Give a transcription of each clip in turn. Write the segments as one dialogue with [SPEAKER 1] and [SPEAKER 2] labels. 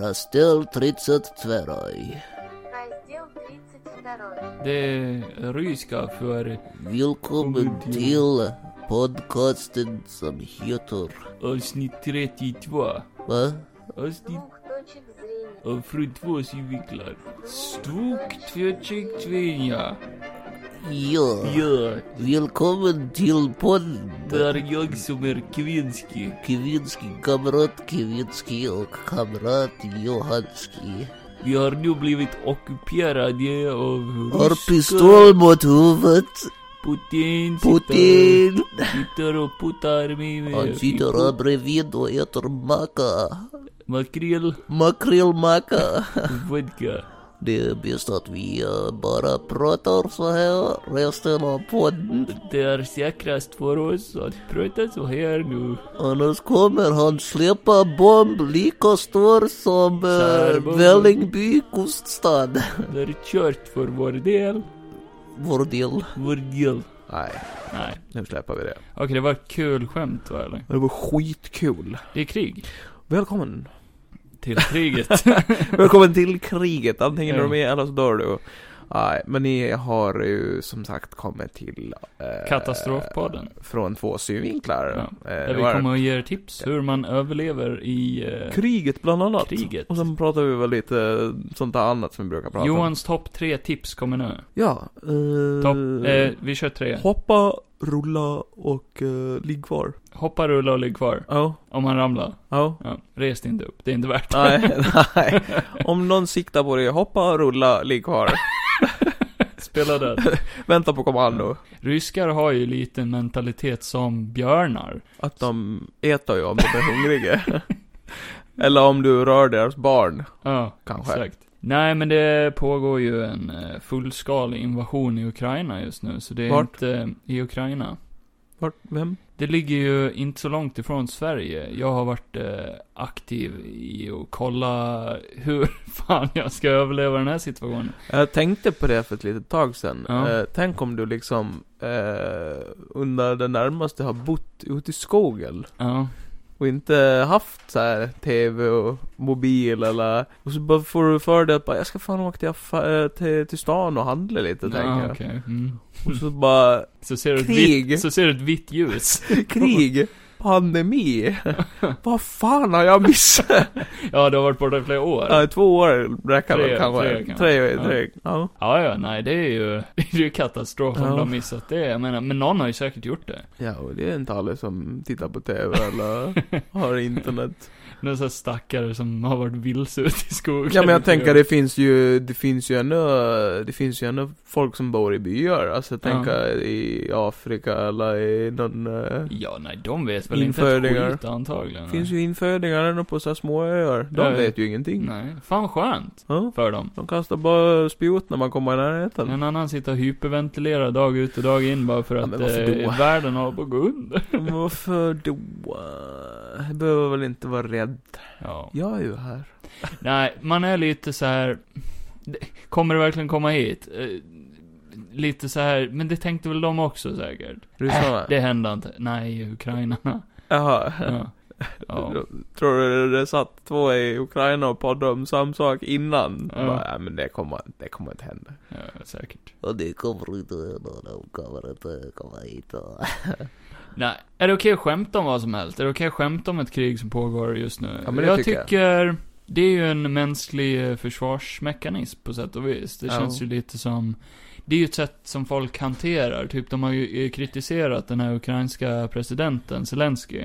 [SPEAKER 1] Раздел 32.
[SPEAKER 2] Раздел 32.
[SPEAKER 3] Det är ryska för
[SPEAKER 1] Välkommen
[SPEAKER 3] Välkommen
[SPEAKER 1] till podcasten som heter...
[SPEAKER 3] avsnitt 32.
[SPEAKER 1] Va?
[SPEAKER 3] Avsnitt
[SPEAKER 2] Двух точек зрения.
[SPEAKER 3] av från två synvinklar. Stuk tvåcheck tvinga.
[SPEAKER 1] Ja.
[SPEAKER 3] Ja,
[SPEAKER 1] Välkommen till podden.
[SPEAKER 3] där jag som är kvinnski.
[SPEAKER 1] Kvinski kamrat Kvinski och kamrat Johanski.
[SPEAKER 3] Vi har nu blivit ockuperade av
[SPEAKER 1] Har
[SPEAKER 3] ryska
[SPEAKER 1] pistol mot huvudet.
[SPEAKER 3] Putin sitter-
[SPEAKER 1] Putin.
[SPEAKER 3] sitter och puttar mig med
[SPEAKER 1] Han sitter här bredvid och äter macka.
[SPEAKER 3] makrill,
[SPEAKER 1] Makrillmacka.
[SPEAKER 3] vodka.
[SPEAKER 1] Det är bäst att vi eh, bara pratar så här resten av podden.
[SPEAKER 3] Det är säkrast för oss att prata så här nu.
[SPEAKER 1] Annars kommer han släppa bomb lika stor som eh,
[SPEAKER 3] Särbomb.
[SPEAKER 1] Vällingby kuststad.
[SPEAKER 3] Det är kört för vår del.
[SPEAKER 1] Vår del.
[SPEAKER 3] Vår del.
[SPEAKER 4] Nej,
[SPEAKER 3] Nej.
[SPEAKER 4] nu släpper vi det.
[SPEAKER 3] Okej, det var ett kul skämt va eller?
[SPEAKER 4] Det var skitkul.
[SPEAKER 3] Det är krig.
[SPEAKER 4] Välkommen.
[SPEAKER 3] Till kriget.
[SPEAKER 4] Välkommen till kriget. Antingen är
[SPEAKER 3] Ja.
[SPEAKER 4] du med eller så dör du. Nej, men ni har ju som sagt kommit till... eh,
[SPEAKER 3] Katastrofpodden.
[SPEAKER 4] Från två synvinklar.
[SPEAKER 3] Ja,
[SPEAKER 4] Eh, det
[SPEAKER 3] Där vi
[SPEAKER 4] var
[SPEAKER 3] kommer att ge er tips hur man överlever i eh,
[SPEAKER 4] Kriget bland annat.
[SPEAKER 3] kriget.
[SPEAKER 4] Och sen pratar vi väl lite eh, sånt där annat som vi brukar prata om.
[SPEAKER 3] Johans topp tre tips kommer nu.
[SPEAKER 4] Ja. Eh,
[SPEAKER 3] Topp, eh, vi kör tre.
[SPEAKER 4] Hoppa, rulla och eh, ligg kvar.
[SPEAKER 3] Hoppa, rulla och ligg kvar.
[SPEAKER 4] Ja.
[SPEAKER 3] Om han ramlar.
[SPEAKER 4] Ja.
[SPEAKER 3] Ja, res dig inte upp. Det är inte värt det.
[SPEAKER 4] Nej, nej. Om någon siktar på dig, hoppa, rulla, ligg kvar.
[SPEAKER 3] Spela död.
[SPEAKER 4] Vänta på kommando.
[SPEAKER 3] Ryskar har ju lite mentalitet som björnar.
[SPEAKER 4] Att de äter ju om de är hungriga. Eller om du rör deras barn,
[SPEAKER 3] Ja,
[SPEAKER 4] kanske.
[SPEAKER 3] exakt. Nej, men det pågår ju en eh, fullskalig invasion i Ukraina just nu, så det är
[SPEAKER 4] Vart?
[SPEAKER 3] inte eh, i Ukraina.
[SPEAKER 4] Vart, vem?
[SPEAKER 3] Det ligger ju inte så långt ifrån Sverige. Jag har varit eh, aktiv i att kolla hur fan jag ska överleva den här situationen.
[SPEAKER 4] Jag tänkte på det för ett litet tag sedan.
[SPEAKER 3] Ja.
[SPEAKER 4] Eh, tänk om du liksom eh, under det närmaste har bott ute i skogen.
[SPEAKER 3] Ja,
[SPEAKER 4] Och inte haft så här TV och mobil eller... Och så bara får du för dig att bara, jag ska fan åka till, affa- eh, till, till stan och handla lite, tänker
[SPEAKER 3] ja
[SPEAKER 4] jag.
[SPEAKER 3] okej. Mm.
[SPEAKER 4] Och så bara,
[SPEAKER 3] Så ser du ett
[SPEAKER 4] Krig.
[SPEAKER 3] vitt, så ser du ett vitt ljus.
[SPEAKER 4] krig, pandemi. Vad fan har jag missat?
[SPEAKER 3] Ja, du har varit borta i flera år.
[SPEAKER 4] Ja, två år räcker
[SPEAKER 3] Tre,
[SPEAKER 4] väl kanske.
[SPEAKER 3] tre
[SPEAKER 4] Tre,
[SPEAKER 3] kanske.
[SPEAKER 4] tre,
[SPEAKER 3] Ja.
[SPEAKER 4] tre. Ja.
[SPEAKER 3] Ja, ja, nej, det är ju, det är ju katastrof om
[SPEAKER 4] Ja.
[SPEAKER 3] de missat det. Jag menar, men någon har ju säkert gjort det.
[SPEAKER 4] ja, och det är inte alla som tittar på TV eller har internet.
[SPEAKER 3] Någon sån här stackare som har varit vilse ute i skogen.
[SPEAKER 4] Ja, men jag tänker det finns ju, det finns ju ännu, det finns ju ännu folk som bor i byar. Alltså jag
[SPEAKER 3] Ja.
[SPEAKER 4] tänker i Afrika eller i någon... eh,
[SPEAKER 3] Ja, nej, de vet väl inte
[SPEAKER 4] Infödingar.
[SPEAKER 3] ett skit antagligen.
[SPEAKER 4] finns ju infödingar ännu på så här små öar. De
[SPEAKER 3] Ja, ja.
[SPEAKER 4] vet ju ingenting.
[SPEAKER 3] Nej, fan skönt
[SPEAKER 4] Ja.
[SPEAKER 3] för dem.
[SPEAKER 4] De kastar bara spjut när man kommer i närheten.
[SPEAKER 3] En annan sitter och hyperventilerar dag ut och dag in bara för
[SPEAKER 4] Ja,
[SPEAKER 3] att
[SPEAKER 4] men varför då?
[SPEAKER 3] eh, världen håller på att gå under.
[SPEAKER 4] Men Varför då? Jag behöver väl inte vara rädd.
[SPEAKER 3] Ja.
[SPEAKER 4] Jag är ju här.
[SPEAKER 3] Nej, man är lite så här. Kommer det verkligen komma hit? Eh, Lite så här, men det tänkte väl de också säkert?
[SPEAKER 4] Ryssarna?
[SPEAKER 3] Äh, Det händer inte. Nej, ukrainarna.
[SPEAKER 4] Jaha.
[SPEAKER 3] Ja. Ja.
[SPEAKER 4] Tror du det satt två i Ukraina och poddade om samma sak innan?
[SPEAKER 3] Ja.
[SPEAKER 4] Bara, Nej men det kommer, det kommer inte hända.
[SPEAKER 3] Ja, säkert.
[SPEAKER 1] Och det kommer inte hända, de kommer inte komma hit. och-
[SPEAKER 3] Nej, är det okej att skämta om vad som helst? Är det okej att skämta om ett krig som pågår just nu?
[SPEAKER 4] Ja, men det
[SPEAKER 3] jag
[SPEAKER 4] tycker jag.
[SPEAKER 3] tycker, det är ju en mänsklig eh, försvarsmekanism på sätt och vis. Det
[SPEAKER 4] Ja.
[SPEAKER 3] känns ju lite som, det är ju ett sätt som folk hanterar. Typ, de har ju eh, kritiserat den här ukrainska presidenten, Zelensky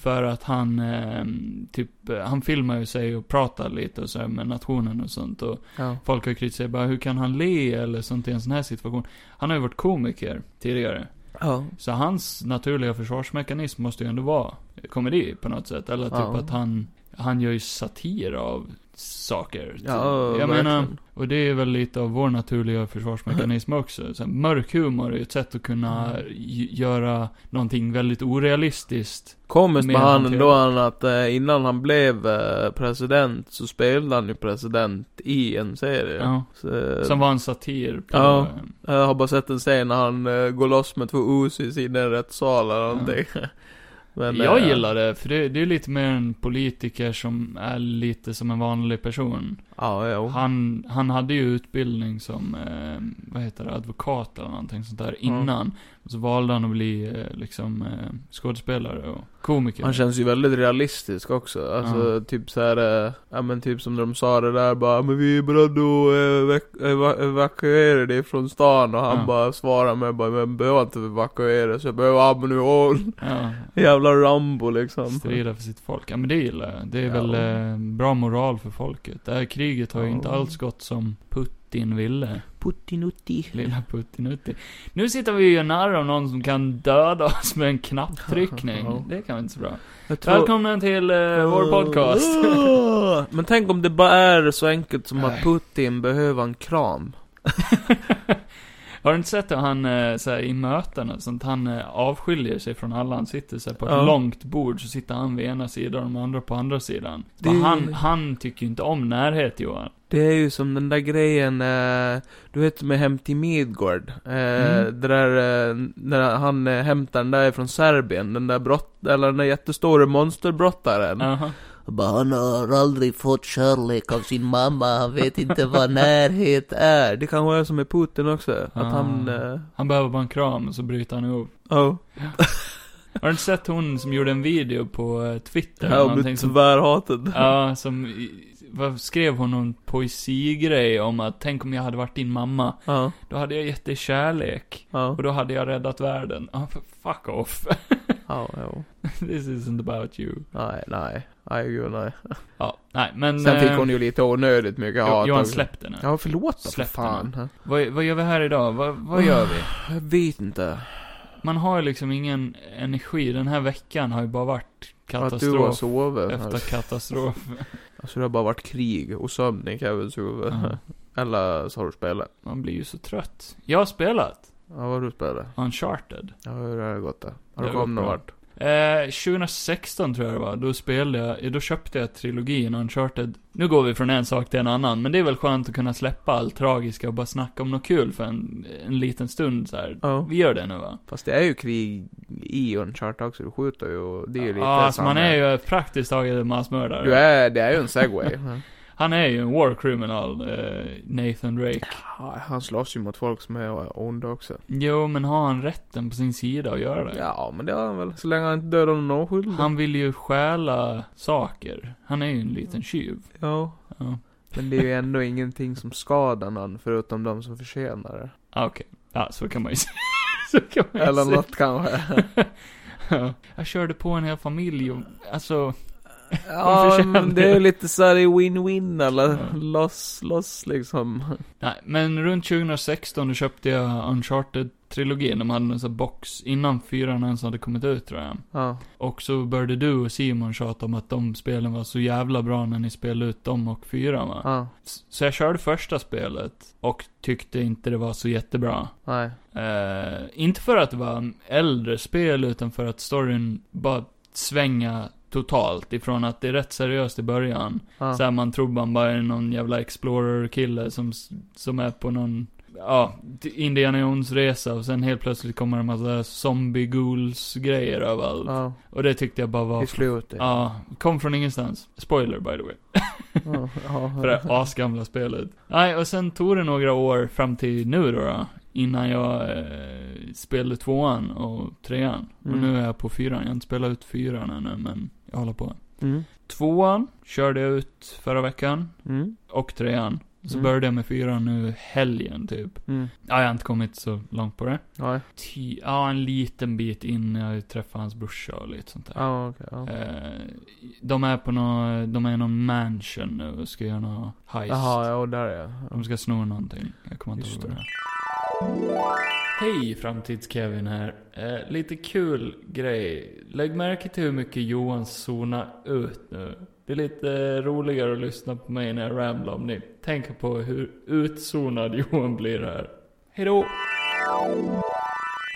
[SPEAKER 3] För att han, eh, typ, eh, han filmar ju sig och pratar lite och så här med nationen och sånt. Och
[SPEAKER 4] Ja.
[SPEAKER 3] folk har ju kritiserat bara, hur kan han le eller sånt i en sån här situation? Han har ju varit komiker tidigare.
[SPEAKER 4] Ja.
[SPEAKER 3] Så hans naturliga försvarsmekanism måste ju ändå vara komedi på något sätt. Eller typ
[SPEAKER 4] Ja.
[SPEAKER 3] att han, han gör ju satir av saker.
[SPEAKER 4] Ja,
[SPEAKER 3] jag
[SPEAKER 4] verkligen.
[SPEAKER 3] menar, och det är väl lite av vår naturliga försvarsmekanism också. Så här, mörk humor är ju ett sätt att kunna
[SPEAKER 4] Mm.
[SPEAKER 3] gö- göra någonting väldigt orealistiskt.
[SPEAKER 4] Komiskt
[SPEAKER 3] Mer
[SPEAKER 4] med han
[SPEAKER 3] hanterat.
[SPEAKER 4] då han att eh, innan han blev eh, president så spelade han ju president i en serie.
[SPEAKER 3] Ja.
[SPEAKER 4] Så, eh,
[SPEAKER 3] Som var en satir på...
[SPEAKER 4] Ja. Jag har bara sett en scen när han eh, går loss med två os i sin rättssal eller
[SPEAKER 3] Ja.
[SPEAKER 4] någonting. Men,
[SPEAKER 3] jag
[SPEAKER 4] eh,
[SPEAKER 3] gillar det, för det, det är lite mer en politiker som är lite som en vanlig person.
[SPEAKER 4] Ja, jo.
[SPEAKER 3] Han, han hade ju utbildning som, eh, vad heter det, advokat eller någonting sånt där innan. Och så valde han att bli eh, liksom eh, skådespelare och komiker.
[SPEAKER 4] Han känns ju väldigt realistisk också, alltså
[SPEAKER 3] Ja.
[SPEAKER 4] typ så här, eh, ja men typ som när de sa det där bara men vi är beredda att eh, evak- eva- evakuera dig från stan och han
[SPEAKER 3] Ja.
[SPEAKER 4] bara svarar med bara men behöver inte evakuera så jag behöver ammunition
[SPEAKER 3] ja,
[SPEAKER 4] Jävla Rambo liksom
[SPEAKER 3] strida för sitt folk. Ja men det gillar jag. Det är
[SPEAKER 4] Ja.
[SPEAKER 3] väl eh, bra moral för folket. Det här kriget har ju
[SPEAKER 4] Ja.
[SPEAKER 3] inte alls gått som Putin ville.
[SPEAKER 1] Puttinutti.
[SPEAKER 3] Lilla Puttinutti. Nu sitter vi ju och gör narr av någon som kan döda oss med en knapptryckning.
[SPEAKER 4] Ja.
[SPEAKER 3] Det kan vara inte så bra.
[SPEAKER 4] Jag tror-
[SPEAKER 3] Välkomna till eh, vår podcast.
[SPEAKER 4] Men tänk om det bara är så enkelt som att
[SPEAKER 3] Nej.
[SPEAKER 4] Putin behöver en kram
[SPEAKER 3] Har du inte sett hur han eh, så här, i möten och sånt, han eh, avskiljer sig från alla. Han sitter så här, på ett
[SPEAKER 4] Ja.
[SPEAKER 3] långt bord, så sitter han vid ena sidan och de andra på andra sidan.
[SPEAKER 4] Det-
[SPEAKER 3] Men han, han tycker ju inte om närhet Johan.
[SPEAKER 4] Det är ju som den där grejen, eh, du vet med Hem till Midgård. Eh,
[SPEAKER 3] Mm.
[SPEAKER 4] Det där, eh, när han eh, hämtar den där från Serbien, den där brott, eller den där jättestora monsterbrottaren.
[SPEAKER 3] Jaha.
[SPEAKER 1] Bara, han har aldrig fått kärlek av sin mamma, han vet inte vad närhet är.
[SPEAKER 4] Är, det kan vara som med Putin också,
[SPEAKER 3] Ah.
[SPEAKER 4] att han, eh,
[SPEAKER 3] Han behöver bara en kram och så bryter han ihop.
[SPEAKER 4] oh,
[SPEAKER 3] Har du inte sett hon som gjorde en video på eh, Twitter? eller
[SPEAKER 4] han blir
[SPEAKER 3] någonting som-
[SPEAKER 4] tvärhatad.
[SPEAKER 3] Ja, som, i- vad skrev hon någon poesigrej om att tänk om jag hade varit din mamma,
[SPEAKER 4] Ja,
[SPEAKER 3] då hade jag gett dig kärlek.
[SPEAKER 4] ja,
[SPEAKER 3] Och då hade jag räddat världen. Ja, f- fuck off.
[SPEAKER 4] ja, jo.
[SPEAKER 3] This isn't about you.
[SPEAKER 4] nej, nej, nej, gud nej.
[SPEAKER 3] Ja, nej men...
[SPEAKER 4] Sen fick
[SPEAKER 3] eh,
[SPEAKER 4] hon ju lite onödigt mycket
[SPEAKER 3] Jo-
[SPEAKER 4] hat
[SPEAKER 3] Johan,
[SPEAKER 4] också.
[SPEAKER 3] släpp den nu.
[SPEAKER 4] Ja, förlåt då, för
[SPEAKER 3] Släpp den.
[SPEAKER 4] fan.
[SPEAKER 3] Vad, vad gör vi här idag? Vad, vad gör vi?
[SPEAKER 4] Jag vet inte.
[SPEAKER 3] Man har ju liksom ingen energi. Den här veckan har ju bara varit
[SPEAKER 4] Att du har
[SPEAKER 3] katastrof
[SPEAKER 4] sovit.
[SPEAKER 3] efter katastrof.
[SPEAKER 4] Alltså det har bara varit krig och sömn i Kevins huvud.
[SPEAKER 3] Ja.
[SPEAKER 4] Eller så har du spelat.
[SPEAKER 3] Man blir ju så trött. Jag har spelat
[SPEAKER 4] Ja, vad har du spelat?
[SPEAKER 3] Uncharted.
[SPEAKER 4] Ja, hur har det gått då?
[SPEAKER 3] Det
[SPEAKER 4] Har du
[SPEAKER 3] har gått
[SPEAKER 4] kommit någon
[SPEAKER 3] bra.
[SPEAKER 4] vart?
[SPEAKER 3] Eh, 2016 tror jag det var, då spelade jag, eh, då köpte jag trilogin Uncharted. Nu går vi från en sak till en annan, men det är väl skönt att kunna släppa allt tragiska och bara snacka om något kul för en, en liten stund så här.
[SPEAKER 4] Ja.
[SPEAKER 3] Vi gör det nu va?
[SPEAKER 4] Fast det är ju krig i Uncharted också, du skjuter ju och det är ju lite
[SPEAKER 3] ja, alltså man
[SPEAKER 4] samma-
[SPEAKER 3] är ju praktiskt taget en massmördare.
[SPEAKER 4] Du är, det är ju en segway. Ja.
[SPEAKER 3] Han är ju en war criminal, eh, Nathan Drake.
[SPEAKER 4] Ja, Han slåss ju mot folk som är onda också.
[SPEAKER 3] Jo, men har han rätten på sin sida att göra det?
[SPEAKER 4] Ja, men det har han väl. Så länge han inte dödar någon oskyldig.
[SPEAKER 3] Han vill ju stjäla saker. Han är ju en liten tjuv.
[SPEAKER 4] Ja.
[SPEAKER 3] Ja.
[SPEAKER 4] Men det är ju ändå ingenting som skadar någon, förutom de som förtjänar det.
[SPEAKER 3] Ah, Okej. Ja, så kan man ju säga. så kan man ju
[SPEAKER 4] Eller
[SPEAKER 3] säga.
[SPEAKER 4] något kanske.
[SPEAKER 3] ja. Jag körde på en hel familj och, alltså,
[SPEAKER 4] Ja,
[SPEAKER 3] förtjänar
[SPEAKER 4] men det är ju lite såhär i win-win
[SPEAKER 3] Ja.
[SPEAKER 4] eller loss, loss liksom.
[SPEAKER 3] nej, men runt 2016 då köpte jag Uncharted-trilogin. De hade en sån här box innan fyran ens hade kommit ut tror jag.
[SPEAKER 4] Ja.
[SPEAKER 3] Och så började du och Simon tjata om att de spelen var så jävla bra när ni spelade ut dem och fyran va?
[SPEAKER 4] Ja,
[SPEAKER 3] S- Så jag körde första spelet och tyckte inte det var så jättebra.
[SPEAKER 4] nej.
[SPEAKER 3] Eh, inte för att det var äldre spel, utan för att storyn bara svänga totalt ifrån att det är rätt seriöst i början.
[SPEAKER 4] Ja.
[SPEAKER 3] Så här, man tror man bara är någon jävla explorer-kille som, s- som är på någon, ja, t- Indiana Jones-resa och sen helt plötsligt kommer det en massa zombie ghouls-grejer överallt.
[SPEAKER 4] Ja,
[SPEAKER 3] Och det tyckte jag bara var...
[SPEAKER 4] i slutet.
[SPEAKER 3] Ja, kom från ingenstans. Spoiler by the way.
[SPEAKER 4] Ja, ja.
[SPEAKER 3] För det här asgamla spelet. Nej, och sen tog det några år fram till nu då, då innan jag eh, spelade tvåan och trean.
[SPEAKER 4] Mm.
[SPEAKER 3] Och nu är jag på fyran. Jag har inte spelat ut fyran ännu, men jag håller på.
[SPEAKER 4] Mm.
[SPEAKER 3] Tvåan körde jag ut förra veckan.
[SPEAKER 4] Mm.
[SPEAKER 3] Och trean. Så
[SPEAKER 4] Mm.
[SPEAKER 3] började jag med fyran nu helgen, typ.
[SPEAKER 4] Mm.
[SPEAKER 3] Ja, jag har inte kommit så långt på det.
[SPEAKER 4] Nej.
[SPEAKER 3] Ty- ja, en liten bit in när jag träffade hans brorsa och lite sånt där.
[SPEAKER 4] Ja, okej. Ja.
[SPEAKER 3] Eh, de är på nå, de är i någon mansion nu och ska göra något heist.
[SPEAKER 4] Jaha, ja, och där är jag.
[SPEAKER 3] De ska sno någonting. Jag kommer inte
[SPEAKER 4] Just
[SPEAKER 3] ihåg
[SPEAKER 4] det.
[SPEAKER 3] vad det är. Hej Framtids-Kevin här. Eh, lite kul grej. Lägg märke till hur mycket Johan zonar ut nu. Det är lite eh, roligare att lyssna på mig när jag ramlar om ni tänker på hur utzonad Johan blir här. Hejdå!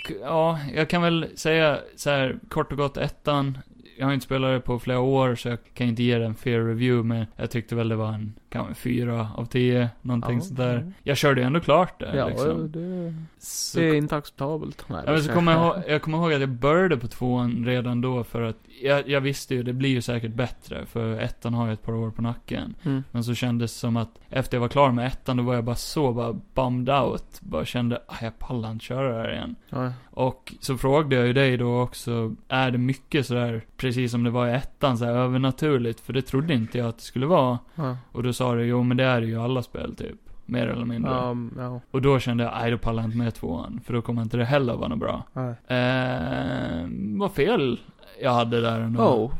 [SPEAKER 3] K- Ja, jag kan väl säga så här kort och gott ettan. jag har inte spelat det på flera år så jag kan inte ge den en fair review men jag tyckte väl det var en, kanske en fyra av tio, någonting
[SPEAKER 4] Ja,
[SPEAKER 3] sådär.
[SPEAKER 4] mm.
[SPEAKER 3] Jag körde ju ändå klart det
[SPEAKER 4] Ja,
[SPEAKER 3] liksom.
[SPEAKER 4] det,
[SPEAKER 3] Så,
[SPEAKER 4] det är inte acceptabelt. Nej,
[SPEAKER 3] ja, men så kommer jag, ihåg, jag kommer ihåg att jag började på tvåan redan då för att jag, jag visste ju, det blir ju säkert bättre för ettan har ju ett par år på nacken.
[SPEAKER 4] Mm.
[SPEAKER 3] Men så kändes det som att efter jag var klar med ettan då var jag bara så bara bummed out. Bara kände, ah, jag pallar inte köra det här igen.
[SPEAKER 4] Ja.
[SPEAKER 3] Och så frågade jag ju dig då också, är det mycket sådär, precis som det var i ettan, såhär övernaturligt? För det trodde inte jag att det skulle vara.
[SPEAKER 4] Ja.
[SPEAKER 3] Och då sa du, jo men det är det ju i alla spel typ. Mer eller mindre.
[SPEAKER 4] Um, ja.
[SPEAKER 3] Och då kände jag, nej då pallar jag inte med tvåan. För då kommer inte det heller vara något bra.
[SPEAKER 4] Nej.
[SPEAKER 3] Eh, vad fel jag hade där ändå.
[SPEAKER 4] Oh.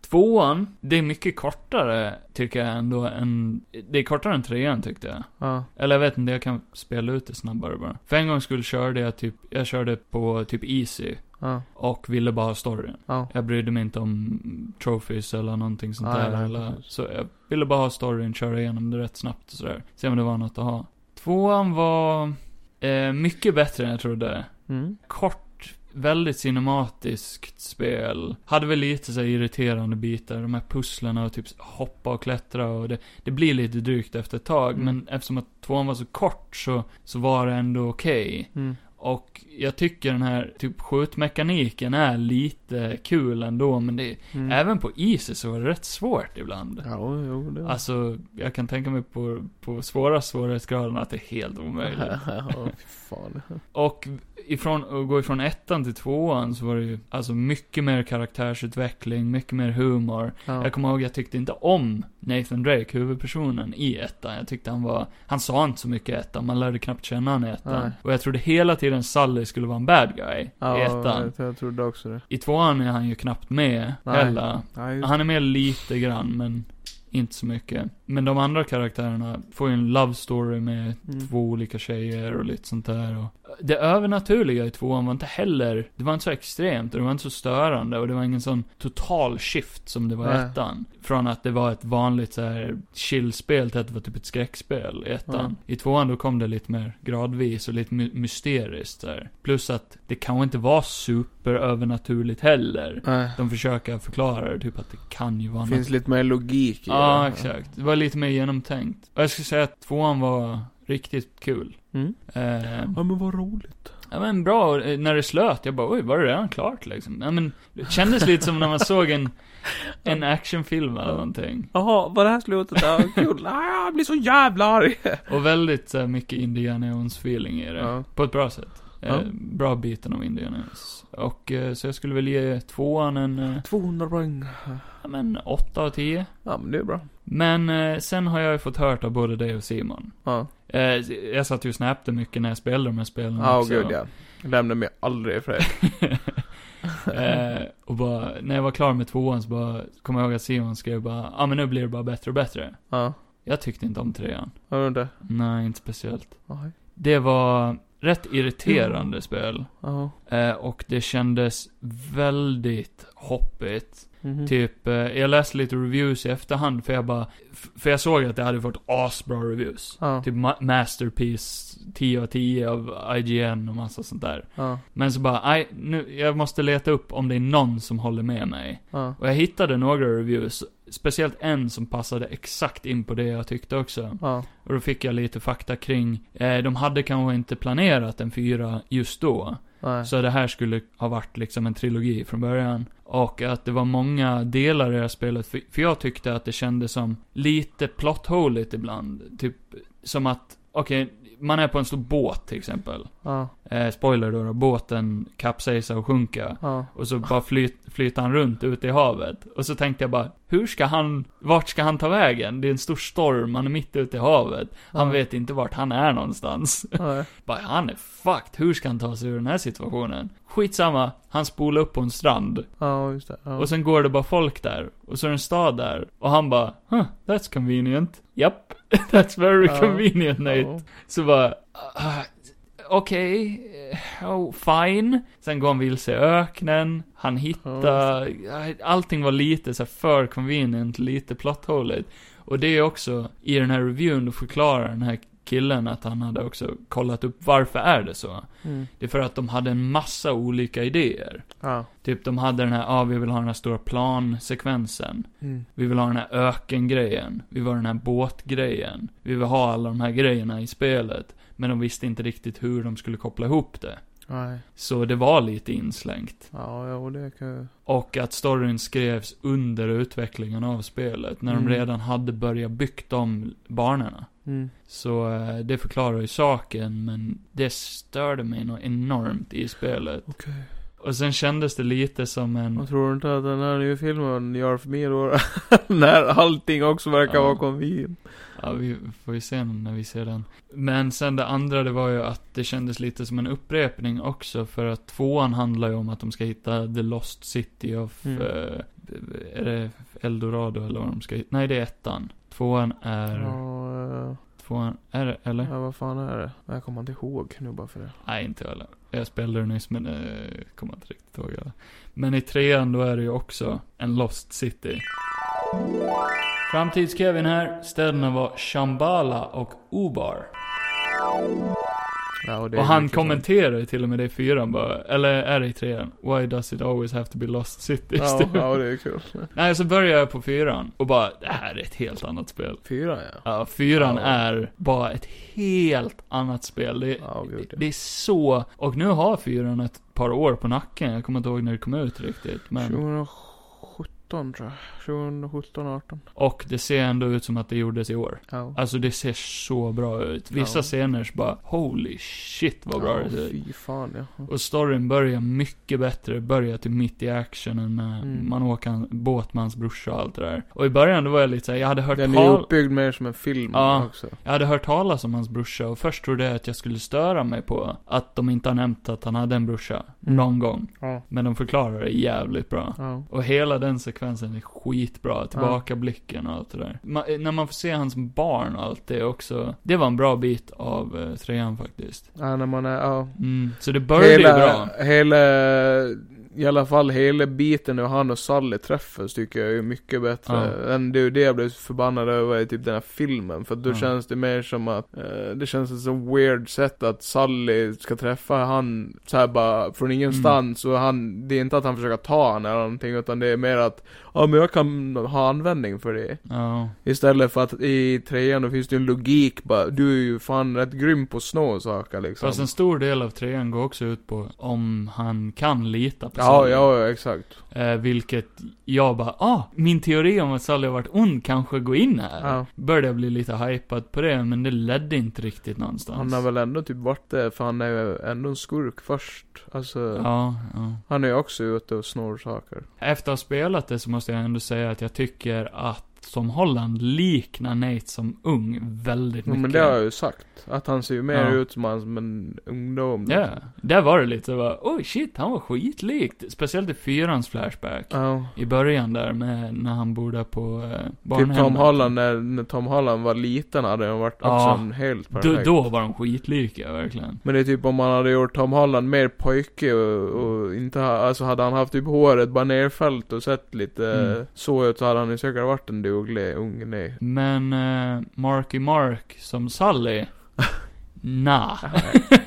[SPEAKER 3] Tvåan, det är mycket kortare tycker jag ändå än, det är kortare än trean tyckte jag.
[SPEAKER 4] ja.
[SPEAKER 3] Eller jag vet inte, jag kan spela ut det snabbare bara. För en gång skulle körde jag typ, jag körde på typ easy.
[SPEAKER 4] Ja.
[SPEAKER 3] Och ville bara ha storyn.
[SPEAKER 4] Ja.
[SPEAKER 3] Jag brydde mig inte om trophies eller någonting sånt
[SPEAKER 4] Nej,
[SPEAKER 3] där.
[SPEAKER 4] nej,
[SPEAKER 3] Eller,
[SPEAKER 4] precis.
[SPEAKER 3] så jag ville bara ha storyn, köra igenom det rätt snabbt och sådär. Se om det var något att ha. Tvåan var eh, mycket bättre än jag trodde.
[SPEAKER 4] Mm.
[SPEAKER 3] Kort, väldigt cinematiskt spel. Hade väl lite så här irriterande bitar. De här pusslen och typ hoppa och klättra och det, det blir lite drygt efter ett tag.
[SPEAKER 4] Mm.
[SPEAKER 3] Men eftersom att tvåan var så kort så, så var det ändå okej.
[SPEAKER 4] Mm.
[SPEAKER 3] Och jag tycker den här typ skjutmekaniken är lite kul ändå, men det,
[SPEAKER 4] Mm.
[SPEAKER 3] även på Easy så var det rätt svårt ibland.
[SPEAKER 4] Ja, jo, det...
[SPEAKER 3] Alltså, jag kan tänka mig på, på svåra svårighetsgraden att det är helt omöjligt.
[SPEAKER 4] ja, fy fan.
[SPEAKER 3] Och ifrån, att gå ifrån ettan till tvåan så var det ju, alltså mycket mer karaktärsutveckling, mycket mer humor.
[SPEAKER 4] Ja.
[SPEAKER 3] Jag kommer ihåg, jag tyckte inte om Nathan Drake, huvudpersonen i ettan. Jag tyckte han var, han sa inte så mycket i ettan, man lärde knappt känna han i ettan.
[SPEAKER 4] Nej.
[SPEAKER 3] Och jag trodde hela tiden Sully skulle vara en bad guy i
[SPEAKER 4] ja,
[SPEAKER 3] ettan.
[SPEAKER 4] jag, jag trodde också det.
[SPEAKER 3] I tvåan är han ju knappt med
[SPEAKER 4] Nej.
[SPEAKER 3] heller.
[SPEAKER 4] Ja, just...
[SPEAKER 3] Han är med lite grann, men inte så mycket. Men de andra karaktärerna får ju en love story med
[SPEAKER 4] Mm.
[SPEAKER 3] två olika tjejer och lite sånt där. Och det övernaturliga i tvåan var inte heller, det var inte så extremt och det var inte så störande och det var ingen sån total shift som det var i
[SPEAKER 4] Nej.
[SPEAKER 3] ettan. Från att det var ett vanligt så här chill-spel till att det var typ ett skräckspel i ettan. I tvåan då kom det lite mer gradvis och lite my- mysteriskt så här. Plus att det kanske inte var super övernaturligt heller.
[SPEAKER 4] Nej.
[SPEAKER 3] De försöker förklara det, typ att det kan ju vara
[SPEAKER 4] Det Äh, finns lite mer logik i
[SPEAKER 3] Ja,
[SPEAKER 4] det.
[SPEAKER 3] exakt. Det var lite mer genomtänkt. Och jag skulle säga att tvåan var riktigt kul.
[SPEAKER 4] Mm.
[SPEAKER 3] Eh,
[SPEAKER 4] Ja, men vad roligt.
[SPEAKER 3] ja men bra, Och, eh, när det slöt, jag bara oj, var det redan klart liksom? Ja, men, det kändes lite som när man såg en, en actionfilm eller någonting.
[SPEAKER 4] Jaha, var det här slutet? Ja, kul. Ah, jag blir så jävla arg.
[SPEAKER 3] Och väldigt så här, mycket Indiana Jones-feeling i det.
[SPEAKER 4] Ja.
[SPEAKER 3] På ett bra sätt. Eh,
[SPEAKER 4] Ja.
[SPEAKER 3] Bra biten av Indiana Jones. Och eh, så jag skulle väl ge tvåan en, eh,
[SPEAKER 4] 200 poäng.
[SPEAKER 3] ja men, 8 av 10.
[SPEAKER 4] Ja, men det är bra.
[SPEAKER 3] Men eh, sen har jag ju fått hört av både dig och Simon.
[SPEAKER 4] Ja,
[SPEAKER 3] Eh, jag satt ju och snappade mycket när jag spelade de här spelen
[SPEAKER 4] ja och
[SPEAKER 3] Mm, också.
[SPEAKER 4] gud ja. Lämna mig aldrig i fred.
[SPEAKER 3] eh, och bara, när jag var klar med tvåan så bara, kom jag ihåg att Simon skrev bara, ja ah, men nu blir det bara bättre och bättre.
[SPEAKER 4] Ja,
[SPEAKER 3] Jag tyckte inte om trean.
[SPEAKER 4] har du inte?
[SPEAKER 3] Nej, inte speciellt.
[SPEAKER 4] Nej.
[SPEAKER 3] Det var rätt irriterande spel.
[SPEAKER 4] Ja.
[SPEAKER 3] Eh, och det kändes väldigt hoppigt.
[SPEAKER 4] Mhm.
[SPEAKER 3] Typ, eh, jag läste lite reviews i efterhand för jag bara, f- för jag såg att det hade fått asbra reviews.
[SPEAKER 4] Ja.
[SPEAKER 3] Typ ma- Masterpiece 10 av 10 av IGN och massa sånt där.
[SPEAKER 4] Ja.
[SPEAKER 3] Men så bara, nej, nu, jag måste leta upp om det är någon som håller med mig.
[SPEAKER 4] Ja.
[SPEAKER 3] Och jag hittade några reviews, speciellt en som passade exakt in på det jag tyckte också.
[SPEAKER 4] Ja.
[SPEAKER 3] Och då fick jag lite fakta kring, eh, de hade kanske inte planerat en fyra just då.
[SPEAKER 4] Nej.
[SPEAKER 3] Så det här skulle ha varit liksom en trilogi från början. Och att det var många delar i det här spelet, för, för jag tyckte att det kändes som lite plotthåligt ibland. Typ som att, okej, man är på en stor båt till exempel.
[SPEAKER 4] Ja.
[SPEAKER 3] Eh, spoiler då, då båten kapsejsar och sjunker.
[SPEAKER 4] Ja.
[SPEAKER 3] Och så bara flyt, flyter han runt ute i havet. Och så tänkte jag bara, hur ska han, vart ska han ta vägen? Det är en stor storm, han är mitt ute i havet. Han
[SPEAKER 4] Ja.
[SPEAKER 3] vet inte vart han är någonstans.
[SPEAKER 4] Nej.
[SPEAKER 3] Bara, han är fucked, hur ska han ta sig ur den här situationen? Skitsamma, han spolar upp på en strand.
[SPEAKER 4] Ja, just det. Ja.
[SPEAKER 3] Och sen går det bara folk där. Och så är det en stad där. Och han bara, huh, that's convenient. Japp, that's very
[SPEAKER 4] Ja.
[SPEAKER 3] convenient Nate.
[SPEAKER 4] Ja.
[SPEAKER 3] Så bara, ah, okej, eh, oh, fine. Sen går han vilse i öknen, han hittar, eh, allting var lite så här för convenient, lite plotthåligt. Och det är också, i den här reviewn, då förklarar den här killen att han hade också kollat upp varför är det så.
[SPEAKER 4] Mm.
[SPEAKER 3] Det är för att de hade en massa olika idéer.
[SPEAKER 4] Ja.
[SPEAKER 3] Typ de hade den här, ja ah, vi vill ha den här stora plansekvensen.
[SPEAKER 4] Mm.
[SPEAKER 3] Vi vill ha den här ökengrejen. Vi vill ha den här båtgrejen. Vi vill ha alla de här grejerna i spelet. Men de visste inte riktigt hur de skulle koppla ihop det.
[SPEAKER 4] Nej.
[SPEAKER 3] Så det var lite inslängt.
[SPEAKER 4] Ja, ja, och det kan ju...
[SPEAKER 3] Och att storyn skrevs under utvecklingen av spelet. När
[SPEAKER 4] Mm.
[SPEAKER 3] de redan hade börjat byggt de banorna.
[SPEAKER 4] Mm.
[SPEAKER 3] Så eh, det förklarar ju saken, men det störde mig nog enormt i spelet.
[SPEAKER 4] Okej.
[SPEAKER 3] Och sen kändes det lite som en...
[SPEAKER 4] Jag tror inte att den här nya filmen gör för mig då? När allting också verkar
[SPEAKER 3] Ja.
[SPEAKER 4] vara konvin.
[SPEAKER 3] Ja, vi får ju se när vi ser den. Men sen det andra, det var ju att det kändes lite som en upprepning också. För att tvåan handlar ju om att de ska hitta The Lost City of...
[SPEAKER 4] Mm.
[SPEAKER 3] eh, är det Eldorado eller vad de ska hitta? Nej, det är ettan. Tvåan är...
[SPEAKER 4] Ja, eh,
[SPEAKER 3] Tvåan, är det, eller?
[SPEAKER 4] ja, vad fan är det? Jag kommer inte ihåg nu bara för det.
[SPEAKER 3] Nej, inte jag heller. Jag spelade det nyss, men eh, kommer inte riktigt ihåg det. Men i trean, då är det ju också en Lost City. Framtids-Kevin här. Städerna var Shambhala och Obar.
[SPEAKER 4] Ja, och det är
[SPEAKER 3] Och han
[SPEAKER 4] mycket sånt.
[SPEAKER 3] kommenterar ju till och med det i fyran bara, eller är det i trean? Why does it always have to be Lost City?
[SPEAKER 4] Ja, ja, det är kul.
[SPEAKER 3] Nej, så börjar jag på fyran och bara, det här är ett helt annat spel.
[SPEAKER 4] Fyra ja.
[SPEAKER 3] Ja, fyran
[SPEAKER 4] Ja.
[SPEAKER 3] är bara ett helt annat spel. Det,
[SPEAKER 4] Ja, gud ja.
[SPEAKER 3] det är så, och nu har fyran ett par år på nacken. Jag kommer inte ihåg när det kom ut riktigt, men.
[SPEAKER 4] 2017 tror jag. 2017, 18.
[SPEAKER 3] Och det ser ändå ut som att det gjordes i år.
[SPEAKER 4] Ja.
[SPEAKER 3] Alltså det ser så bra ut. Vissa
[SPEAKER 4] Ja.
[SPEAKER 3] scener så bara, holy shit vad bra
[SPEAKER 4] ja,
[SPEAKER 3] det ser ut.
[SPEAKER 4] Fy fan ja.
[SPEAKER 3] Och storyn börjar mycket bättre, börjar till mitt i actionen när
[SPEAKER 4] Mm.
[SPEAKER 3] man åker en båt med hans brorsa och allt det där. Och i början då var jag lite såhär, jag hade hört
[SPEAKER 4] Den är ju
[SPEAKER 3] tal-
[SPEAKER 4] uppbyggd mer som en film
[SPEAKER 3] Ja.
[SPEAKER 4] också.
[SPEAKER 3] jag hade hört talas om hans brorsa och först trodde jag att jag skulle störa mig på att de inte har nämnt att han hade en brorsa.
[SPEAKER 4] Mm.
[SPEAKER 3] Någon gång.
[SPEAKER 4] Ja.
[SPEAKER 3] Men de förklarar det jävligt bra.
[SPEAKER 4] Ja.
[SPEAKER 3] Och hela den sekvensen är skitbra, tillbakablicken och allt det där. Ma- när man får se hans barn och allt det också. Det var en bra bit av eh, trean faktiskt.
[SPEAKER 4] ja, när man är, ja.
[SPEAKER 3] Mm. Så det började ju bra.
[SPEAKER 4] hela, i alla fall hela biten när han och Sally träffas tycker jag är mycket bättre.
[SPEAKER 3] Ja.
[SPEAKER 4] Än det är ju det jag blev så förbannad över i typ den här filmen. För att då
[SPEAKER 3] Ja.
[SPEAKER 4] känns det mer som att, eh, det känns som ett så weird sätt att Sally ska träffa han så här bara från ingenstans.
[SPEAKER 3] Mm.
[SPEAKER 4] Och han, det är inte att han försöker ta han eller någonting utan det är mer att, ja men jag kan ha användning för det.
[SPEAKER 3] Ja.
[SPEAKER 4] Istället för att i trean då finns det ju en logik bara, du är ju fan rätt grym på att snå saker liksom.
[SPEAKER 3] Fast en stor del av trean går också ut på om han kan lita på
[SPEAKER 4] Ja,
[SPEAKER 3] Sally.
[SPEAKER 4] ja, ja, exakt.
[SPEAKER 3] Eh, vilket jag bara, ah, min teori om att Sally har varit ond kanske går in här.
[SPEAKER 4] Ja.
[SPEAKER 3] Började jag bli lite hypad på det, men det ledde inte riktigt någonstans.
[SPEAKER 4] Han har väl ändå typ varit det, för han är ju ändå en skurk först. Alltså,
[SPEAKER 3] Ja, ja.
[SPEAKER 4] han är ju också ute och snor saker.
[SPEAKER 3] Efter att ha spelat det så måste jag ändå säga att jag tycker att Tom Holland liknar Nate som ung väldigt
[SPEAKER 4] Ja,
[SPEAKER 3] mycket.
[SPEAKER 4] men det har jag ju sagt. Att han ser ju mer
[SPEAKER 3] Ja.
[SPEAKER 4] ut som han som en ungdom.
[SPEAKER 3] Ja, där var det lite så bara, oj shit, han var skitlikt. Speciellt i fyrans flashback.
[SPEAKER 4] Ja.
[SPEAKER 3] I början där med, när han bor där på eh,
[SPEAKER 4] Typ
[SPEAKER 3] barnhemmet.
[SPEAKER 4] Tom Holland, när, när Tom Holland var liten hade han varit
[SPEAKER 3] Ja.
[SPEAKER 4] också en helt
[SPEAKER 3] Då,
[SPEAKER 4] perfekt.
[SPEAKER 3] då var de skitlika, verkligen.
[SPEAKER 4] Men det är typ om man hade gjort Tom Holland mer pojke och, och inte ha, alltså hade han haft typ håret bara nerfällt och sett lite
[SPEAKER 3] Mm.
[SPEAKER 4] eh, så ut så hade han ju säkert varit en duglig ung nej.
[SPEAKER 3] Men eh, Marky Mark som Sally, nah.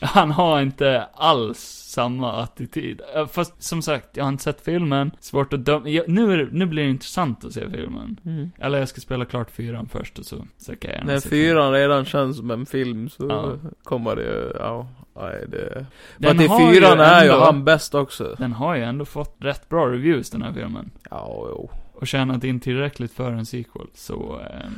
[SPEAKER 3] han har inte alls samma attityd. Eh, Fast som sagt, jag har inte sett filmen, svårt att döma. Jag, nu, är, det- nu blir det intressant att se filmen. Eller jag ska spela klart fyran först och så, så kan jag gärna
[SPEAKER 4] När
[SPEAKER 3] se
[SPEAKER 4] fyran redan känns som en film så
[SPEAKER 3] Ja.
[SPEAKER 4] kommer det ju, ja, nej det...
[SPEAKER 3] filmen.
[SPEAKER 4] Men i
[SPEAKER 3] Den har
[SPEAKER 4] fyran är ju
[SPEAKER 3] ändå-
[SPEAKER 4] han bäst också.
[SPEAKER 3] Den har ju ändå fått rätt bra reviews den här filmen.
[SPEAKER 4] Ja, jo.
[SPEAKER 3] Och tjänat in tillräckligt för en sequel, så... Eh,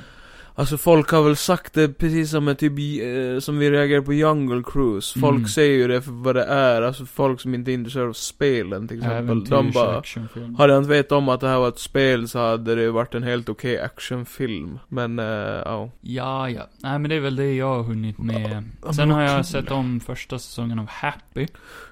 [SPEAKER 4] Alltså folk har väl sagt det precis som med typ, eh, som vi reagerar på Jungle Cruise. Folk
[SPEAKER 3] Mm.
[SPEAKER 4] säger ju det för vad det är, alltså folk som inte är intresserade av spelen till exempel. De
[SPEAKER 3] äventyrs-
[SPEAKER 4] bara,
[SPEAKER 3] actionfilm.
[SPEAKER 4] hade jag inte vetat om att det här var ett spel så hade det ju varit en helt okej actionfilm. Men, eh, ja.
[SPEAKER 3] Ja, ja. Nej, men det är väl det jag har hunnit med.
[SPEAKER 4] Ja,
[SPEAKER 3] Sen
[SPEAKER 4] men
[SPEAKER 3] har jag
[SPEAKER 4] kul.
[SPEAKER 3] sett om första säsongen av Happy.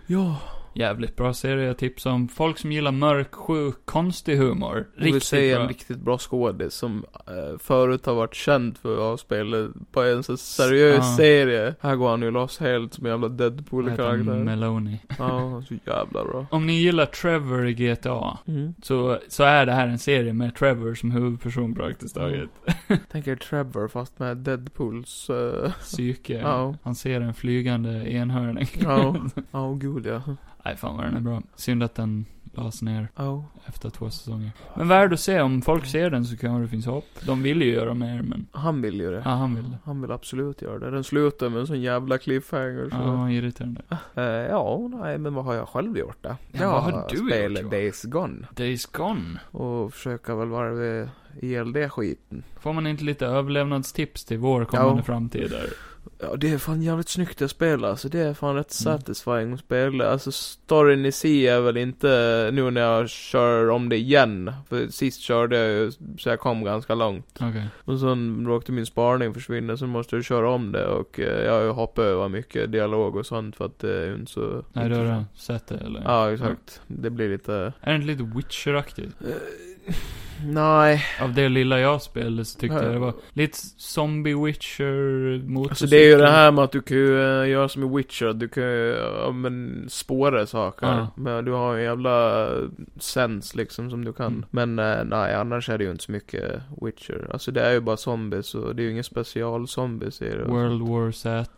[SPEAKER 4] Ja.
[SPEAKER 3] Jävligt bra serie, jag tipsar om. Folk som gillar mörk, sjuk, konstig humor.
[SPEAKER 4] Riktigt vi
[SPEAKER 3] Riktigt
[SPEAKER 4] säger en
[SPEAKER 3] bra.
[SPEAKER 4] riktigt bra skådis som eh, förut har varit känd för att ha spelat på en så seriös
[SPEAKER 3] Ja.
[SPEAKER 4] serie. Här går han ju loss helt som en jävla
[SPEAKER 3] Vad heter han?
[SPEAKER 4] Deadpool-karaktär.
[SPEAKER 3] Meloni.
[SPEAKER 4] Ja, han är så jävla bra.
[SPEAKER 3] Om ni gillar Trevor i GTA,
[SPEAKER 4] Mm.
[SPEAKER 3] så, så är det här en serie med Trevor som huvudperson praktiskt taget.
[SPEAKER 4] Tänker Trevor fast med Deadpools... eh,
[SPEAKER 3] Psyke.
[SPEAKER 4] Ja.
[SPEAKER 3] Han ser en flygande enhörning.
[SPEAKER 4] Ja, ja gud ja.
[SPEAKER 3] Nej, fan vad den är bra. Synd att den lades ner
[SPEAKER 4] Ja.
[SPEAKER 3] efter två säsonger. Men värd att se, om folk ser den så kanske det finns hopp. De vill ju göra mer, men...
[SPEAKER 4] Han vill ju det.
[SPEAKER 3] Ja, han vill det.
[SPEAKER 4] Han vill absolut göra det. Den slutar med en sån jävla cliffhanger. Så.
[SPEAKER 3] Ja, han är irriterande.
[SPEAKER 4] Eh, ja, nej men vad har jag själv gjort då?
[SPEAKER 3] Ja, vad har du gjort,
[SPEAKER 4] spelar
[SPEAKER 3] Johan?
[SPEAKER 4] Days Gone.
[SPEAKER 3] Days Gone.
[SPEAKER 4] Och försöker väl varva ihjäl det skiten.
[SPEAKER 3] Får man inte lite överlevnadstips till vår kommande
[SPEAKER 4] Ja.
[SPEAKER 3] framtid där?
[SPEAKER 4] Ja, det är fan jävligt snyggt att spela. Alltså det är fan rätt
[SPEAKER 3] Mm.
[SPEAKER 4] satisfying att spela. Alltså storyn i sig är väl inte nu när jag kör om det igen. För sist körde jag ju så jag kom ganska långt.
[SPEAKER 3] Okej.
[SPEAKER 4] Och sen råkade min sparning försvinna, så måste jag köra om det och eh, jag har ju hoppat över mycket dialog och sånt för att det är ju inte så...
[SPEAKER 3] Nej, du har redan sett det, eller?
[SPEAKER 4] Ja, exakt. Det blir lite...
[SPEAKER 3] Är det inte lite Witcher-aktigt?
[SPEAKER 4] Nej.
[SPEAKER 3] Av det lilla jag spelade så tyckte
[SPEAKER 4] Nej.
[SPEAKER 3] jag det var lite zombie witcher motorcykel.
[SPEAKER 4] Alltså det är ju det här med att du kan ju eh, göra som i Witcher, du kan ju, ja, men, spåra saker.
[SPEAKER 3] Ja.
[SPEAKER 4] Men du har en jävla eh, sens liksom som du kan.
[SPEAKER 3] Mm.
[SPEAKER 4] Men eh, nej, annars är det ju inte så mycket Witcher. Alltså det är ju bara zombies och det är ju ingen special zombies i det.
[SPEAKER 3] World War Z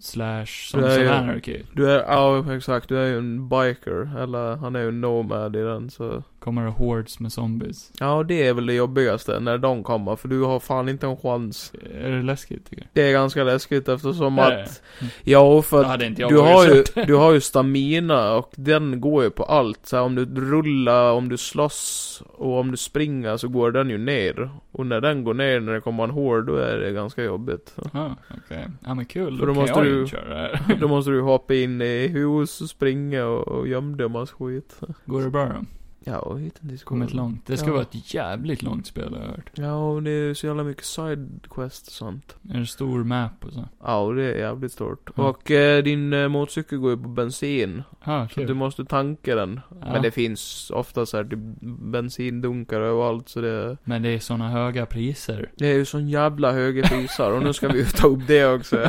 [SPEAKER 3] slash
[SPEAKER 4] Det
[SPEAKER 3] Sons
[SPEAKER 4] är ju-
[SPEAKER 3] of Anarchy.
[SPEAKER 4] Du är, ja exakt, du är ju en biker, eller han är ju en nomad i den så.
[SPEAKER 3] Kommer det hordes med zombies.
[SPEAKER 4] Ja och det är väl det jobbigaste, när de kommer, för du har fan inte en chans.
[SPEAKER 3] Är det läskigt tycker
[SPEAKER 4] Det är ganska läskigt eftersom
[SPEAKER 3] Är det?
[SPEAKER 4] att, ja för
[SPEAKER 3] jag? Då
[SPEAKER 4] att
[SPEAKER 3] hade inte jag
[SPEAKER 4] du
[SPEAKER 3] vågat
[SPEAKER 4] har, ju,
[SPEAKER 3] sett det.
[SPEAKER 4] du har ju stamina och den går ju på allt. Så här, om du rullar, om du slåss och om du springer så går den ju ner. Och när den går ner, när det kommer en hård, då är det ganska jobbigt.
[SPEAKER 3] Ja, Ah, okej. Ja men kul, då,
[SPEAKER 4] För då
[SPEAKER 3] kan
[SPEAKER 4] måste
[SPEAKER 3] jag
[SPEAKER 4] du-
[SPEAKER 3] ju inte köra det här.
[SPEAKER 4] Då måste du hoppa in i hus och springa och, och gömma dig och massa skit.
[SPEAKER 3] Går det bra då?
[SPEAKER 4] Ja, och hittills går
[SPEAKER 3] Kommit
[SPEAKER 4] det.
[SPEAKER 3] långt. Det ska
[SPEAKER 4] Ja.
[SPEAKER 3] vara ett jävligt långt spel har jag hört.
[SPEAKER 4] Ja, och det är ju så jävla mycket side quest och sånt.
[SPEAKER 3] Är det stor map och så?
[SPEAKER 4] Ja, och det är jävligt stort.
[SPEAKER 3] Mm.
[SPEAKER 4] Och eh, din eh, motorcykel går ju på bensin.
[SPEAKER 3] Ah,
[SPEAKER 4] Så
[SPEAKER 3] kul.
[SPEAKER 4] du måste tanka den.
[SPEAKER 3] ja.
[SPEAKER 4] Men det finns ofta så här typ bensindunkar överallt så det...
[SPEAKER 3] men det är såna höga priser.
[SPEAKER 4] Det är ju sån jävla höga priser och nu ska vi ju ta upp det också. Nej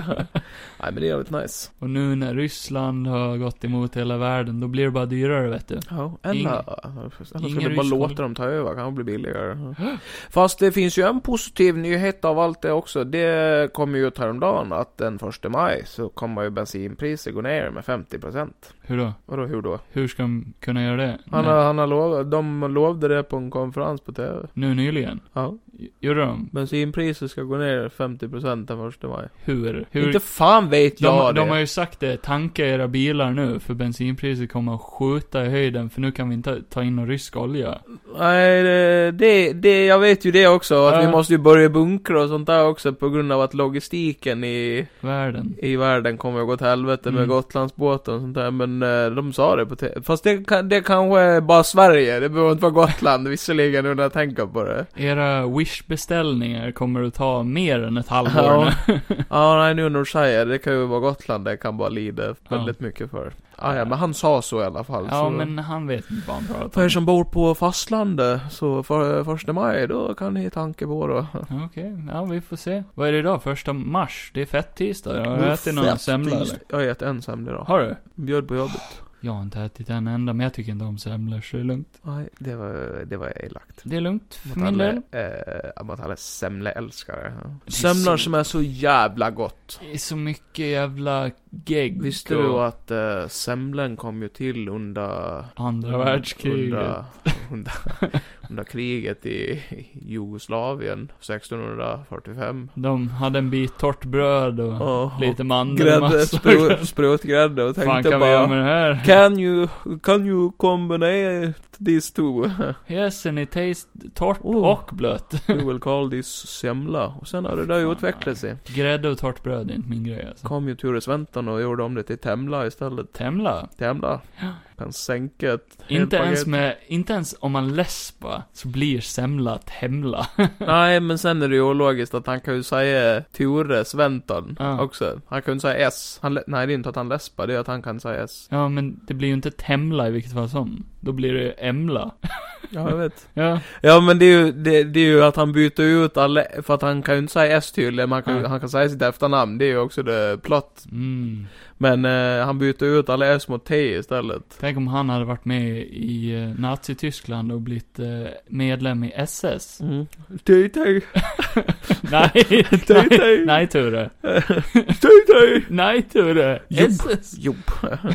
[SPEAKER 4] men det är jävligt nice.
[SPEAKER 3] Och nu när Ryssland har gått emot hela världen, då blir det bara dyrare vet du.
[SPEAKER 4] Ja,
[SPEAKER 3] Ingen-
[SPEAKER 4] eller, eller ska
[SPEAKER 3] ingen
[SPEAKER 4] vi bara
[SPEAKER 3] rysk
[SPEAKER 4] låta dem ta över, kan det bli billigare. Fast det finns ju en positiv nyhet av allt det också. Det kom ju ut häromdagen att den 1 maj så kommer ju bensinpriset gå ner med 50%.
[SPEAKER 3] Hur då?
[SPEAKER 4] Vadå, hur då?
[SPEAKER 3] Hur ska de kunna göra det?
[SPEAKER 4] Han,
[SPEAKER 3] Nej.
[SPEAKER 4] har, han har lovat, de lovade det på en konferens på TV.
[SPEAKER 3] Nu nyligen?
[SPEAKER 4] Ja.
[SPEAKER 3] Gjorde de?
[SPEAKER 4] Bensinpriset ska gå ner 50% den 1 maj.
[SPEAKER 3] Hur? Hur?
[SPEAKER 4] Inte fan vet
[SPEAKER 3] de,
[SPEAKER 4] jag
[SPEAKER 3] de
[SPEAKER 4] det.
[SPEAKER 3] har ju sagt det, tanka era bilar nu för bensinpriset kommer att skjuta i höjden för nu kan vi inte ta in någon rysk olja.
[SPEAKER 4] Nej, det- det, det, jag vet ju det också. Att
[SPEAKER 3] Ja.
[SPEAKER 4] vi måste ju börja bunkra och sånt där också på grund av att logistiken i,
[SPEAKER 3] Världen.
[SPEAKER 4] i världen kommer att gå till helvete med
[SPEAKER 3] Mm.
[SPEAKER 4] Gotlandsbåten och sånt där. Men eh, de sa det på te- Fast det, kan- det kanske är bara Sverige. Det behöver inte vara Gotland visserligen nu när jag tänker på det.
[SPEAKER 3] Era wish-beställningar kommer att ta mer än ett halvår
[SPEAKER 4] Ja.
[SPEAKER 3] nu.
[SPEAKER 4] Ja, nej nu när du säger det, det kan ju vara Gotland det kan bara lida väldigt mycket för. Ah, ja, men han sa så i alla fall.
[SPEAKER 3] Ja,
[SPEAKER 4] så.
[SPEAKER 3] men han vet inte vad han pratar
[SPEAKER 4] För
[SPEAKER 3] om.
[SPEAKER 4] er som bor på fastlandet, så för första maj, då kan ni tanka på då.
[SPEAKER 3] Okej, ja vi får se. Vad är det idag? Första mars? Det är fett tisdag. Jag har
[SPEAKER 1] Det är
[SPEAKER 3] ätit någon
[SPEAKER 1] fett
[SPEAKER 3] semla
[SPEAKER 1] tisdag.
[SPEAKER 3] eller?
[SPEAKER 4] Jag har ätit en semla idag.
[SPEAKER 3] Har du?
[SPEAKER 4] Bjöd på jobbet.
[SPEAKER 3] Jag har inte ätit en enda, men jag tycker inte om semlor, så det är lugnt.
[SPEAKER 4] Nej, det var, det var elakt.
[SPEAKER 3] Det är lugnt, för
[SPEAKER 4] Mot
[SPEAKER 3] min
[SPEAKER 4] alla,
[SPEAKER 3] del.
[SPEAKER 4] eh, mot alla semleälskare.
[SPEAKER 3] är
[SPEAKER 4] Semlor
[SPEAKER 3] så-
[SPEAKER 4] som är så jävla gott.
[SPEAKER 3] Det är så mycket jävla gegg
[SPEAKER 4] Visste
[SPEAKER 3] och
[SPEAKER 4] du att eh, semlen kom ju till under...
[SPEAKER 3] andra världskriget.
[SPEAKER 4] Under, under, under kriget i Jugoslavien 1645.
[SPEAKER 3] De hade en bit torrt bröd och
[SPEAKER 4] Oh,
[SPEAKER 3] lite
[SPEAKER 4] grädde,
[SPEAKER 3] mandelmassa.
[SPEAKER 4] sprut, sprutgrädde och
[SPEAKER 3] fan
[SPEAKER 4] tänkte
[SPEAKER 3] kan vi
[SPEAKER 4] bara...
[SPEAKER 3] göra med det här?
[SPEAKER 4] Can you, can you combine these two?
[SPEAKER 3] Yes, and it taste torrt
[SPEAKER 4] Oh.
[SPEAKER 3] och blött.
[SPEAKER 4] You will call this semla. Och sen har det där
[SPEAKER 3] Fan,
[SPEAKER 4] utvecklat sig.
[SPEAKER 3] Grädde och torrt bröd är inte min grej alltså.
[SPEAKER 4] Kom ju Ture Sventon staden och gjorde om det till Temla istället.
[SPEAKER 3] Temla.
[SPEAKER 4] Temla.
[SPEAKER 3] Ja.
[SPEAKER 4] Kan sänka ett helt
[SPEAKER 3] Inte ens
[SPEAKER 4] paket.
[SPEAKER 3] med, inte ens om man läspar så blir semla temla.
[SPEAKER 4] Nej, men sen är det ju ologiskt att han kan ju säga Tore Sventon
[SPEAKER 3] Ja.
[SPEAKER 4] också. Han kan ju inte säga S. Han, lä- nej, det är inte att han läspar, det är att han kan säga S.
[SPEAKER 3] ja, men det blir ju inte temla i vilket fall som. Då blir det emla.
[SPEAKER 4] Ja, jag vet.
[SPEAKER 3] Ja,
[SPEAKER 4] Ja, men det är ju, det, det är ju att han byter ut alla, för att han kan ju inte säga S tydligen, men han kan, ju-
[SPEAKER 3] Nej.
[SPEAKER 4] han kan säga sitt efternamn. Det är ju också det plott.
[SPEAKER 3] mm.
[SPEAKER 4] Men eh, han byter ut alla S mot T istället.
[SPEAKER 3] Tänk om han hade varit med i eh, Nazityskland och blivit eh, medlem i SS.
[SPEAKER 4] Mm. T-T,
[SPEAKER 3] nej, nej,
[SPEAKER 4] T-T,
[SPEAKER 3] nej Ture.
[SPEAKER 4] T-T.
[SPEAKER 3] Nej Ture.
[SPEAKER 4] Jobb.
[SPEAKER 3] SS.
[SPEAKER 4] Jo.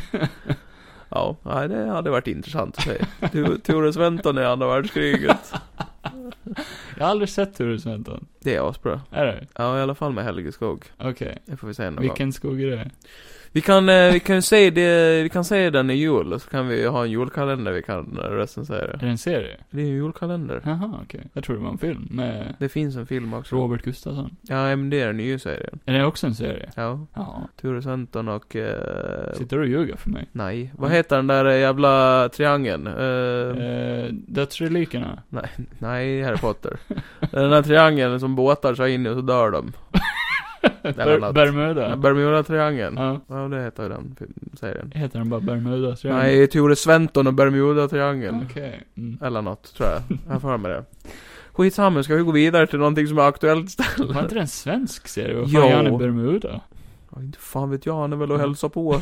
[SPEAKER 4] ja, nej, det hade varit intressant att se. Tu- Tore Sventon i andra världskriget.
[SPEAKER 3] Jag har aldrig sett Ture Sventon.
[SPEAKER 4] Det är asbra.
[SPEAKER 3] Är det?
[SPEAKER 4] Ja, i alla fall med Helge Skog.
[SPEAKER 3] Okej.
[SPEAKER 4] Det får vi se någon gång.
[SPEAKER 3] Vilken skog är det?
[SPEAKER 4] Vi kan, eh, vi kan ju se det, vi kan se den i jul, och så kan vi ha en julkalender vi kan eh, recensera.
[SPEAKER 3] Är det en serie?
[SPEAKER 4] Det är ju en julkalender.
[SPEAKER 3] Jaha, okej. Jag tror det var en film med
[SPEAKER 4] Det finns en film också.
[SPEAKER 3] Robert Gustafsson.
[SPEAKER 4] Ja, men det är den nya serien.
[SPEAKER 3] Är det också en serie?
[SPEAKER 4] Ja.
[SPEAKER 3] Ja.
[SPEAKER 4] Ture Sventon och... Eh,
[SPEAKER 3] Sitter du och ljuger för mig?
[SPEAKER 4] nej. Vad heter den där eh, jävla triangeln? Eh,
[SPEAKER 3] Eh, dödsrelikerna?
[SPEAKER 4] Nej, nej Harry Potter. Den här triangeln som båtar sig in i och så dör de. eller
[SPEAKER 3] Ber-
[SPEAKER 4] något.
[SPEAKER 3] Bermuda?
[SPEAKER 4] Bermuda-triangeln.
[SPEAKER 3] ja.
[SPEAKER 4] Ja, det heter ju den film- serien.
[SPEAKER 3] Heter den bara Bermuda tror jag?
[SPEAKER 4] Nej, Tore Sventon och Bermuda-triangeln.
[SPEAKER 3] Okej. Mm.
[SPEAKER 4] Eller något, tror jag. Jag har för mig det. Skitsamma, ska vi gå vidare till någonting som är aktuellt
[SPEAKER 3] Var
[SPEAKER 4] istället?
[SPEAKER 3] inte det en svensk serie? Vad fan
[SPEAKER 4] Jo.
[SPEAKER 3] gör han i Bermuda?
[SPEAKER 4] Ja, Inte fan vet jag, han är väl och hälsar på.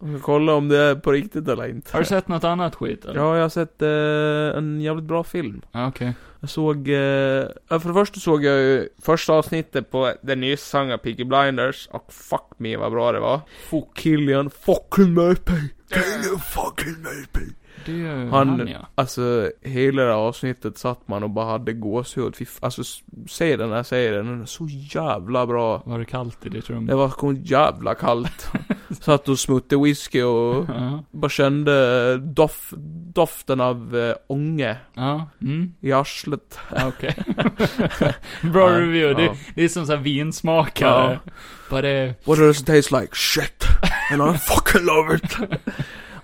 [SPEAKER 4] Jag ska kolla om det är på riktigt eller inte.
[SPEAKER 3] Har du sett något annat skit eller?
[SPEAKER 4] Ja, jag har sett eh, en jävligt bra film.
[SPEAKER 3] Ja, Okej.
[SPEAKER 4] Jag såg, eh, ja, för det första såg jag ju första avsnittet på den nyss sagna Peaky Blinders, och fuck me vad bra det var. Fuck Killian, fucking Murphy! Killian fucking Murphy!
[SPEAKER 3] Det är ju han,
[SPEAKER 4] Han-
[SPEAKER 3] ja.
[SPEAKER 4] Alltså, hela det här avsnittet satt man och bara hade gåshud. Fy f- Alltså, s- se den här serien, den är så jävla bra.
[SPEAKER 3] Var det kallt i ditt rum?
[SPEAKER 4] Det var så jävla kallt. satt och smutte whisky och
[SPEAKER 3] Ja.
[SPEAKER 4] bara kände dof, doften av eh, ånge
[SPEAKER 3] Ja. Mm.
[SPEAKER 4] i arslet.
[SPEAKER 3] Ja, Okej. Bra
[SPEAKER 4] Ja,
[SPEAKER 3] review.
[SPEAKER 4] ja.
[SPEAKER 3] Det, det är som såhär vinsmakare. Bara det...
[SPEAKER 4] What does it taste like? Shit! And I fucking love it!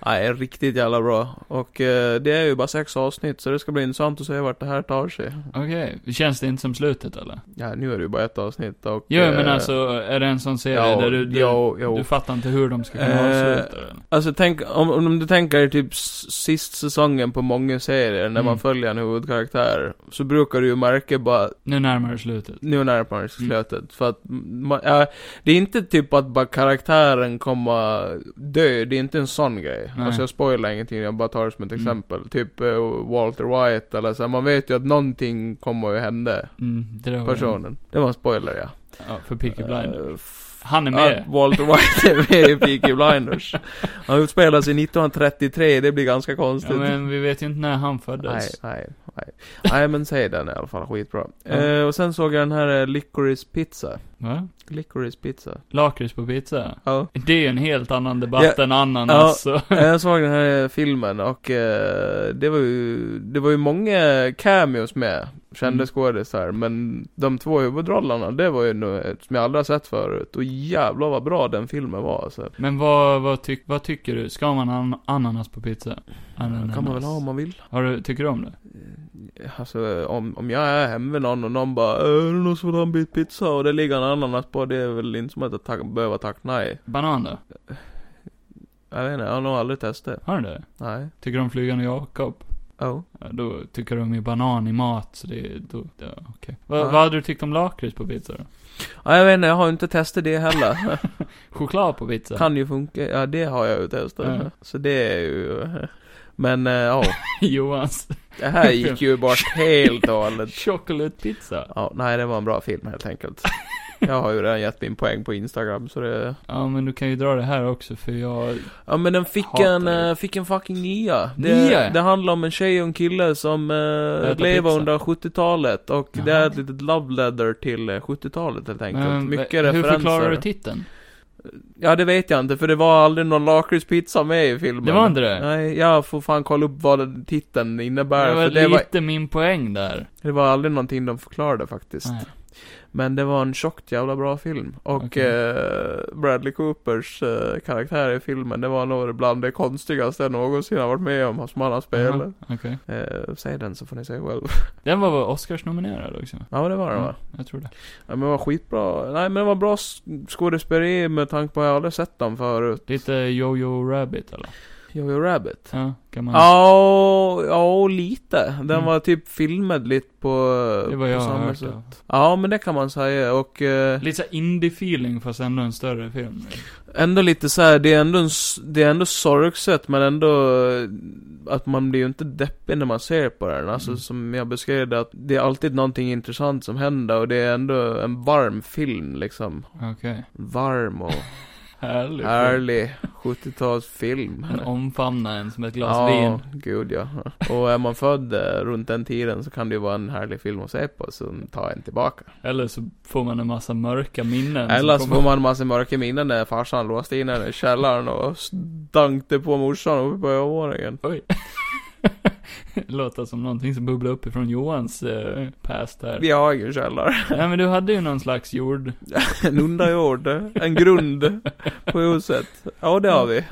[SPEAKER 4] Nej, riktigt jävla bra. Och eh, det är ju bara sex avsnitt, så det ska bli intressant att se vart det här tar sig.
[SPEAKER 3] Okej. Känns det inte som slutet eller?
[SPEAKER 4] Ja, nu är det ju bara ett avsnitt och...
[SPEAKER 3] Jo, men
[SPEAKER 4] eh,
[SPEAKER 3] alltså, är det en sån serie
[SPEAKER 4] ja,
[SPEAKER 3] där du, du,
[SPEAKER 4] jo, jo.
[SPEAKER 3] du fattar inte hur de ska kunna
[SPEAKER 4] Eh,
[SPEAKER 3] avsluta den?
[SPEAKER 4] Alltså tänk, om, om du tänker dig typ s- sist säsongen på många serier, när
[SPEAKER 3] Mm.
[SPEAKER 4] man följer en huvudkaraktär, så brukar du ju märka bara,
[SPEAKER 3] Nu närmar det slutet.
[SPEAKER 4] nu närmar det sig
[SPEAKER 3] Mm.
[SPEAKER 4] slutet. För att, man, ja, det är inte typ att bara karaktären kommer dö, det är inte en sån grej.
[SPEAKER 3] Nej.
[SPEAKER 4] Alltså jag spoilar ingenting, jag bara tar det som ett
[SPEAKER 3] Mm.
[SPEAKER 4] exempel. Typ eh, Walter White eller så, här, man vet ju att någonting kommer att hända.
[SPEAKER 3] Mm, det där var
[SPEAKER 4] Personen. Det var en spoiler ja.
[SPEAKER 3] den. Ja, för Peaky Blinders.
[SPEAKER 4] Eh, f-
[SPEAKER 3] Han är
[SPEAKER 4] att
[SPEAKER 3] med.
[SPEAKER 4] Walter White är med i Peaky Blinders. Han utspelar sig 1933, det blir ganska konstigt.
[SPEAKER 3] Ja, men vi vet ju inte när han
[SPEAKER 4] Nej,
[SPEAKER 3] föddes.
[SPEAKER 4] nej, nej. Nej, men säg den i alla fall, skitbra.
[SPEAKER 3] Ja.
[SPEAKER 4] Eh, och sen såg jag den här eh, Licorice Pizza.
[SPEAKER 3] Va?
[SPEAKER 4] Licorice Pizza.
[SPEAKER 3] Lakrits på pizza?
[SPEAKER 4] Ja.
[SPEAKER 3] Det är ju en helt annan debatt än ananas.
[SPEAKER 4] Ja.
[SPEAKER 3] så.
[SPEAKER 4] Eh, jag såg den här eh, filmen och eh, det var ju, det var ju många cameos med, kände
[SPEAKER 3] Mm.
[SPEAKER 4] skådisar. Men de två huvudrollerna, det var ju något som jag aldrig har sett förut. Och jävlar vad bra den filmen var alltså.
[SPEAKER 3] Men vad, vad, tyck, vad tycker du? Ska man an ananas på pizza? Ananas.
[SPEAKER 4] kan man väl ha om man vill.
[SPEAKER 3] Har du, tycker du om det?
[SPEAKER 4] Alltså om, om jag är hemma med någon och någon bara "Äh, Är det någon som vill ha en bit pizza? Och det ligger en ananas på Det är väl inte som att jag tack, behöver tacka nej
[SPEAKER 3] Banan då?
[SPEAKER 4] Jag vet inte, jag har nog aldrig testat
[SPEAKER 3] Har du det?
[SPEAKER 4] Nej
[SPEAKER 3] Tycker du om Flygande Jakob?
[SPEAKER 4] Oh
[SPEAKER 3] Ja, då tycker de ju banan i mat, så det, då, ja, okej. Va,
[SPEAKER 4] Ja.
[SPEAKER 3] Vad hade du tyckt om lakrits på pizza då?
[SPEAKER 4] ja, Jag vet inte, jag har inte testat det heller
[SPEAKER 3] Choklad på pizza?
[SPEAKER 4] Kan ju funka Ja det har jag ju testat
[SPEAKER 3] Ja.
[SPEAKER 4] Så det är ju Men eh, ja
[SPEAKER 3] Johans
[SPEAKER 4] Det här gick ju bort helt och hållet
[SPEAKER 3] chokoladpizza.
[SPEAKER 4] Ja, nej det var en bra film helt enkelt Jag har ju redan gett min poäng på Instagram så det
[SPEAKER 3] Ja, men du kan ju dra det här också för jag...
[SPEAKER 4] Ja men den fick
[SPEAKER 3] Hatar
[SPEAKER 4] en,
[SPEAKER 3] det.
[SPEAKER 4] eh, fick en fucking nia. Det,
[SPEAKER 3] Nia?
[SPEAKER 4] det handlar om en tjej och en kille som uh,
[SPEAKER 3] Äter
[SPEAKER 4] lever
[SPEAKER 3] pizza.
[SPEAKER 4] under 70-talet och det
[SPEAKER 3] Jaha.
[SPEAKER 4] är ett litet love letter till eh, 70-talet helt enkelt.
[SPEAKER 3] Men,
[SPEAKER 4] Mycket
[SPEAKER 3] hur
[SPEAKER 4] referenser.
[SPEAKER 3] förklarar du titeln?
[SPEAKER 4] Ja det vet jag inte för det var aldrig någon lakritspizza med i filmen.
[SPEAKER 3] Det var inte det?
[SPEAKER 4] Nej, jag får fan kolla upp vad den titeln innebär.
[SPEAKER 3] det var
[SPEAKER 4] för det, var,
[SPEAKER 3] lite min poäng där.
[SPEAKER 4] det var aldrig någonting de förklarade faktiskt.
[SPEAKER 3] Nej.
[SPEAKER 4] Men det var en tjockt jävla bra film. Och
[SPEAKER 3] Okej.
[SPEAKER 4] eh, Bradley Coopers eh, karaktär i filmen, det var nog bland det konstigaste jag någonsin har varit med om som han har spelat.
[SPEAKER 3] Jaha, Okej.
[SPEAKER 4] Eh, säg den så får ni se själv.
[SPEAKER 3] Den var väl Oscars-nominerad också?
[SPEAKER 4] ja men det var den va?
[SPEAKER 3] Ja, jag tror det.
[SPEAKER 4] Ja men det var skitbra. Nej men det var bra sk- skådespeleri med tanke på att jag aldrig sett dem förut.
[SPEAKER 3] Lite Jojo Rabbit eller?
[SPEAKER 4] Jojo Rabbit.
[SPEAKER 3] Ja, kan man...
[SPEAKER 4] Ja, ja lite. Den
[SPEAKER 3] Mm.
[SPEAKER 4] var typ filmad lite på,
[SPEAKER 3] det var
[SPEAKER 4] på
[SPEAKER 3] jag har
[SPEAKER 4] samma
[SPEAKER 3] hört
[SPEAKER 4] sätt.
[SPEAKER 3] av.
[SPEAKER 4] Ja, men det kan man säga. Och eh,
[SPEAKER 3] Lite såhär indie-feeling fast ändå en större film.
[SPEAKER 4] ändå lite så här, det är ändå, en s- det är ändå sorgset men ändå eh, att man blir ju inte deppig när man ser på den. Alltså
[SPEAKER 3] Mm.
[SPEAKER 4] som jag beskrev det, att det är alltid någonting intressant som händer och det är ändå en varm film liksom.
[SPEAKER 3] Okej.
[SPEAKER 4] Varm och
[SPEAKER 3] Härligt.
[SPEAKER 4] härlig 70-talsfilm.
[SPEAKER 3] Den omfamnar en som ett glas
[SPEAKER 4] ja,
[SPEAKER 3] vin.
[SPEAKER 4] gud ja. Och är man född eh, runt den tiden så kan det ju vara en härlig film att se på, så ta en tillbaka.
[SPEAKER 3] Eller så får man en massa mörka minnen. som
[SPEAKER 4] Eller så
[SPEAKER 3] kommer-
[SPEAKER 4] får man en massa mörka minnen när farsan låste in henne i källaren och stankte på morsan uppe på övervåningen.
[SPEAKER 3] Låter som någonting som bubblar uppifrån Johans eh, past här.
[SPEAKER 4] Vi har ingen källare.
[SPEAKER 3] Nej men du hade ju någon slags jord.
[SPEAKER 4] En underjord. En grund på huset. Ja, det har vi.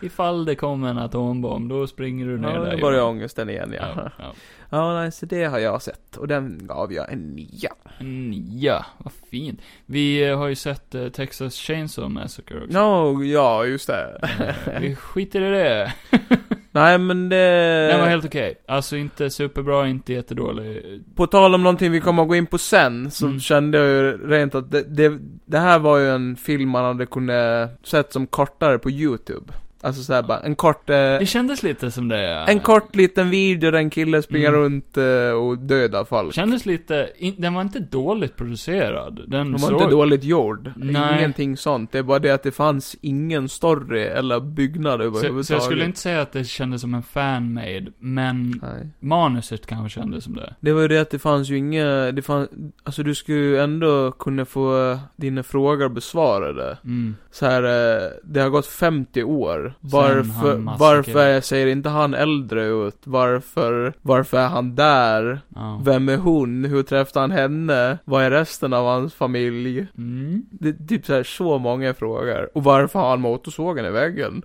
[SPEAKER 3] Ifall det kom en atombomb, då springer du
[SPEAKER 4] Ja,
[SPEAKER 3] ner där.
[SPEAKER 4] nu börjar
[SPEAKER 3] Johan.
[SPEAKER 4] ångesten igen ja.
[SPEAKER 3] Ja, ja.
[SPEAKER 4] Ja, nej, så det har jag sett. Och den gav jag en nia.
[SPEAKER 3] Mm, ja, vad fint. Vi eh, har ju sett eh, Texas Chainsaw Massacre också.
[SPEAKER 4] No, ja, just det.
[SPEAKER 3] Eh, Vi skiter i det.
[SPEAKER 4] Nej, men det...
[SPEAKER 3] Den var helt okej. Alltså inte superbra, inte jättedålig.
[SPEAKER 4] På tal om någonting vi kommer att gå in på sen, så
[SPEAKER 3] Mm.
[SPEAKER 4] kände jag ju rent att det, det, det här var ju en film man hade kunnat sett som kortare på YouTube. Alltså såhär bara, en kort, eh,
[SPEAKER 3] Det kändes lite som det. eh, ja.
[SPEAKER 4] en kort liten video där en kille springer
[SPEAKER 3] Mm.
[SPEAKER 4] runt eh, och dödar folk.
[SPEAKER 3] Kändes lite, in, den var inte dåligt producerad. Den
[SPEAKER 4] De var
[SPEAKER 3] såg...
[SPEAKER 4] inte dåligt gjord.
[SPEAKER 3] Nej.
[SPEAKER 4] Ingenting sånt. Det är bara det att det fanns ingen story eller byggnad
[SPEAKER 3] så,
[SPEAKER 4] överhuvudtaget.
[SPEAKER 3] så jag skulle inte säga att det kändes som en fanmade, men
[SPEAKER 4] Nej.
[SPEAKER 3] manuset kanske kändes som det.
[SPEAKER 4] Det var ju det att det fanns ju inga, det fanns, alltså du skulle ju ändå kunna få eh, dina frågor besvarade.
[SPEAKER 3] Mm.
[SPEAKER 4] så här, eh, det har gått 50 år.
[SPEAKER 3] han
[SPEAKER 4] Varför,
[SPEAKER 3] massakrerar.
[SPEAKER 4] varför ser inte han äldre ut? Varför, varför är han där?
[SPEAKER 3] Ja.
[SPEAKER 4] Vem är hon? Hur träffade han henne? Vad är resten av hans familj?
[SPEAKER 3] Mm.
[SPEAKER 4] Det är typ så här så många frågor. Och varför har han motorsågen i väggen?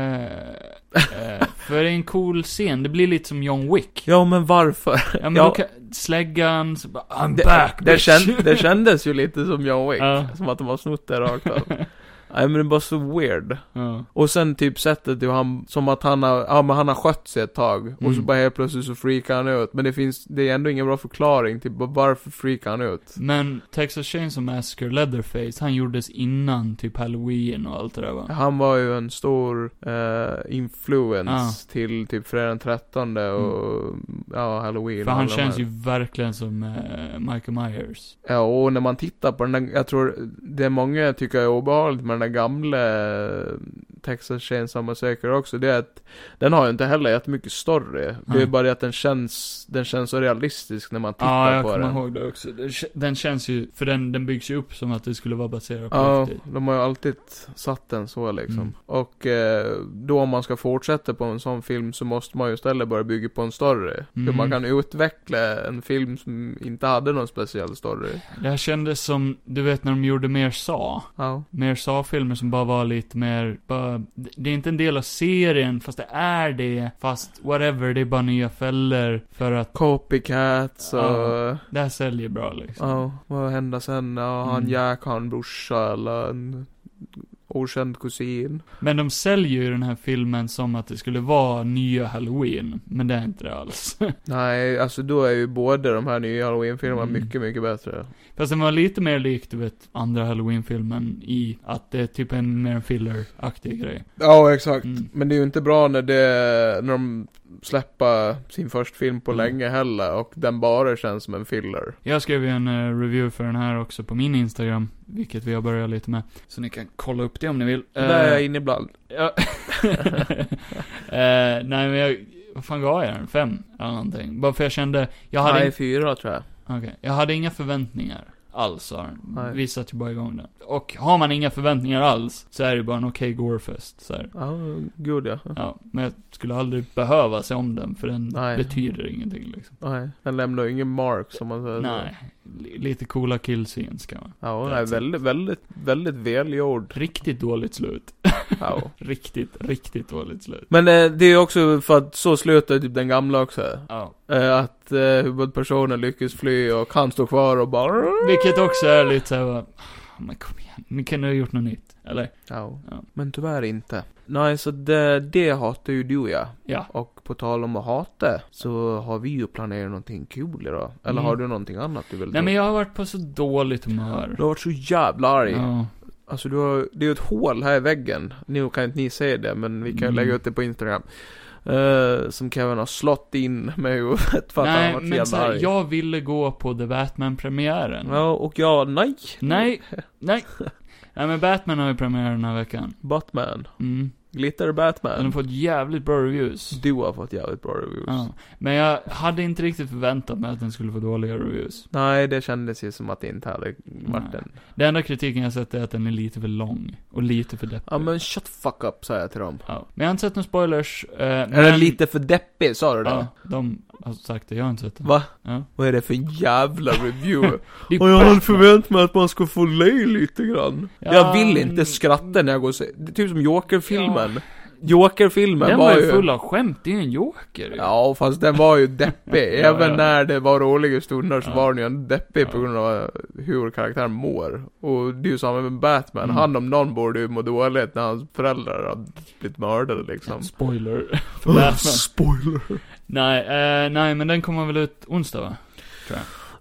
[SPEAKER 3] Eh, eh, för det är en cool scen, det blir lite som John Wick.
[SPEAKER 4] Ja, men varför?
[SPEAKER 3] Ja, men
[SPEAKER 4] Ja.
[SPEAKER 3] då kan, släggan, så bara, I'm
[SPEAKER 4] Det,
[SPEAKER 3] back
[SPEAKER 4] det,
[SPEAKER 3] bitch."
[SPEAKER 4] känd, det kändes ju lite som John Wick.
[SPEAKER 3] Ja.
[SPEAKER 4] Som att de har snott det rakt av. Nej men det är bara så weird.
[SPEAKER 3] Ja.
[SPEAKER 4] Och sen typ sättet hur han, som att han har, ja men han har skött sig ett tag. Och så
[SPEAKER 3] Mm.
[SPEAKER 4] bara helt plötsligt så freakar han ut. Men det finns, det är ändå ingen bra förklaring till bara varför freakar han ut.
[SPEAKER 3] Men Texas Chainsaw Massacre, Leatherface, han gjordes innan typ Halloween och allt det där va?
[SPEAKER 4] Han var ju en stor eh, influens
[SPEAKER 3] Ja. Mm.
[SPEAKER 4] till typ fredag den 13 och ja, halloween.
[SPEAKER 3] För
[SPEAKER 4] och
[SPEAKER 3] han
[SPEAKER 4] alla de
[SPEAKER 3] känns
[SPEAKER 4] här.
[SPEAKER 3] ju verkligen som eh, Michael Myers.
[SPEAKER 4] Ja, och när man tittar på den där, jag tror det är många tycker är obehagligt med den där gamla eh, Texas Chainsaw Massacre också, det är att den har ju inte heller jättemycket story. Det är
[SPEAKER 3] Nej.
[SPEAKER 4] bara det att den känns, den känns så realistisk när man
[SPEAKER 3] Ja,
[SPEAKER 4] tittar
[SPEAKER 3] jag
[SPEAKER 4] på
[SPEAKER 3] kommer
[SPEAKER 4] den.
[SPEAKER 3] ihåg det också. Den, kä- den känns ju, för den, den byggs ju upp som att det skulle vara baserat på
[SPEAKER 4] Ja,
[SPEAKER 3] riktigt.
[SPEAKER 4] de har ju alltid satt den så liksom.
[SPEAKER 3] Mm.
[SPEAKER 4] Och eh, då om man ska fortsätta på en sån film så måste man ju istället börja bygga på en story. Hur
[SPEAKER 3] Mm.
[SPEAKER 4] man kan utveckla en film som inte hade någon speciell story.
[SPEAKER 3] Det här kändes som, du vet när de gjorde mer sa.
[SPEAKER 4] Ja.
[SPEAKER 3] Mer sa-filmer som bara var lite mer, bara, det det är inte en del av serien, fast det är det. Fast whatever, det är bara nya fällor. För att
[SPEAKER 4] Copycats och...
[SPEAKER 3] Ja. det här säljer bra liksom.
[SPEAKER 4] Ja, vad händer sen? Ja, han
[SPEAKER 3] Mm.
[SPEAKER 4] Jack har en brorsa eller en okänd kusin.
[SPEAKER 3] Men de säljer ju den här filmen som att det skulle vara nya halloween. Men det är inte det alls.
[SPEAKER 4] Nej, alltså då är ju båda de här nya halloween-filmerna
[SPEAKER 3] Mm.
[SPEAKER 4] mycket, mycket bättre.
[SPEAKER 3] Fast den var lite mer lik, du vet, andra halloween-filmen i att det är typ en mer en filler-aktig grej.
[SPEAKER 4] Ja, exakt.
[SPEAKER 3] Mm.
[SPEAKER 4] Men det är ju inte bra när det, när de släpper sin första film på
[SPEAKER 3] Mm.
[SPEAKER 4] länge heller och den bara känns som en filler.
[SPEAKER 3] Jag skrev ju en eh, review för den här också på min Instagram, vilket vi har börjat lite med. Så ni kan kolla upp det om ni vill.
[SPEAKER 4] Där är jag
[SPEAKER 3] Eh,
[SPEAKER 4] inne ibland.
[SPEAKER 3] ja. Eh, nej men jag, vad fan gav jag den? Fem? Eller någonting. Bara för jag kände, jag hade,
[SPEAKER 4] Nej,
[SPEAKER 3] in,
[SPEAKER 4] fyra tror jag.
[SPEAKER 3] okej. jag hade inga förväntningar. Alls har
[SPEAKER 4] Nej.
[SPEAKER 3] den. Vi satte ju bara igång den. Och har man inga förväntningar alls, så är det bara en okej gorefest. Så här.
[SPEAKER 4] Ja, gud ja.
[SPEAKER 3] Ja, men jag skulle aldrig behöva se om den, för den
[SPEAKER 4] Nej.
[SPEAKER 3] betyder ingenting liksom.
[SPEAKER 4] Nej, den lämnar ju ingen mark som man säger.
[SPEAKER 3] Nej. li- lite coola killscenes kan man.
[SPEAKER 4] Ja, hon
[SPEAKER 3] That's
[SPEAKER 4] är
[SPEAKER 3] it.
[SPEAKER 4] väldigt, väldigt, väldigt välgjord.
[SPEAKER 3] Riktigt dåligt slut.
[SPEAKER 4] Ja.
[SPEAKER 3] Riktigt, riktigt dåligt slut.
[SPEAKER 4] Men eh, det är ju också för att så slutar typ den gamla också.
[SPEAKER 3] Ja.
[SPEAKER 4] Eh, att eh, huvudpersonen lyckas fly och kan stå kvar och bara...
[SPEAKER 3] Vilket också är lite såhär bara, men kom igen, ni kunde ha gjort något nytt. Eller?
[SPEAKER 4] Ja.
[SPEAKER 3] Ja.
[SPEAKER 4] Men tyvärr inte. Nej, så det, det hatar ju du ja.
[SPEAKER 3] Ja.
[SPEAKER 4] Och på tal om att hata, så har vi ju planerat någonting kul idag. Eller
[SPEAKER 3] Mm.
[SPEAKER 4] har du någonting annat du vill
[SPEAKER 3] Nej
[SPEAKER 4] ta
[SPEAKER 3] men
[SPEAKER 4] upp?
[SPEAKER 3] jag har varit på så dåligt humör.
[SPEAKER 4] Du har varit så jävla arg.
[SPEAKER 3] Ja.
[SPEAKER 4] Alltså du har, det är ju ett hål här i väggen. Nu kan inte ni se det, men vi kan
[SPEAKER 3] Mm.
[SPEAKER 4] lägga ut det på Instagram. Eh, som Kevin har slått in med huvudet för att han
[SPEAKER 3] Nej,
[SPEAKER 4] har varit så
[SPEAKER 3] men så
[SPEAKER 4] jävla
[SPEAKER 3] här,
[SPEAKER 4] arg.
[SPEAKER 3] jag ville gå på The Batman-premiären.
[SPEAKER 4] Ja, och jag, nej!
[SPEAKER 3] Nej, nej. Nej men Batman har ju premiär den här veckan.
[SPEAKER 4] Batman.
[SPEAKER 3] Mm.
[SPEAKER 4] Glitter
[SPEAKER 3] Den har
[SPEAKER 4] Batman.
[SPEAKER 3] fått jävligt bra reviews.
[SPEAKER 4] Du har fått jävligt bra reviews.
[SPEAKER 3] Ja. Men jag hade inte riktigt förväntat mig att den skulle få dåliga reviews.
[SPEAKER 4] Nej, det kändes ju som att det inte hade varit
[SPEAKER 3] Nej.
[SPEAKER 4] en...
[SPEAKER 3] Den enda kritiken jag sett är att den är lite för lång. Och lite för deppig.
[SPEAKER 4] Ja men shut fuck up, säger jag till dem.
[SPEAKER 3] Ja. Men jag har inte sett några spoilers. Eh,
[SPEAKER 4] Är den lite för deppig, sa du det?
[SPEAKER 3] Ja, de har sagt det. Jag har inte sett det.
[SPEAKER 4] Va?
[SPEAKER 3] Ja.
[SPEAKER 4] Vad är det för en jävla review?
[SPEAKER 3] Det är
[SPEAKER 4] Och jag hade
[SPEAKER 3] Batman.
[SPEAKER 4] förväntat mig att man skulle få le lite grann.
[SPEAKER 3] Ja,
[SPEAKER 4] jag vill inte
[SPEAKER 3] mm.
[SPEAKER 4] skratta när jag går och ser, det är typ som Joker-filmen. Joker-filmen
[SPEAKER 3] Den
[SPEAKER 4] var,
[SPEAKER 3] var ju
[SPEAKER 4] ju...
[SPEAKER 3] full av skämt. Det är ju en joker. ju.
[SPEAKER 4] Ja, fast den var ju deppig.
[SPEAKER 3] Ja,
[SPEAKER 4] Även
[SPEAKER 3] ja.
[SPEAKER 4] när det var roliga stunder så
[SPEAKER 3] Ja.
[SPEAKER 4] var den ju en deppig på
[SPEAKER 3] Ja.
[SPEAKER 4] grund av hur karaktären mår. Och det är ju samma med Batman.
[SPEAKER 3] Mm.
[SPEAKER 4] Han om någon borde ju må dåligt när hans föräldrar har blivit mördade liksom.
[SPEAKER 3] Spoiler. för Batman.
[SPEAKER 4] Spoiler!
[SPEAKER 3] Nej, eh, nej, men den kommer väl ut onsdag va?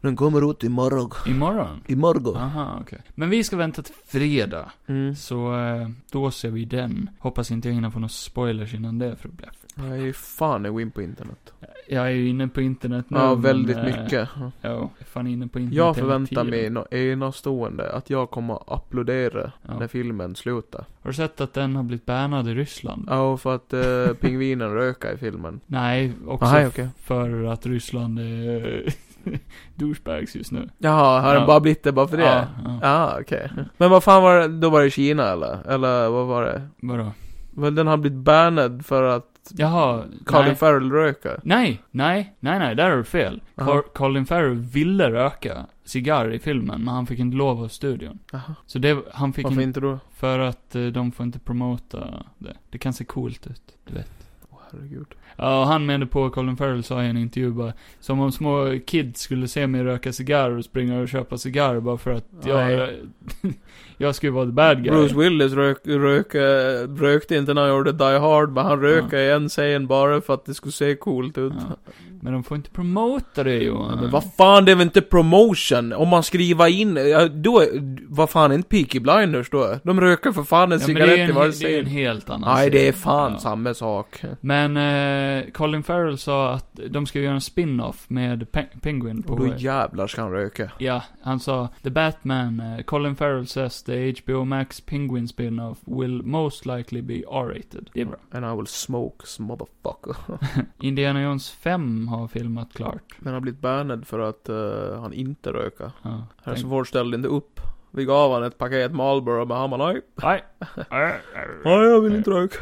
[SPEAKER 1] Den kommer ut imorgon.
[SPEAKER 3] Imorgon?
[SPEAKER 1] Imorgon.
[SPEAKER 3] Aha, okej. Men vi ska vänta till fredag.
[SPEAKER 4] Mm.
[SPEAKER 3] Så, eh, då ser vi den. Hoppas inte jag hinner få några spoilers innan det, för att bli...
[SPEAKER 4] Nej, fan jag går in på internet.
[SPEAKER 3] Jag är ju inne på internet nu.
[SPEAKER 4] Ja,
[SPEAKER 3] men,
[SPEAKER 4] väldigt
[SPEAKER 3] eh,
[SPEAKER 4] mycket.
[SPEAKER 3] Ja, jag är fan inne på internet hela
[SPEAKER 4] Jag förväntar
[SPEAKER 3] tiden.
[SPEAKER 4] mig något enastående, att jag kommer att applådera när
[SPEAKER 3] Ja.
[SPEAKER 4] filmen slutar.
[SPEAKER 3] Har du sett att den har blivit bannad i Ryssland?
[SPEAKER 4] Ja, för att eh, pingvinen röker i filmen.
[SPEAKER 3] Nej, också
[SPEAKER 4] Nej, okej.
[SPEAKER 3] för att Ryssland är douchebags just nu.
[SPEAKER 4] Jaha, har den
[SPEAKER 3] Ja.
[SPEAKER 4] bara blivit det bara för det?
[SPEAKER 3] Ja,
[SPEAKER 4] Ja,
[SPEAKER 3] ja.
[SPEAKER 4] ah, okej. Men vad fan var det, då var det Kina eller? Eller vad var det?
[SPEAKER 3] Vadå?
[SPEAKER 4] Väl, den har blivit bannad för att
[SPEAKER 3] Jaha,
[SPEAKER 4] Colin
[SPEAKER 3] nej.
[SPEAKER 4] Farrell röker?
[SPEAKER 3] Nej, nej, nej, nej, där har du fel.
[SPEAKER 4] Aha.
[SPEAKER 3] Col- Colin Farrell ville röka cigarr i filmen, men han fick inte lov av studion.
[SPEAKER 4] Jaha.
[SPEAKER 3] Så det, han fick
[SPEAKER 4] Varför
[SPEAKER 3] inte,
[SPEAKER 4] inte då?
[SPEAKER 3] för att eh, de får inte promota det. Det kan se coolt ut, du vet.
[SPEAKER 4] Åh herregud.
[SPEAKER 3] Ja, och han menade på, Colin Farrell sa i en intervju bara, som om små kids skulle se mig röka cigarr och springa och köpa cigarr bara för att jag, jag skulle vara the bad guy.
[SPEAKER 4] Bruce Willis rök, rök, eh, rökte inte när han gjorde Die Hard, men han röker i en scen bara för att det skulle se coolt ut.
[SPEAKER 3] Ja. Men de får inte promota det Johan.
[SPEAKER 4] Men vad fan, det är väl inte promotion? Om man skriver in, ja, då, vad fan, är inte Peaky Blinders då? De röker för fan en
[SPEAKER 3] Ja, men det är ju
[SPEAKER 4] cigarett i
[SPEAKER 3] en,
[SPEAKER 4] varje
[SPEAKER 3] det är en
[SPEAKER 4] scen.
[SPEAKER 3] helt annan
[SPEAKER 4] Nej, det är
[SPEAKER 3] serie.
[SPEAKER 4] fan
[SPEAKER 3] Ja.
[SPEAKER 4] samma sak.
[SPEAKER 3] Men eh, Colin Farrell sa att de ska göra en spin-off med Pe- Penguin på...
[SPEAKER 4] Och då jävlar ska han röka.
[SPEAKER 3] ja, han sa The Batman, eh, Colin Farrell says the HBO Max Penguin spin-off will most likely be R-rated. Det är bra.
[SPEAKER 4] And I will smoke, motherfucker.
[SPEAKER 3] Indiana Jones 5 har filmat klart.
[SPEAKER 4] Men han har blivit bannad för att eh, han inte röker.
[SPEAKER 3] Ja, tänk-
[SPEAKER 4] Hälsovård ställde inte upp. Vi gav han ett paket Marlboro, men han bara nej.
[SPEAKER 3] Nej. Arr, arr.
[SPEAKER 4] Nej, jag vill inte röka.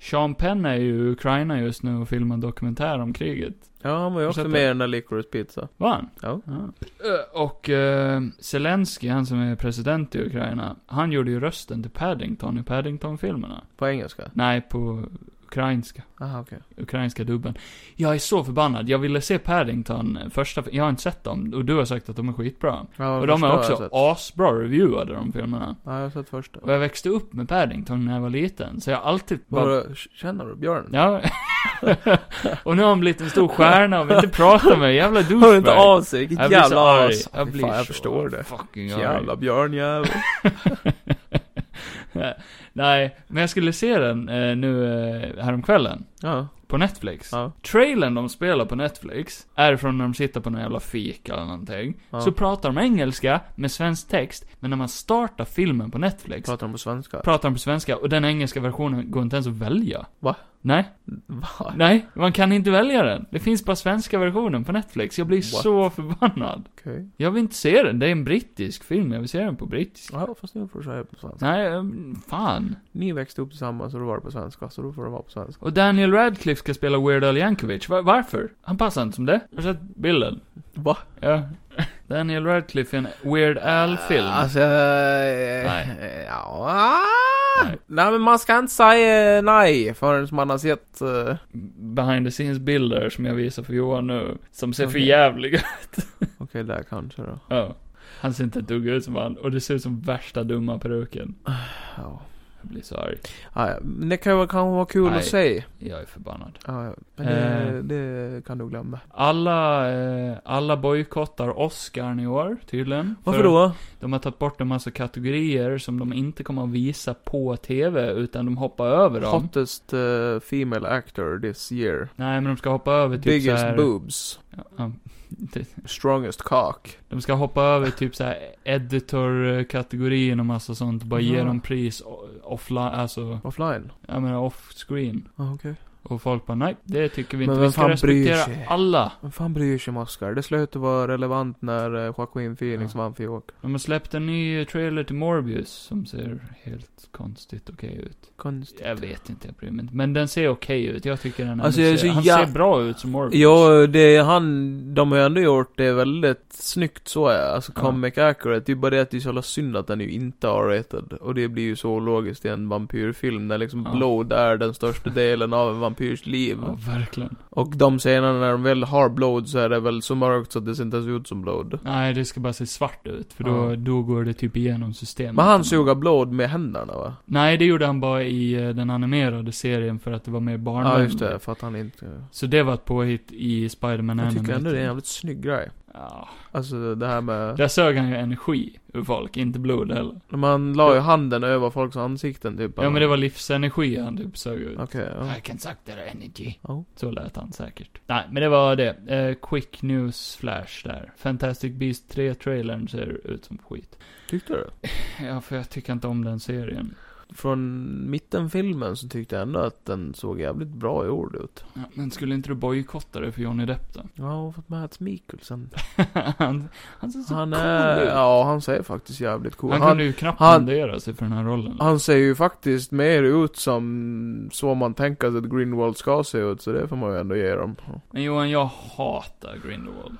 [SPEAKER 3] Sean Penn är ju i Ukraina just nu och filmar en dokumentär om kriget.
[SPEAKER 4] Ja, han var ju
[SPEAKER 3] Har
[SPEAKER 4] också
[SPEAKER 3] sett
[SPEAKER 4] med i
[SPEAKER 3] det?
[SPEAKER 4] den där Licorice Pizza.
[SPEAKER 3] Var han?
[SPEAKER 4] Ja.
[SPEAKER 3] Eh, Och eh, Zelensky, han som är president i Ukraina, han gjorde ju rösten till Paddington i Paddington-filmerna.
[SPEAKER 4] På engelska?
[SPEAKER 3] Nej, på ukrainska.
[SPEAKER 4] Aha, okej.
[SPEAKER 3] Ukrainska dubben. Jag är så förbannad. Jag ville se Paddington första, jag har inte sett dem. Och du har sagt att de är skitbra.
[SPEAKER 4] Ja,
[SPEAKER 3] och de
[SPEAKER 4] första
[SPEAKER 3] är
[SPEAKER 4] har jag
[SPEAKER 3] också
[SPEAKER 4] sett.
[SPEAKER 3] asbra reviewade, de filmerna.
[SPEAKER 4] Ja, jag har sett första.
[SPEAKER 3] Och jag växte upp med Paddington när jag var liten, så jag har alltid bara...
[SPEAKER 4] Vadå, känner du björnen?
[SPEAKER 3] Ja. och nu har han blivit en stor stjärna och vill inte prata med mig. Jävla
[SPEAKER 4] Hör inte
[SPEAKER 3] douchebag.
[SPEAKER 4] av sig, vilket
[SPEAKER 3] Jag blir så
[SPEAKER 4] jävla
[SPEAKER 3] arg.
[SPEAKER 4] as.
[SPEAKER 3] Jag
[SPEAKER 4] Fy
[SPEAKER 3] blir
[SPEAKER 4] fan, jag
[SPEAKER 3] så
[SPEAKER 4] förstår det.
[SPEAKER 3] Fucking arg.
[SPEAKER 4] Jävla björnjävel.
[SPEAKER 3] Nej, men jag skulle se den eh, nu eh, häromkvällen.
[SPEAKER 4] ja,
[SPEAKER 3] På Netflix.
[SPEAKER 4] ja,
[SPEAKER 3] Trailern de spelar på Netflix är från när de sitter på någon jävla fika eller någonting.
[SPEAKER 4] ja.
[SPEAKER 3] Så pratar de engelska med svensk text, men när man startar filmen på Netflix
[SPEAKER 4] pratar de på svenska.
[SPEAKER 3] pratar de på svenska och den engelska versionen går inte ens att välja.
[SPEAKER 4] Va?
[SPEAKER 3] Nej.
[SPEAKER 4] Va?
[SPEAKER 3] Nej, man kan inte välja den. Det finns bara svenska versionen på Netflix. Jag blir
[SPEAKER 4] What?
[SPEAKER 3] så förbannad.
[SPEAKER 4] Okej.
[SPEAKER 3] Jag vill inte se den. Det är en brittisk film. Jag vill se den på brittisk.
[SPEAKER 4] Ja, fast nu får du säga på svenska.
[SPEAKER 3] Nej, ehm, fan.
[SPEAKER 4] Ni växte upp tillsammans och då var det på svenska, så då får det vara på svenska.
[SPEAKER 3] Och Daniel Radcliffe ska spela Weird Al Yankovic. Va- varför? Han passar inte som det. Har du sett bilden?
[SPEAKER 4] Va?
[SPEAKER 3] Ja. Daniel Radcliffe i en Weird Al-film.
[SPEAKER 4] Alltså, eh,
[SPEAKER 3] Nej.
[SPEAKER 4] ja. ah!
[SPEAKER 3] Nej.
[SPEAKER 4] Nej men man ska inte säga eh, nej förrän man har sett... eh,
[SPEAKER 3] behind the scenes-bilder som jag visar för Johan nu, som ser för
[SPEAKER 4] Okej.
[SPEAKER 3] jävliga
[SPEAKER 4] Okej, där kanske då.
[SPEAKER 3] Ja. Han ser inte ett dugg ut som han, och det ser ut som värsta dumma peruken.
[SPEAKER 4] Ja.
[SPEAKER 3] Jag blir så arg.
[SPEAKER 4] Ah, ja, men det kan ju kanske vara kul
[SPEAKER 3] Nej.
[SPEAKER 4] att se.
[SPEAKER 3] Jag är förbannad.
[SPEAKER 4] Ah, ja. men det,
[SPEAKER 3] Eh.
[SPEAKER 4] det kan du glömma.
[SPEAKER 3] Alla, eh, alla bojkottar Oscarn i år, tydligen.
[SPEAKER 4] Varför
[SPEAKER 3] För
[SPEAKER 4] då?
[SPEAKER 3] De har tagit bort en massa kategorier som de inte kommer att visa på TV, utan de hoppar över dem.
[SPEAKER 4] Hottest eh, female actor this year.
[SPEAKER 3] Nej, men de ska hoppa över typ
[SPEAKER 4] Biggest
[SPEAKER 3] så här,
[SPEAKER 4] boobs.
[SPEAKER 3] Ja,
[SPEAKER 4] Strongest cock.
[SPEAKER 3] De ska hoppa över typ så här editor-kategorin och massa sånt. Bara ge
[SPEAKER 4] Ja.
[SPEAKER 3] dem pris o- offline, alltså,
[SPEAKER 4] Offline.
[SPEAKER 3] jag menar off-screen.
[SPEAKER 4] Ah, okej.
[SPEAKER 3] Och folk bara nej, det tycker vi
[SPEAKER 4] Men
[SPEAKER 3] inte.
[SPEAKER 4] vem
[SPEAKER 3] Vi ska
[SPEAKER 4] fan bryr sig?
[SPEAKER 3] respektera alla.
[SPEAKER 4] Vem fan bryr sig om Oscar? Det slutade vara relevant när eh, Joaquin Phoenix
[SPEAKER 3] Ja.
[SPEAKER 4] vann för Joker.
[SPEAKER 3] De har släppt en ny trailer till Morbius som ser helt konstigt okej ut.
[SPEAKER 4] Konstigt.
[SPEAKER 3] Jag vet inte, jag bryr mig inte. Men den ser okej ut. Jag tycker den ändå
[SPEAKER 4] Alltså, jag är
[SPEAKER 3] ser,
[SPEAKER 4] så
[SPEAKER 3] han
[SPEAKER 4] jä-
[SPEAKER 3] ser bra ut som Morbius.
[SPEAKER 4] Ja, det är han, de har ju ändå gjort det väldigt snyggt så, ja. alltså
[SPEAKER 3] Ja.
[SPEAKER 4] comic accurate. Det är ju bara det att det är så jävla synd att den är ju inte R-rated. Och det blir ju så logiskt i en vampyrfilm, där liksom
[SPEAKER 3] Ja.
[SPEAKER 4] blod är den största delen av en vampyrs liv.
[SPEAKER 3] Ja, verkligen.
[SPEAKER 4] Och de scenerna när de väl har blod så är det väl så mörkt så att det ser inte ens ut som blod.
[SPEAKER 3] Nej, det ska bara se svart ut. För då,
[SPEAKER 4] Ja.
[SPEAKER 3] då går det typ igenom systemet.
[SPEAKER 4] Men han suger blod med händerna va?
[SPEAKER 3] Nej, det gjorde han bara i eh, den animerade serien för att det var mer barnvänligt.
[SPEAKER 4] Ja just det, för att han inte...
[SPEAKER 3] Så det var ett påhitt i Spider-Man
[SPEAKER 4] Jag tycker
[SPEAKER 3] Animated.
[SPEAKER 4] ändå det är en jävligt snygg grej.
[SPEAKER 3] Ja.
[SPEAKER 4] Alltså det här med...
[SPEAKER 3] Där sög han ju energi ur folk, inte blod heller.
[SPEAKER 4] Man la ju handen över folks ansikten typ.
[SPEAKER 3] Ja, men det var livsenergi han typ sög ut.
[SPEAKER 4] Okej, ja.
[SPEAKER 3] I can suck their energy.
[SPEAKER 4] Ja.
[SPEAKER 3] Så lät han säkert. Nej, men det var det. Eh, quick news flash där. Fantastic Beast 3-trailern ser ut som skit.
[SPEAKER 4] Tyckte du?
[SPEAKER 3] Ja, för jag tycker inte om den serien.
[SPEAKER 4] Från mittenfilmen så tyckte jag ändå att den såg jävligt bra gjord ut.
[SPEAKER 3] Ja, men skulle inte du bojkotta det för Johnny Depp då?
[SPEAKER 4] Ja, hon har fått Mats Mikkelsen.
[SPEAKER 3] han, han ser så
[SPEAKER 4] Han
[SPEAKER 3] cool
[SPEAKER 4] är,
[SPEAKER 3] ut.
[SPEAKER 4] ja han ser faktiskt jävligt cool.
[SPEAKER 3] han,
[SPEAKER 4] Han,
[SPEAKER 3] kunde ju knappt
[SPEAKER 4] han-
[SPEAKER 3] rendera sig för den här rollen.
[SPEAKER 4] han ser ju faktiskt mer ut som så man tänker sig att Greenwald ska se ut, så det får man ju ändå ge dem.
[SPEAKER 3] Men Johan, jag hatar Grindelwald.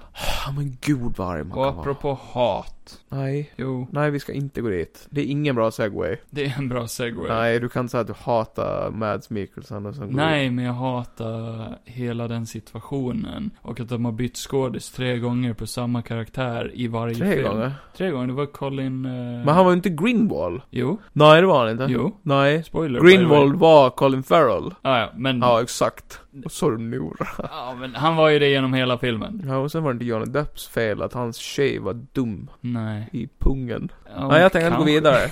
[SPEAKER 4] Ja men gud vad arg man
[SPEAKER 3] Och
[SPEAKER 4] kan vara.
[SPEAKER 3] apropå hat.
[SPEAKER 4] Nej.
[SPEAKER 3] Jo,
[SPEAKER 4] Nej, vi ska inte gå dit. Det är ingen bra segway.
[SPEAKER 3] det är en bra segway.
[SPEAKER 4] Nej, du kan säga att du hatar Mads Mikkelsen och sen går du-
[SPEAKER 3] Nej, men jag hatar hela den situationen. Och att de har bytt skådis tre gånger på samma karaktär i varje
[SPEAKER 4] Tre
[SPEAKER 3] film.
[SPEAKER 4] gånger?
[SPEAKER 3] Tre gånger, det var Colin... eh,
[SPEAKER 4] Men han var ju inte Greenwall.
[SPEAKER 3] Jo,
[SPEAKER 4] Nej, det var han inte.
[SPEAKER 3] jo.
[SPEAKER 4] Nej.
[SPEAKER 3] Spoiler.
[SPEAKER 4] Greenwald var Colin Farrell.
[SPEAKER 3] Ah, ja, men...
[SPEAKER 4] Ja,
[SPEAKER 3] Ja.
[SPEAKER 4] exakt. Och så är det Nora.
[SPEAKER 3] men han var ju det genom hela filmen.
[SPEAKER 4] Ja, och sen var det inte Johnny Depps fel att hans tjej var dum
[SPEAKER 3] Nej.
[SPEAKER 4] i pungen.
[SPEAKER 3] Ja,
[SPEAKER 4] Nej, jag tänker inte gå
[SPEAKER 3] kanske.
[SPEAKER 4] vidare.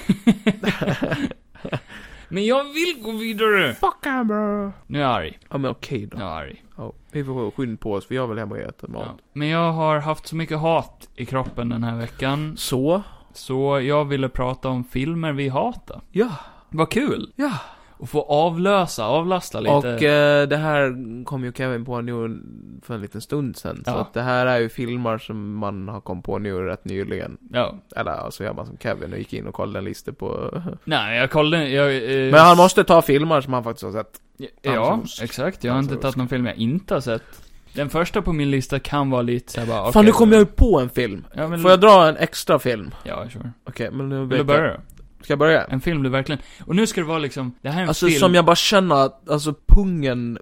[SPEAKER 3] Men jag vill gå vidare!
[SPEAKER 4] Fuck him, bro.
[SPEAKER 3] Nu är jag arg.
[SPEAKER 4] Ja, men okej
[SPEAKER 3] Nu är
[SPEAKER 4] då.
[SPEAKER 3] jag arg.
[SPEAKER 4] Ja, vi får skynda på oss, för jag vill hem och äta mat.
[SPEAKER 3] Ja. Men jag har haft så mycket hat i kroppen den här veckan.
[SPEAKER 4] Så?
[SPEAKER 3] Så jag ville prata om filmer vi hatar.
[SPEAKER 4] Ja.
[SPEAKER 3] Vad kul!
[SPEAKER 4] Ja.
[SPEAKER 3] Och få avlösa, avlasta lite.
[SPEAKER 4] Och eh, det här kom ju Kevin på nu för en liten stund sen. Så
[SPEAKER 3] Ja.
[SPEAKER 4] att det här är ju filmer som man har kommit på nu rätt nyligen.
[SPEAKER 3] Ja.
[SPEAKER 4] Eller ja, så gör man som Kevin och gick in och kollade en lista på...
[SPEAKER 3] Nej, jag kollade, jag... eh,
[SPEAKER 4] Men han måste ta filmer som han faktiskt har sett.
[SPEAKER 3] Ja,
[SPEAKER 4] Dansa
[SPEAKER 3] exakt. Jag har
[SPEAKER 4] Dansa
[SPEAKER 3] inte tagit någon film jag inte har sett. Den första på min lista kan vara lite såhär bara,
[SPEAKER 4] Fan,
[SPEAKER 3] okej.
[SPEAKER 4] nu kom jag ju på en film.
[SPEAKER 3] Ja, men...
[SPEAKER 4] Får jag dra en extra film?
[SPEAKER 3] Ja, sure.
[SPEAKER 4] Okej, men nu
[SPEAKER 3] Vill du
[SPEAKER 4] vet jag.
[SPEAKER 3] börja?
[SPEAKER 4] Ska jag börja?
[SPEAKER 3] En film du verkligen... Och nu ska det vara liksom, det här är en
[SPEAKER 4] Alltså
[SPEAKER 3] film...
[SPEAKER 4] som jag bara känner att, alltså pungen,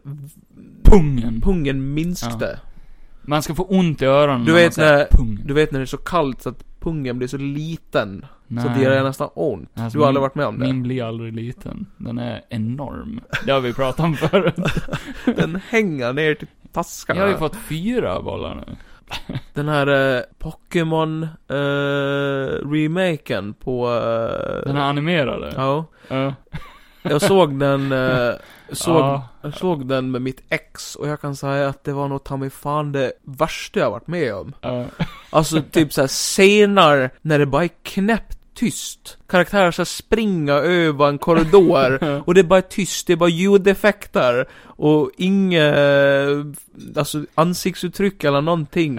[SPEAKER 3] Pungen!
[SPEAKER 4] pungen minskade.
[SPEAKER 3] Man ska få ont i öronen
[SPEAKER 4] Du
[SPEAKER 3] när man
[SPEAKER 4] vet
[SPEAKER 3] säger
[SPEAKER 4] när-
[SPEAKER 3] pung.
[SPEAKER 4] Du vet när det är så kallt så att pungen blir så liten.
[SPEAKER 3] Nej.
[SPEAKER 4] Så att det gör nästan ont.
[SPEAKER 3] Alltså,
[SPEAKER 4] du har
[SPEAKER 3] min-
[SPEAKER 4] aldrig varit med om det?
[SPEAKER 3] Min blir aldrig liten. Den är enorm. Det har vi pratat om förut.
[SPEAKER 4] Den hänger ner till
[SPEAKER 3] Jag
[SPEAKER 4] taskarna.
[SPEAKER 3] har ju fått fyra bollar nu.
[SPEAKER 4] Den här eh, Pokémon eh, remaken på... Eh,
[SPEAKER 3] Den här animerade.
[SPEAKER 4] Ja.
[SPEAKER 3] Ja.
[SPEAKER 4] Jag såg den, eh, såg,
[SPEAKER 3] Ja.
[SPEAKER 4] jag såg den med mitt ex och jag kan säga att det var nog ta mig fan det värsta jag varit med om.
[SPEAKER 3] Ja.
[SPEAKER 4] Alltså typ såhär scener när det bara är knäppt tyst. Karaktärer ska springa över en korridor och det är bara tyst, det är bara ljudeffekter och inget, alltså ansiktsuttryck eller någonting.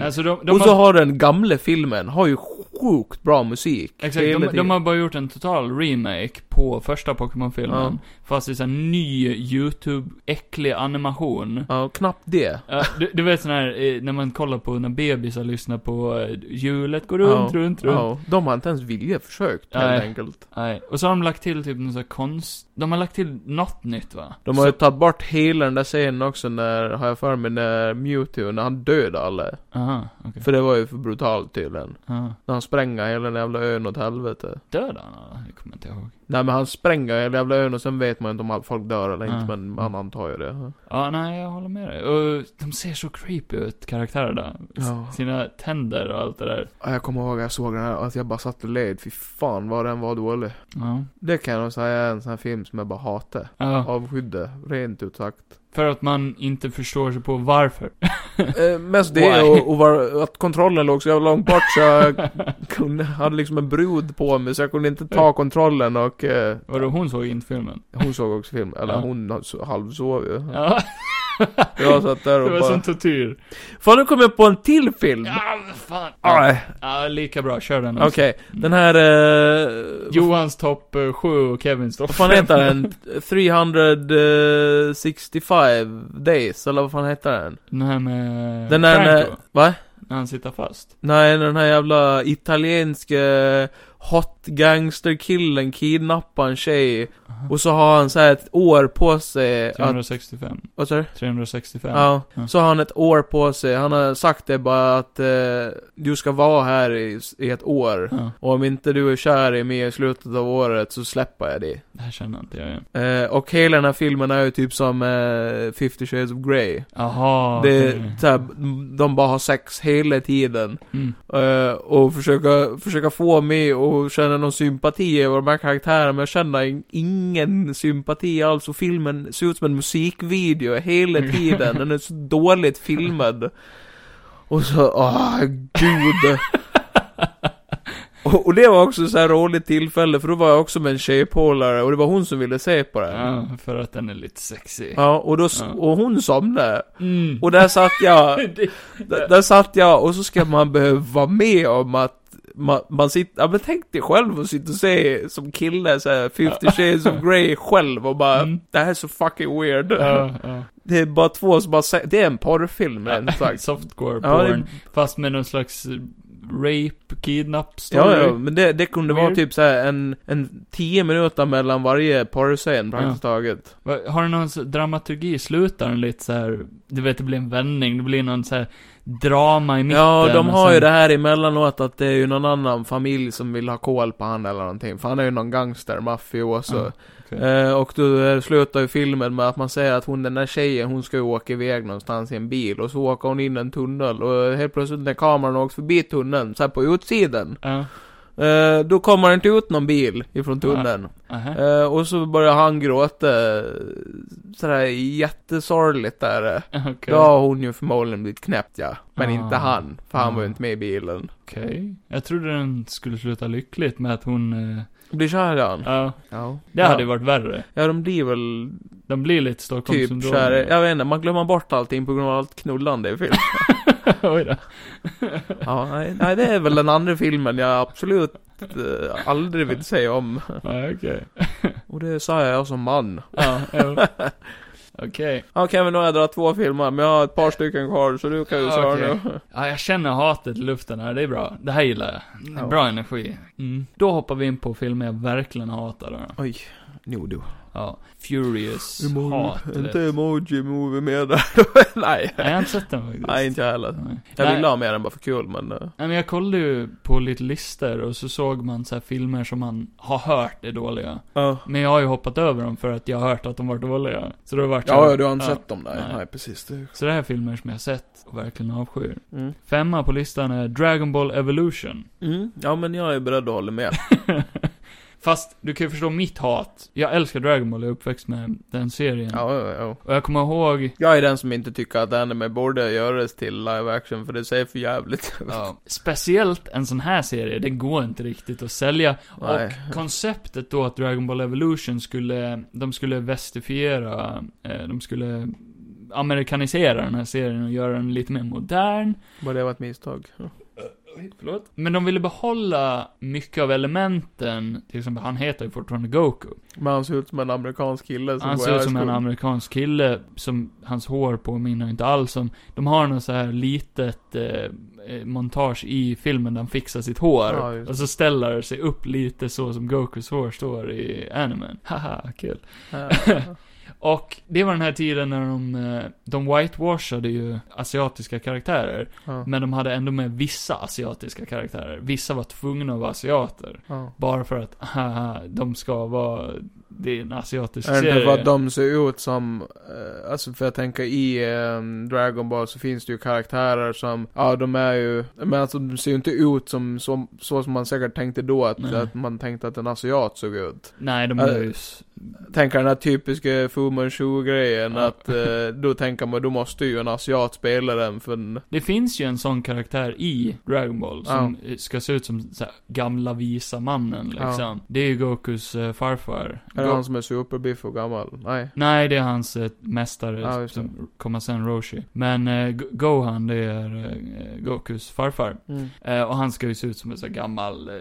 [SPEAKER 3] Alltså de, de
[SPEAKER 4] och så
[SPEAKER 3] har...
[SPEAKER 4] har den gamla filmen, har ju sjukt bra musik.
[SPEAKER 3] Exakt,
[SPEAKER 4] hela
[SPEAKER 3] de,
[SPEAKER 4] tiden.
[SPEAKER 3] de har bara gjort en total remake på första Pokémon-filmen.
[SPEAKER 4] Ja.
[SPEAKER 3] Fast i sån ny YouTube-äcklig animation.
[SPEAKER 4] Ja, knappt det.
[SPEAKER 3] Ja, du, du vet sån här, eh, när man kollar på när bebisar lyssnar på eh, hjulet går runt,
[SPEAKER 4] Ja.
[SPEAKER 3] runt, runt.
[SPEAKER 4] Ja, de har inte ens vilja försökt, helt
[SPEAKER 3] Nej.
[SPEAKER 4] enkelt.
[SPEAKER 3] Nej. Och så har de lagt till typ någon sån här konst... De har lagt till något nytt va?
[SPEAKER 4] De
[SPEAKER 5] De har ju
[SPEAKER 4] har...
[SPEAKER 5] tagit bort hela den där scenen också när, har jag för mig, när Mewtwo, när han dödade alla.
[SPEAKER 3] Aha, okej.
[SPEAKER 5] För det var ju för brutalt tydligen.
[SPEAKER 3] Ja.
[SPEAKER 5] När han spränger hela den jävla ön åt helvete.
[SPEAKER 3] Dödade han alla? Det kommer jag inte ihåg.
[SPEAKER 5] Nej men han spränger hela jävla ön och sen vet man inte om all- folk dör eller inte,
[SPEAKER 3] Ja.
[SPEAKER 5] men man antar ju det.
[SPEAKER 3] Ja, nej, jag håller med dig. Och de ser så creepy ut, karaktärerna. S-
[SPEAKER 5] Ja.
[SPEAKER 3] Sina tänder och allt det där.
[SPEAKER 5] Ja, Jag kommer ihåg att jag såg den här, att jag bara satt och led. Fy fan vad den var dålig.
[SPEAKER 3] Ja.
[SPEAKER 5] Det kan jag nog säga är en sån här film som jag bara hatar.
[SPEAKER 3] ja.
[SPEAKER 5] Avskydde, rent ut sagt.
[SPEAKER 3] För att man inte förstår sig på varför.
[SPEAKER 5] Eh, mest det
[SPEAKER 3] Why?
[SPEAKER 5] och, och var, att kontrollen låg så jävla långt bort så jag kunde, hade liksom en brud på mig så jag kunde inte ta kontrollen och eh,
[SPEAKER 3] Vadå, hon såg inte filmen?
[SPEAKER 5] hon såg också filmen, eller
[SPEAKER 3] Ja.
[SPEAKER 5] hon so- halvsov ju.
[SPEAKER 3] Ja,
[SPEAKER 5] Jag satt där
[SPEAKER 3] det
[SPEAKER 5] och
[SPEAKER 3] var
[SPEAKER 5] bara...
[SPEAKER 3] som tortyr.
[SPEAKER 4] Fan, nu kom jag på en till film!
[SPEAKER 3] Ja, vad fan. Ja,
[SPEAKER 4] Aj,
[SPEAKER 3] ja, lika bra, kör den också.
[SPEAKER 4] Mm. Okej, den här... eh,
[SPEAKER 3] Johans topp 7 och Kevins topp
[SPEAKER 4] Vad fan heter den? 365 days, eller vad fan heter den?
[SPEAKER 3] Den här med
[SPEAKER 4] Den där
[SPEAKER 3] Franco,
[SPEAKER 4] med, va?
[SPEAKER 3] när han sitter fast.
[SPEAKER 4] Nej, den här jävla italienske hot gangster killen kidnappar en tjej och så har han så här ett år på sig att...
[SPEAKER 3] 365.
[SPEAKER 4] Vad sa du?
[SPEAKER 3] 365.
[SPEAKER 4] Ja,
[SPEAKER 3] Ja.
[SPEAKER 4] så har han ett år på sig. Han har sagt det bara att eh, du ska vara här i, i ett år.
[SPEAKER 3] Ja,
[SPEAKER 4] Och om inte du är kär i mig i slutet av året så släpper jag dig.
[SPEAKER 3] det här känner inte jag igen.
[SPEAKER 4] Eh, och hela den här filmen är ju typ som eh, 50 shades of Grey.
[SPEAKER 3] Jaha.
[SPEAKER 4] Det
[SPEAKER 3] okej.
[SPEAKER 4] är såhär, de bara har sex hela tiden.
[SPEAKER 3] Mm.
[SPEAKER 4] Eh, och försöka, försöka få mig att känna någon sympati över de här karaktärerna, men jag känner in- ingen sympati alls. Och filmen ser ut som en musikvideo hela tiden. Den är så dåligt filmad. Och så, åh gud. Och, och det var också så här roligt tillfälle, för då var jag också med en tjejpolare, och det var hon som ville se på det.
[SPEAKER 3] Ja, för att den är lite sexy.
[SPEAKER 4] Ja, och, då, s-
[SPEAKER 3] Ja.
[SPEAKER 4] och hon somnade.
[SPEAKER 3] Mm.
[SPEAKER 4] Och där satt jag,
[SPEAKER 3] Det-
[SPEAKER 4] där, där satt jag och så ska man behöva vara med om att man, man sitter, ja men tänk dig själv att sitta och se som kille såhär 50 shades of Grey själv och bara
[SPEAKER 3] Mm.
[SPEAKER 4] Det här är så fucking weird.
[SPEAKER 3] Ja, ja.
[SPEAKER 4] Det är bara två som bara se- det är en porrfilm rent sagt.
[SPEAKER 3] Softcore
[SPEAKER 4] Ja, det-
[SPEAKER 3] porn. Fast med någon slags rape, kidnap story.
[SPEAKER 4] Ja, ja, men det, det kunde vara
[SPEAKER 3] Weird.
[SPEAKER 4] typ såhär en, en 10 minuter mellan varje porrscen praktiskt taget.
[SPEAKER 3] Va- Har du någon så- dramaturgi? Slutar den lite så här, du vet det blir en vändning, det blir någon så här drama i mitten.
[SPEAKER 4] Ja, de
[SPEAKER 3] och
[SPEAKER 4] har ju
[SPEAKER 3] sen-
[SPEAKER 4] det här emellanåt att det är ju någon annan familj som vill ha koll på han eller någonting. För han är ju någon gangster, mafioso.
[SPEAKER 3] Ja, okej.
[SPEAKER 4] Eh, och då eh, slutar ju filmen med att man säger att hon, den där tjejen, hon ska ju åka iväg någonstans i en bil. Och så åker hon in i en tunnel. Och helt plötsligt när kameran åkt förbi tunneln, så här på utsidan.
[SPEAKER 3] Ja,
[SPEAKER 4] Eh, då kommer det inte ut någon bil ifrån tunneln.
[SPEAKER 3] aha.
[SPEAKER 4] Eh, och så börjar han gråta. eh, Sådär jättesorgligt där. eh.
[SPEAKER 3] Okej.
[SPEAKER 4] Då har hon ju förmodligen blivit knäppt ja. Men
[SPEAKER 3] Ah.
[SPEAKER 4] inte han, för han var ju
[SPEAKER 3] Ah.
[SPEAKER 4] inte med i bilen.
[SPEAKER 3] Okej. Jag trodde den skulle sluta lyckligt med att hon, eh,
[SPEAKER 4] Blir kär i han?
[SPEAKER 3] ja.
[SPEAKER 4] Ja.
[SPEAKER 3] Det hade ju varit värre.
[SPEAKER 4] Ja, de blir väl
[SPEAKER 3] De blir lite
[SPEAKER 4] typ
[SPEAKER 3] Stockholmssyndrom.
[SPEAKER 4] kär i- Jag vet inte, man glömmer bort allting på grund av allt knullande i filmen.
[SPEAKER 3] Oj då.
[SPEAKER 4] ja, nej, nej, det är väl den andra filmen jag absolut eh, aldrig vill se om.
[SPEAKER 3] Ja, okej.
[SPEAKER 4] Och det sa jag som man.
[SPEAKER 3] Ja, jo. Okej.
[SPEAKER 4] Ja, Kevin, nu har jag dragit två filmer, men jag har ett par stycken kvar, så du kan ju
[SPEAKER 3] Ja,
[SPEAKER 4] svara
[SPEAKER 3] okej.
[SPEAKER 4] nu.
[SPEAKER 3] Ja, jag känner hatet i luften här, det är bra. Det här gillar jag. Det är
[SPEAKER 4] Ja.
[SPEAKER 3] bra energi. Mm. Då hoppar vi in på filmer jag verkligen hatar då.
[SPEAKER 4] Oj. Jo du.
[SPEAKER 3] Ja, Furious
[SPEAKER 4] Emo-
[SPEAKER 3] hat.
[SPEAKER 4] inte
[SPEAKER 3] vet.
[SPEAKER 4] emoji movie med där. nej.
[SPEAKER 3] Nej, jag har inte sett den faktiskt.
[SPEAKER 4] Nej, inte jag heller.
[SPEAKER 3] Nej.
[SPEAKER 4] Jag
[SPEAKER 3] Nej,
[SPEAKER 4] ville ha med den bara för kul, men... eh,
[SPEAKER 3] Nej, men jag kollade ju på lite listor och så såg man så här filmer som man har hört är dåliga.
[SPEAKER 4] Ja.
[SPEAKER 3] Men jag har ju hoppat över dem för att jag har hört att de var dåliga. Så då
[SPEAKER 4] Typ.
[SPEAKER 3] vart
[SPEAKER 5] Ja, ja, du har inte sett dem där.
[SPEAKER 3] Nej.
[SPEAKER 5] Nej, precis. Det.
[SPEAKER 3] Så det här är filmer som jag har sett och verkligen avskyr.
[SPEAKER 4] Mm.
[SPEAKER 3] Femma på listan är Dragon Ball Evolution.
[SPEAKER 4] Mm. Ja, men jag är beredd att hålla med.
[SPEAKER 3] Fast du kan ju förstå mitt hat. Jag älskar Dragon Ball, jag är uppväxt med den serien.
[SPEAKER 4] Ja, ja, ja.
[SPEAKER 3] Och jag kommer ihåg
[SPEAKER 4] Jag är den som inte tycker att anime borde göras till live action, för det ser för jävligt ut.
[SPEAKER 3] Speciellt en sån här serie, den går inte riktigt att sälja.
[SPEAKER 4] Nej.
[SPEAKER 3] Och konceptet då att Dragon Ball Evolution skulle, de skulle västifiera, eh, de skulle amerikanisera den här serien och göra den lite mer modern.
[SPEAKER 4] Var det var ett misstag.
[SPEAKER 3] Förlåt? Men de ville behålla mycket av elementen, till exempel han heter ju fortfarande Goku.
[SPEAKER 4] Men han ser ut som en amerikansk kille som
[SPEAKER 3] Han
[SPEAKER 4] går
[SPEAKER 3] ser
[SPEAKER 4] i
[SPEAKER 3] ut som
[SPEAKER 4] high
[SPEAKER 3] en
[SPEAKER 4] school.
[SPEAKER 3] amerikansk kille, som hans hår påminner inte alls om. De har något så här litet eh, eh, montage i filmen där han fixar sitt hår.
[SPEAKER 4] Ja, just det.
[SPEAKER 3] och så ställer det sig upp lite så som Gokus hår står i animen. Haha, kul.
[SPEAKER 4] Ja.
[SPEAKER 3] Och det var den här tiden när de, eh, de whitewashade ju asiatiska karaktärer.
[SPEAKER 4] Ja.
[SPEAKER 3] Men de hade ändå med vissa asiatiska karaktärer. Vissa var tvungna att vara asiater.
[SPEAKER 4] Ja.
[SPEAKER 3] Bara för att, haha, de ska vara, det är en asiatisk
[SPEAKER 4] Är det inte
[SPEAKER 3] serie.
[SPEAKER 4] vad de ser ut som, eh, alltså för jag tänker i eh, Dragon Ball så finns det ju karaktärer som, ja de är ju, men alltså de ser ju inte ut som, som så som man säkert tänkte då att,
[SPEAKER 3] Nej.
[SPEAKER 4] att man tänkte att en asiat såg ut.
[SPEAKER 3] Nej, de
[SPEAKER 4] Äh,
[SPEAKER 3] är ju s-
[SPEAKER 4] Tänker den här typiska Fu Manchu-grejen
[SPEAKER 3] Ja.
[SPEAKER 4] att eh, då tänker man, då måste ju en asiat spela den för en,
[SPEAKER 3] Det finns ju en sån karaktär i Dragon Ball som eh, ska se ut som så här, gamla visa mannen liksom. Det är ju Gokus eh, farfar.
[SPEAKER 4] är det
[SPEAKER 3] Go-
[SPEAKER 4] han som är superbiff och gammal? Nej.
[SPEAKER 3] Nej, det är hans eh, mästare
[SPEAKER 4] Ja, just det.
[SPEAKER 3] som kommer sen, Roshi. Men eh, Go- Gohan, det är eh, Gokus farfar. Eh, och han ska ju se ut som en så här gammal eh,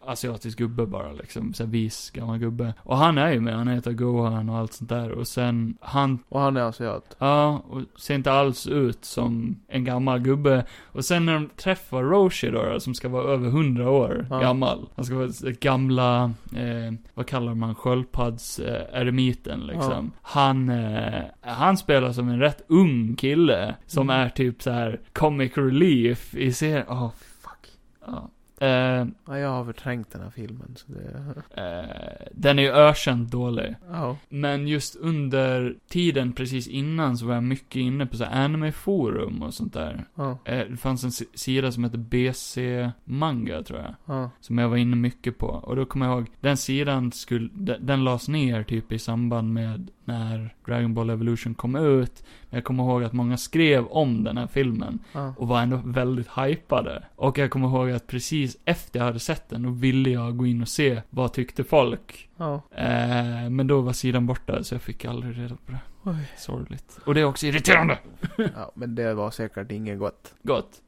[SPEAKER 3] asiatisk gubbe bara liksom. Så här vis gammal gubbe. Och han är ju med, han heter Gohan och allt sånt där. Och sen, han
[SPEAKER 4] Och han är asiat.
[SPEAKER 3] Ja, och ser inte alls ut som en gammal gubbe. Och sen när de träffar Roshi då, som ska vara över 100 år
[SPEAKER 4] Ja.
[SPEAKER 3] gammal. Han ska vara s- gamla, eh, vad kallar man, sköldpadds-eremiten eh, eremiten, liksom. Han, eh, han spelar som en rätt ung kille. Som är typ så här comic relief i serien. Åh, fuck. Ja. Eh,
[SPEAKER 4] Ja, jag har förträngt den här filmen så det,
[SPEAKER 3] eh, den är ju ökänt dålig.
[SPEAKER 4] ja.
[SPEAKER 3] Men just under tiden precis innan så var jag mycket inne på så här anime-forum och sånt där.
[SPEAKER 4] Ja,
[SPEAKER 3] Eh, Det fanns en si- sida som hette BC Manga, tror jag.
[SPEAKER 4] ja,
[SPEAKER 3] Som jag var inne mycket på. Och då kommer jag ihåg, den sidan skulle, de- den lades ner typ i samband med när Dragon Ball Evolution kom ut. Men jag kommer ihåg att många skrev om den här filmen.
[SPEAKER 4] ja.
[SPEAKER 3] Och var ändå väldigt hypade. Och jag kommer ihåg att precis efter jag hade sett den, då ville jag gå in och se vad tyckte folk.
[SPEAKER 4] ja.
[SPEAKER 3] Eh, men då var sidan borta, så jag fick aldrig reda på det.
[SPEAKER 4] Oj.
[SPEAKER 3] Sorgligt. Och det är också irriterande!
[SPEAKER 4] Ja, men det var säkert inget gott.
[SPEAKER 3] Gott.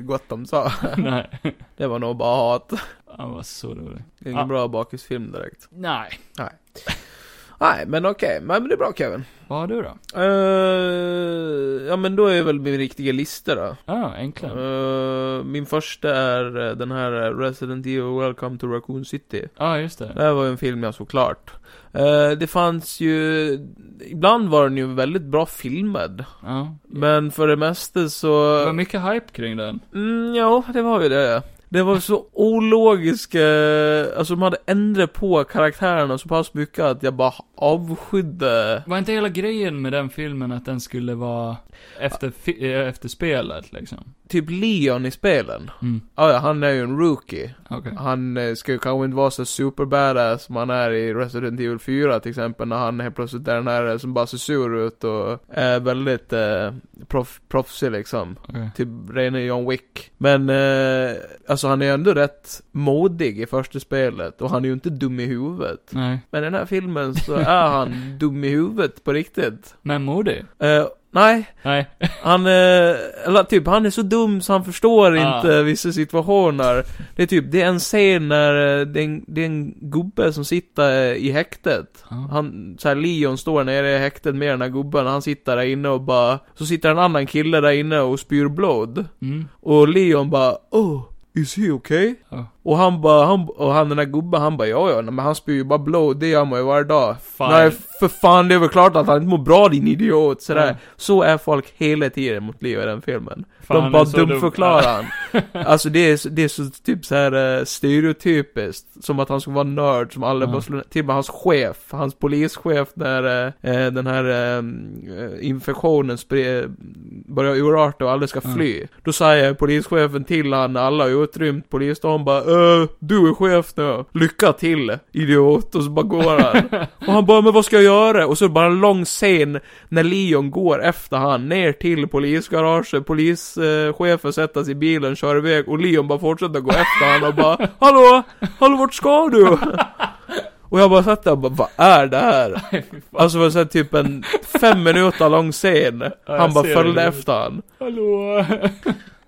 [SPEAKER 4] gott de sa.
[SPEAKER 3] Nej.
[SPEAKER 4] Det var nog bara hat.
[SPEAKER 3] Han var så dålig.
[SPEAKER 4] Det är Ingen
[SPEAKER 3] Ja.
[SPEAKER 4] bra bakisfilm direkt.
[SPEAKER 3] Nej.
[SPEAKER 4] Nej, men okej. Men det är bra Kevin.
[SPEAKER 3] Vad har du då?
[SPEAKER 4] Eh, ja, men då är väl min riktiga lista då.
[SPEAKER 3] Ja, ah, enklare. Ja,
[SPEAKER 4] Eh, min första är eh, den här eh, Resident Evil Welcome to Raccoon City.
[SPEAKER 3] ah, just det.
[SPEAKER 4] Det här var ju en film jag såg klart. Eh, det fanns ju... Ibland var den ju väldigt bra filmad.
[SPEAKER 3] Ja.
[SPEAKER 4] Men för det mesta så...
[SPEAKER 3] Det var mycket hype kring den.
[SPEAKER 4] Mm, ja, det var ju det. Det var så ologiska, alltså de hade ändrat på karaktärerna så pass mycket att jag bara avskydde.
[SPEAKER 3] Var inte hela grejen med den filmen att den skulle vara efter, fi- eh, efter spelet, liksom?
[SPEAKER 4] Typ Leon i spelen.
[SPEAKER 3] Mm,
[SPEAKER 4] Ah, ja, han är ju en rookie.
[SPEAKER 3] okej.
[SPEAKER 4] Han eh, ska ju kanske inte vara så super badass som han är i Resident Evil 4 till exempel när han helt plötsligt är den här eh, som bara ser sur ut och är väldigt eh, proff, proffsig liksom.
[SPEAKER 3] okej.
[SPEAKER 4] Typ rena John Wick. Men, eh, alltså han är ändå rätt modig i första spelet och han är ju inte dum i huvudet.
[SPEAKER 3] Nej.
[SPEAKER 4] Men i den här filmen så är han dum i huvudet på riktigt.
[SPEAKER 3] Men modig?
[SPEAKER 4] Eh, nej,
[SPEAKER 3] Nej.
[SPEAKER 4] han, eh, eller typ, han är så dum så han förstår
[SPEAKER 3] Ah.
[SPEAKER 4] inte vissa situationer. Det är typ, det är en scen när eh, det är en, det är en gubbe som sitter eh, i häktet.
[SPEAKER 3] Ja.
[SPEAKER 4] Han, så här, Leon står nere i häktet med den här gubben, han sitter där inne och bara, så sitter en annan kille där inne och spyr blod.
[SPEAKER 3] Mm.
[SPEAKER 4] Och Leon bara, oh, is he okay?
[SPEAKER 3] Ja.
[SPEAKER 4] Och han bara, han, och han den där gubben, han bara ja ja, nej, men han spyr ju bara blod, det gör man ju varje dag.
[SPEAKER 3] Fan.
[SPEAKER 4] Nej för fan, det är väl klart att han inte mår bra din idiot, sådär.
[SPEAKER 3] Ja.
[SPEAKER 4] Så är folk hela tiden mot Leo i den filmen.
[SPEAKER 3] Fan, han
[SPEAKER 4] De
[SPEAKER 3] är
[SPEAKER 4] bara
[SPEAKER 3] så dum.
[SPEAKER 4] dumförklarar han. Alltså det är, så- det är så typ så här eh, stereotypiskt, som att han skulle vara nörd som alla
[SPEAKER 3] Ja.
[SPEAKER 4] bara slår Till och med hans chef, hans polischef när eh, eh, den här eh, infektionen spred, börjar urarta och alla ska
[SPEAKER 3] Ja.
[SPEAKER 4] fly. Då säger polischefen till han när alla har utrymt polisstaden bara äh, du är chef nu, lycka till idiot. Och så bara går han. Och han bara, men vad ska jag göra? Och så bara en lång scen när Leon går efter han ner till polisgaraget, polischefen sätter sig i bilen, kör iväg och Leon bara fortsätter gå efter han och bara, hallå, hallå vart ska du? Och jag bara satt där och bara, vad är det här? Alltså det var så här typ en fem minuter lång scen,
[SPEAKER 3] jag
[SPEAKER 4] han bara
[SPEAKER 3] ser
[SPEAKER 4] följde
[SPEAKER 3] det.
[SPEAKER 4] efter han.
[SPEAKER 3] Hallå!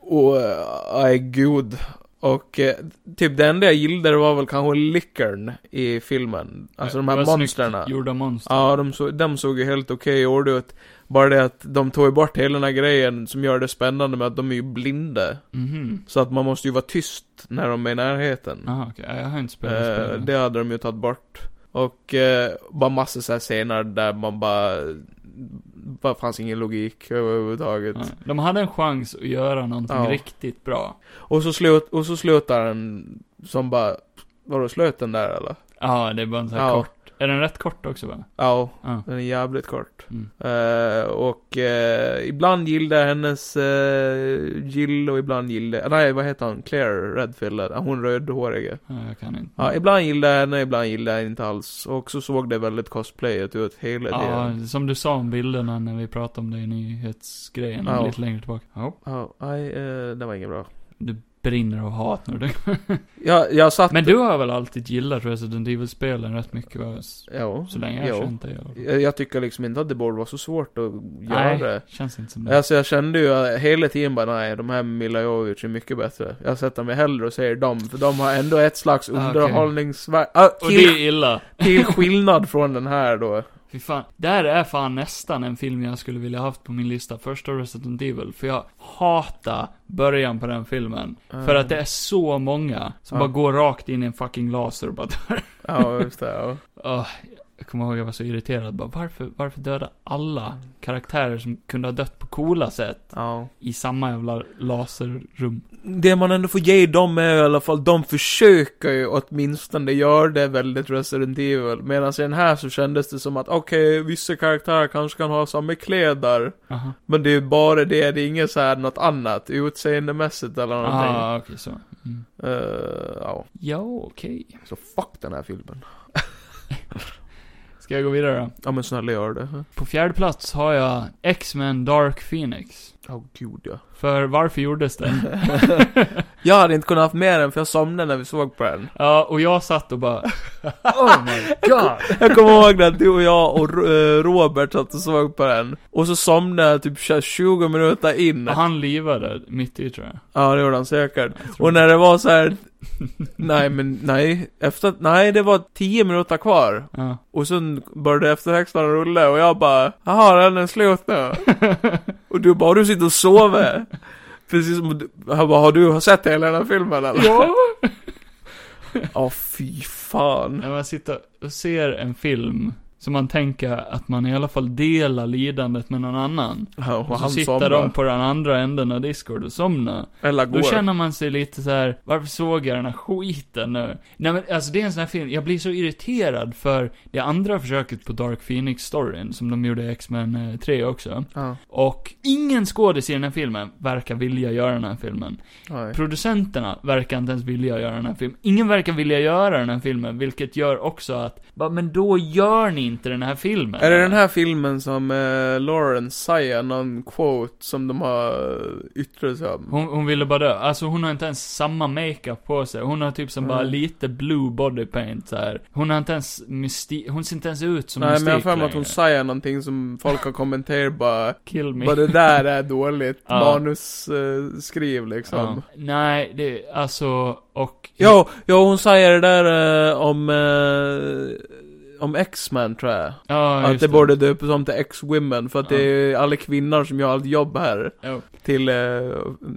[SPEAKER 4] Och eh, är gud. Och eh, typ det enda jag gillade var väl kanske lickern i filmen. Alltså de här
[SPEAKER 3] Vad snyggt
[SPEAKER 4] monsterna.
[SPEAKER 3] Gjorda monster.
[SPEAKER 4] Ja, de, så, de såg ju helt okej okay ut. Bara det att de tog ju bort hela den här grejen som gör det spännande med att de är ju blinda.
[SPEAKER 3] Mhm.
[SPEAKER 4] Så att man måste ju vara tyst när de är i närheten.
[SPEAKER 3] Aha, okej. Ja, Jag har inte spelat
[SPEAKER 4] Eh,
[SPEAKER 3] spelet.
[SPEAKER 4] det hade de ju tagit bort. Och eh, bara massor så här scener där man bara... Bara fanns ingen logik överhuvudtaget.
[SPEAKER 3] Nej. De hade en chans att göra någonting
[SPEAKER 4] Ja.
[SPEAKER 3] riktigt bra.
[SPEAKER 4] Och, så slut, och så slutar den som bara... Vadå, slöt den där eller?
[SPEAKER 3] Ja, det är bara en sån här
[SPEAKER 4] Ja.
[SPEAKER 3] kort. Är den rätt kort också va?
[SPEAKER 4] Ja,
[SPEAKER 3] Ja.
[SPEAKER 4] den är jävligt kort.
[SPEAKER 3] Mm.
[SPEAKER 4] Eh, och eh, ibland gillade jag hennes eh, Jill och ibland gillade... Nej, vad heter hon? Claire Redfield? eh, Hon rödhårige.
[SPEAKER 3] Ja, jag kan inte.
[SPEAKER 4] Ja, ibland gillade jag henne, ibland gillade jag inte alls. Och så såg det väldigt cosplayet ut hela tiden.
[SPEAKER 3] Ja, som du sa om bilderna när vi pratade om det i nyhetsgrejen
[SPEAKER 4] Ja.
[SPEAKER 3] lite längre tillbaka. Ja,
[SPEAKER 4] Ja, nej, eh, det var inget bra.
[SPEAKER 3] du brinner av hat nu. du.
[SPEAKER 4] Jag, jag satt...
[SPEAKER 3] Men du har väl alltid gillat Resident Evil-spelen rätt mycket va? S-
[SPEAKER 4] Jo.
[SPEAKER 3] Så länge jag
[SPEAKER 4] jo.
[SPEAKER 3] har känt dig i alla fall.
[SPEAKER 4] jag, jag tycker liksom inte att det borde vara så svårt att göra
[SPEAKER 3] Nej,
[SPEAKER 4] det.
[SPEAKER 3] känns inte som det.
[SPEAKER 4] Alltså jag kände ju eh, hela tiden bara nej, de här Mila Jovovich är mycket bättre. Jag sätter mig hellre och säger dem, för de har ändå ett slags
[SPEAKER 3] Ah, okej.
[SPEAKER 4] underhållningsvärde. Ah,
[SPEAKER 3] Och det
[SPEAKER 4] till,
[SPEAKER 3] är illa.
[SPEAKER 4] till skillnad från den här då.
[SPEAKER 3] Fy fan. Där är fan nästan en film jag skulle vilja haft på min lista. Första Resident Evil. För jag hatar början på den filmen. För
[SPEAKER 4] Eh,
[SPEAKER 3] att det är så många som
[SPEAKER 4] Ja.
[SPEAKER 3] bara går rakt in i en fucking laser och bara dör.
[SPEAKER 4] Ja, just det. Ja.
[SPEAKER 3] Åh, jag kommer ihåg jag var så irriterad. Bara, varför, varför döda alla karaktärer som kunde ha dött på coola sätt
[SPEAKER 4] ja.
[SPEAKER 3] i samma jävla laserrum?
[SPEAKER 4] Det man ändå får ge dem är i alla fall, de försöker ju åtminstone göra det väldigt Resident Evil. Medan i den här så kändes det som att okej, vissa karaktärer kanske kan ha samma kläder.
[SPEAKER 3] Aha.
[SPEAKER 4] Men det är ju bara det, det är inget så här något annat utseendemässigt eller någonting.
[SPEAKER 3] Ah, okej så. Mm.
[SPEAKER 4] Eh, ja.
[SPEAKER 3] Ja, okej.
[SPEAKER 4] Så fuck den här filmen.
[SPEAKER 3] Ska jag gå vidare då?
[SPEAKER 4] Ja men snälla gör det.
[SPEAKER 3] På fjärde plats har jag X-Men Dark Phoenix.
[SPEAKER 4] Åh oh, gud ja.
[SPEAKER 3] För varför gjordes den?
[SPEAKER 4] Jag hade inte kunnat haft med den för jag somnade när vi såg på den.
[SPEAKER 3] Ja, och jag satt och bara Oh my god!
[SPEAKER 4] Jag kommer ihåg när du och jag och Ro- eh, Robert satt och såg på den. Och så somnade jag typ 20 minuter in.
[SPEAKER 3] Och han livade mitt i tror jag.
[SPEAKER 4] Ja det gjorde han säkert.
[SPEAKER 3] jag tror
[SPEAKER 4] Och när det var så här. Nej men nej. Efter, nej det var 10 minuter kvar.
[SPEAKER 3] Ja.
[SPEAKER 4] Och sen började eftertexterna rulla och jag bara Jaha, den är slut nu. och du bara, du sitter och sover. Precis som du, jag bara, har du sett hela den här filmen eller?
[SPEAKER 3] ja.
[SPEAKER 4] Ja, fy fan.
[SPEAKER 3] När man sitter och ser en film så man tänker att man i alla fall delar lidandet med någon annan.
[SPEAKER 4] Ja,
[SPEAKER 3] Och
[SPEAKER 4] och
[SPEAKER 3] så
[SPEAKER 4] han
[SPEAKER 3] sitter
[SPEAKER 4] somnar.
[SPEAKER 3] de på den andra änden av Discord och somnar.
[SPEAKER 4] Eller
[SPEAKER 3] Då
[SPEAKER 4] går.
[SPEAKER 3] känner man sig lite så här: varför såg jag den här skiten nu? Nej men alltså det är en sån här film, jag blir så irriterad för det andra försöket på Dark Phoenix-storyn, som de gjorde i X-Men eh, 3 också.
[SPEAKER 4] Ja,
[SPEAKER 3] Och ingen skådis i den här filmen verkar vilja göra den här filmen.
[SPEAKER 4] nej.
[SPEAKER 3] Producenterna verkar inte ens vilja göra den här filmen. Ingen verkar vilja göra den här filmen, vilket gör också att, va, men då gör ni inte den här filmen.
[SPEAKER 4] Är det den här filmen som eh, Lawrence säger någon quote som de har eh, yttrat sig om?
[SPEAKER 3] Hon, hon ville bara dö. Alltså hon har inte ens samma makeup på sig. Hon har typ som bara
[SPEAKER 4] Mm.
[SPEAKER 3] lite blue body paint så här. Hon har inte ens mystik, hon ser inte ens ut som
[SPEAKER 4] Nej,
[SPEAKER 3] mystik
[SPEAKER 4] men jag har för mig att
[SPEAKER 3] längre.
[SPEAKER 4] hon säger någonting som folk har kommenterat bara
[SPEAKER 3] Kill me.
[SPEAKER 4] Bara det där är dåligt
[SPEAKER 3] Ja.
[SPEAKER 4] manusskriv eh, skriv, liksom.
[SPEAKER 3] Ja. Nej, det, alltså, och...
[SPEAKER 4] Ja, ja hon säger det där eh, om, eh, om X-Men tror jag.
[SPEAKER 3] ja
[SPEAKER 4] att
[SPEAKER 3] just
[SPEAKER 4] det borde döpas om till X-Women, för att det är alla kvinnor som gör allt jobb här.
[SPEAKER 3] Ja.
[SPEAKER 4] Till, eh,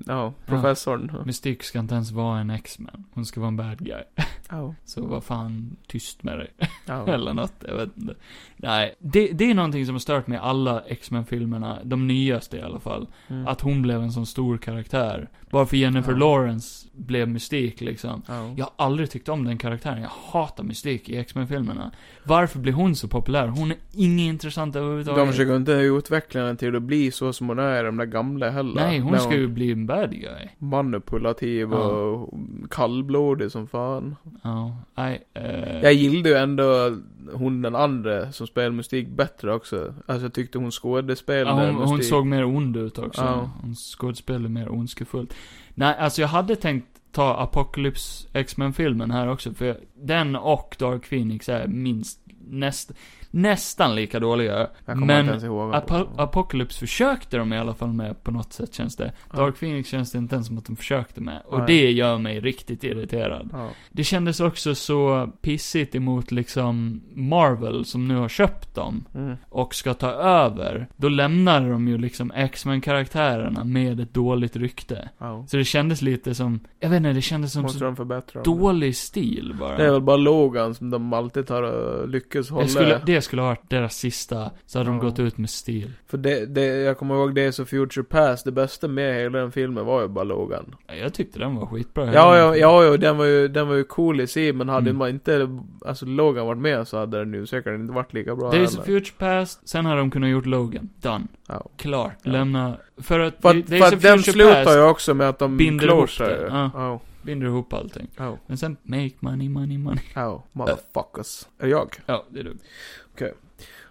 [SPEAKER 4] ja, professorn.
[SPEAKER 3] Mystik ska inte ens vara en X-Man. Hon ska vara en bad guy.
[SPEAKER 4] Ja.
[SPEAKER 3] Så vad fan, tyst med dig.
[SPEAKER 4] Ja.
[SPEAKER 3] Eller något, jag vet inte. Nej, det, det är någonting som har stört mig i alla X-Men-filmerna, de nyaste i alla fall.
[SPEAKER 4] Mm.
[SPEAKER 3] Att hon blev en sån stor karaktär. Bara för Jennifer
[SPEAKER 4] Ja.
[SPEAKER 3] Lawrence blev mystik liksom.
[SPEAKER 4] Ja.
[SPEAKER 3] Jag har aldrig tyckt om den karaktären, jag hatar mystik i X-Men-filmerna. Varför blir hon så populär? Hon är inget intressant överhuvudtaget.
[SPEAKER 4] De försöker inte utveckla henne till att bli så som hon är i de där gamla heller.
[SPEAKER 3] Nej, hon
[SPEAKER 4] När
[SPEAKER 3] ska ju bli en bad guy.
[SPEAKER 4] Manipulativ och kallblodig som fan.
[SPEAKER 3] Ja, nej. eh,
[SPEAKER 4] Jag gillade ju ändå hon den andra som spelar musik bättre också. Alltså jag tyckte hon
[SPEAKER 3] Ja,
[SPEAKER 4] skådespelade
[SPEAKER 3] hon, hon
[SPEAKER 4] musik.
[SPEAKER 3] såg mer ond ut också.
[SPEAKER 4] Ja.
[SPEAKER 3] Hon skådespelade mer ondskefullt. Nej, alltså jag hade tänkt ta Apocalypse X-Men-filmen här också, för jag- den och Dark Phoenix är minst, näst, nästan lika dåliga.
[SPEAKER 4] Jag kommer inte
[SPEAKER 3] Men
[SPEAKER 4] ens ihåg.
[SPEAKER 3] Apo Apocalypse försökte de i alla fall med på något sätt känns det.
[SPEAKER 4] Ja.
[SPEAKER 3] Dark Phoenix känns det inte ens som att de försökte med. Och
[SPEAKER 4] Nej.
[SPEAKER 3] det gör mig riktigt irriterad.
[SPEAKER 4] Ja.
[SPEAKER 3] Det kändes också så pissigt emot liksom Marvel som nu har köpt dem
[SPEAKER 4] Mm.
[SPEAKER 3] och ska ta över. Då lämnar de ju liksom X-Men-karaktärerna med ett dåligt rykte.
[SPEAKER 4] Ja.
[SPEAKER 3] Så det kändes lite som, jag vet inte, det kändes som
[SPEAKER 4] Måste
[SPEAKER 3] så
[SPEAKER 4] de förbättra dem?
[SPEAKER 3] dålig stil bara.
[SPEAKER 4] Det är väl bara Logan som de alltid har eh, lyckats hålla.
[SPEAKER 3] det, skulle, det skulle ha varit deras sista, så hade de
[SPEAKER 4] Ja.
[SPEAKER 3] gått ut med stil.
[SPEAKER 4] För det, det, jag kommer ihåg det så Future Past, det bästa med hela den filmen var ju bara Logan.
[SPEAKER 3] Ja, Jag tyckte den var skitbra.
[SPEAKER 4] Ja, ja, ja, ja den, var ju, den var ju cool i sig, men hade
[SPEAKER 3] Mm.
[SPEAKER 4] man inte, alltså Logan varit med så hade den ju säkert inte varit lika bra
[SPEAKER 3] Days of
[SPEAKER 4] heller.
[SPEAKER 3] Future Past, sen hade de kunnat gjort Logan. Done.
[SPEAKER 4] Ja.
[SPEAKER 3] Klart.
[SPEAKER 4] Ja.
[SPEAKER 3] Lämna, för att,
[SPEAKER 4] För
[SPEAKER 3] Days
[SPEAKER 4] att, för
[SPEAKER 3] of
[SPEAKER 4] att den
[SPEAKER 3] Future
[SPEAKER 4] slutar
[SPEAKER 3] Past
[SPEAKER 4] ju också med att de
[SPEAKER 3] binder
[SPEAKER 4] klår
[SPEAKER 3] ihop
[SPEAKER 4] sig.
[SPEAKER 3] det, ja.
[SPEAKER 4] Ja.
[SPEAKER 3] binder ihop allting.
[SPEAKER 4] Ja.
[SPEAKER 3] Men sen, make money, money, money.
[SPEAKER 4] Ja. Motherfuckers. Är det jag?
[SPEAKER 3] Ja, det är du.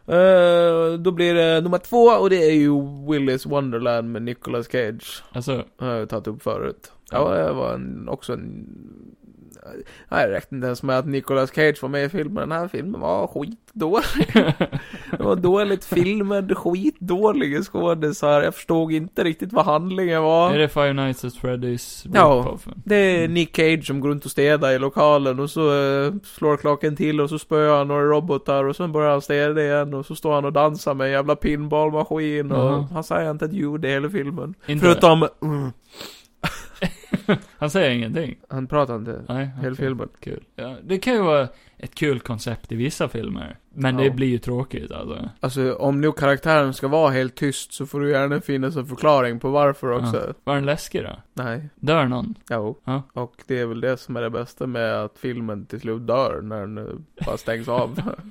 [SPEAKER 4] Eh, då blir det nummer två och det är ju Willis Wonderland med Nicolas Cage.
[SPEAKER 3] Alltså,
[SPEAKER 4] Den har jag ju tagit upp förut. Ja, det var en, också en... Nej, det räckte inte ens med att Nicolas Cage var med i filmen. Den här filmen var skitdålig. det var dåligt filmad, skitdåliga skådisar. Jag förstod inte riktigt vad handlingen
[SPEAKER 3] är
[SPEAKER 4] var.
[SPEAKER 3] det Five Nights at Freddy's
[SPEAKER 4] Ja.
[SPEAKER 3] rip-offen?
[SPEAKER 4] Det är Nick Cage som går runt och städar i lokalen och så eh, slår klacken till och så spöar han några robotar och sen börjar han städa igen och så står han och dansar med en jävla pinballmaskin och
[SPEAKER 3] Jaha.
[SPEAKER 4] han säger inte ett ljud i hela filmen.
[SPEAKER 3] Inte det.
[SPEAKER 4] Förutom... Mm.
[SPEAKER 3] Han säger ingenting.
[SPEAKER 4] Han pratar inte.
[SPEAKER 3] Nej,
[SPEAKER 4] Hela
[SPEAKER 3] okej.
[SPEAKER 4] filmen.
[SPEAKER 3] Kul. Ja, det kan ju vara ett kul koncept i vissa filmer. Men det
[SPEAKER 4] Ja.
[SPEAKER 3] blir ju tråkigt alltså.
[SPEAKER 4] Alltså om nu karaktären ska vara helt tyst så får du gärna finnas en förklaring på varför också.
[SPEAKER 3] Var den läskig då?
[SPEAKER 4] Nej.
[SPEAKER 3] Dör någon?
[SPEAKER 4] Jo.
[SPEAKER 3] Ja.
[SPEAKER 4] Och det är väl det som är det bästa med att filmen till slut dör när den eh, bara stängs av.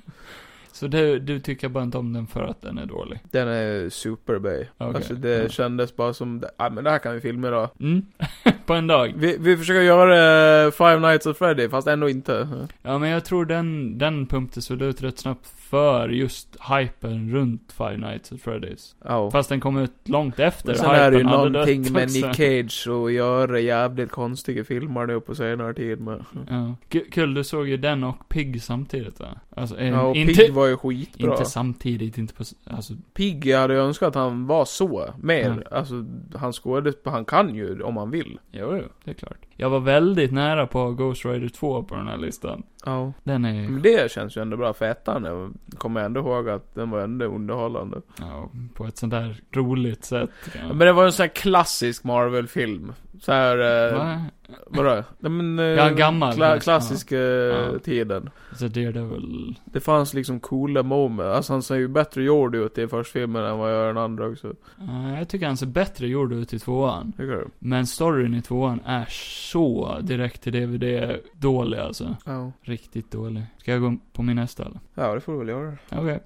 [SPEAKER 3] Så du, du tycker bara inte om den för att den är dålig?
[SPEAKER 4] den är superbay.
[SPEAKER 3] Okej.
[SPEAKER 4] Alltså det
[SPEAKER 3] Ja.
[SPEAKER 4] kändes bara som, ja ah, men det här kan vi filma idag.
[SPEAKER 3] Mm. På en dag?
[SPEAKER 4] Vi, vi försöker göra eh, Five Nights at Freddy fast ändå inte.
[SPEAKER 3] Ja, men jag tror den, den pumpades väl ut rätt snabbt för just hypen runt Five Nights at Freddy's.
[SPEAKER 4] Ja.
[SPEAKER 3] Fast den kom ut långt efter
[SPEAKER 4] Men sen är det ju
[SPEAKER 3] hade
[SPEAKER 4] någonting
[SPEAKER 3] dött
[SPEAKER 4] med
[SPEAKER 3] också.
[SPEAKER 4] Nick Cage och göra jävligt konstiga filmer nu på senare tid med.
[SPEAKER 3] Ja. Ku- Kul, du såg ju den och Pig samtidigt va? Alltså, eh,
[SPEAKER 4] Ja, och
[SPEAKER 3] inte,
[SPEAKER 4] Pig var ju skitbra.
[SPEAKER 3] inte samtidigt, inte på, s- alltså,
[SPEAKER 4] Piggy hade jag önskat att han var så, mer.
[SPEAKER 3] Mm.
[SPEAKER 4] Alltså, han skådes, han kan ju om han vill.
[SPEAKER 3] jo, jo, det är klart. Jag var väldigt nära på Ghost Rider 2 på den här listan.
[SPEAKER 4] Ja.
[SPEAKER 3] Den är,
[SPEAKER 4] Men det känns ju ändå bra, för ettan jag kommer ändå ihåg att den var ändå underhållande.
[SPEAKER 3] ja, på ett sånt där roligt sätt. Ja.
[SPEAKER 4] Men det var en sån här klassisk Marvel-film. Så här, eh,
[SPEAKER 3] Va?
[SPEAKER 4] vadå? Nej men... Eh,
[SPEAKER 3] Ja, gammal.
[SPEAKER 4] Kla klassisk eh,
[SPEAKER 3] Ja.
[SPEAKER 4] tiden.
[SPEAKER 3] Så Daredevil.
[SPEAKER 4] Det fanns liksom coola moments. Alltså han ser ju bättre gjord ut i första filmen än vad jag gör i den andra också.
[SPEAKER 3] Uh, jag tycker han ser bättre gjord ut i tvåan.
[SPEAKER 4] Tycker du?
[SPEAKER 3] Men storyn i tvåan är så direkt till DVD dålig alltså.
[SPEAKER 4] Ja.
[SPEAKER 3] Riktigt dålig. Ska jag gå på min nästa eller?
[SPEAKER 4] Ja, det får du väl göra.
[SPEAKER 3] Okej.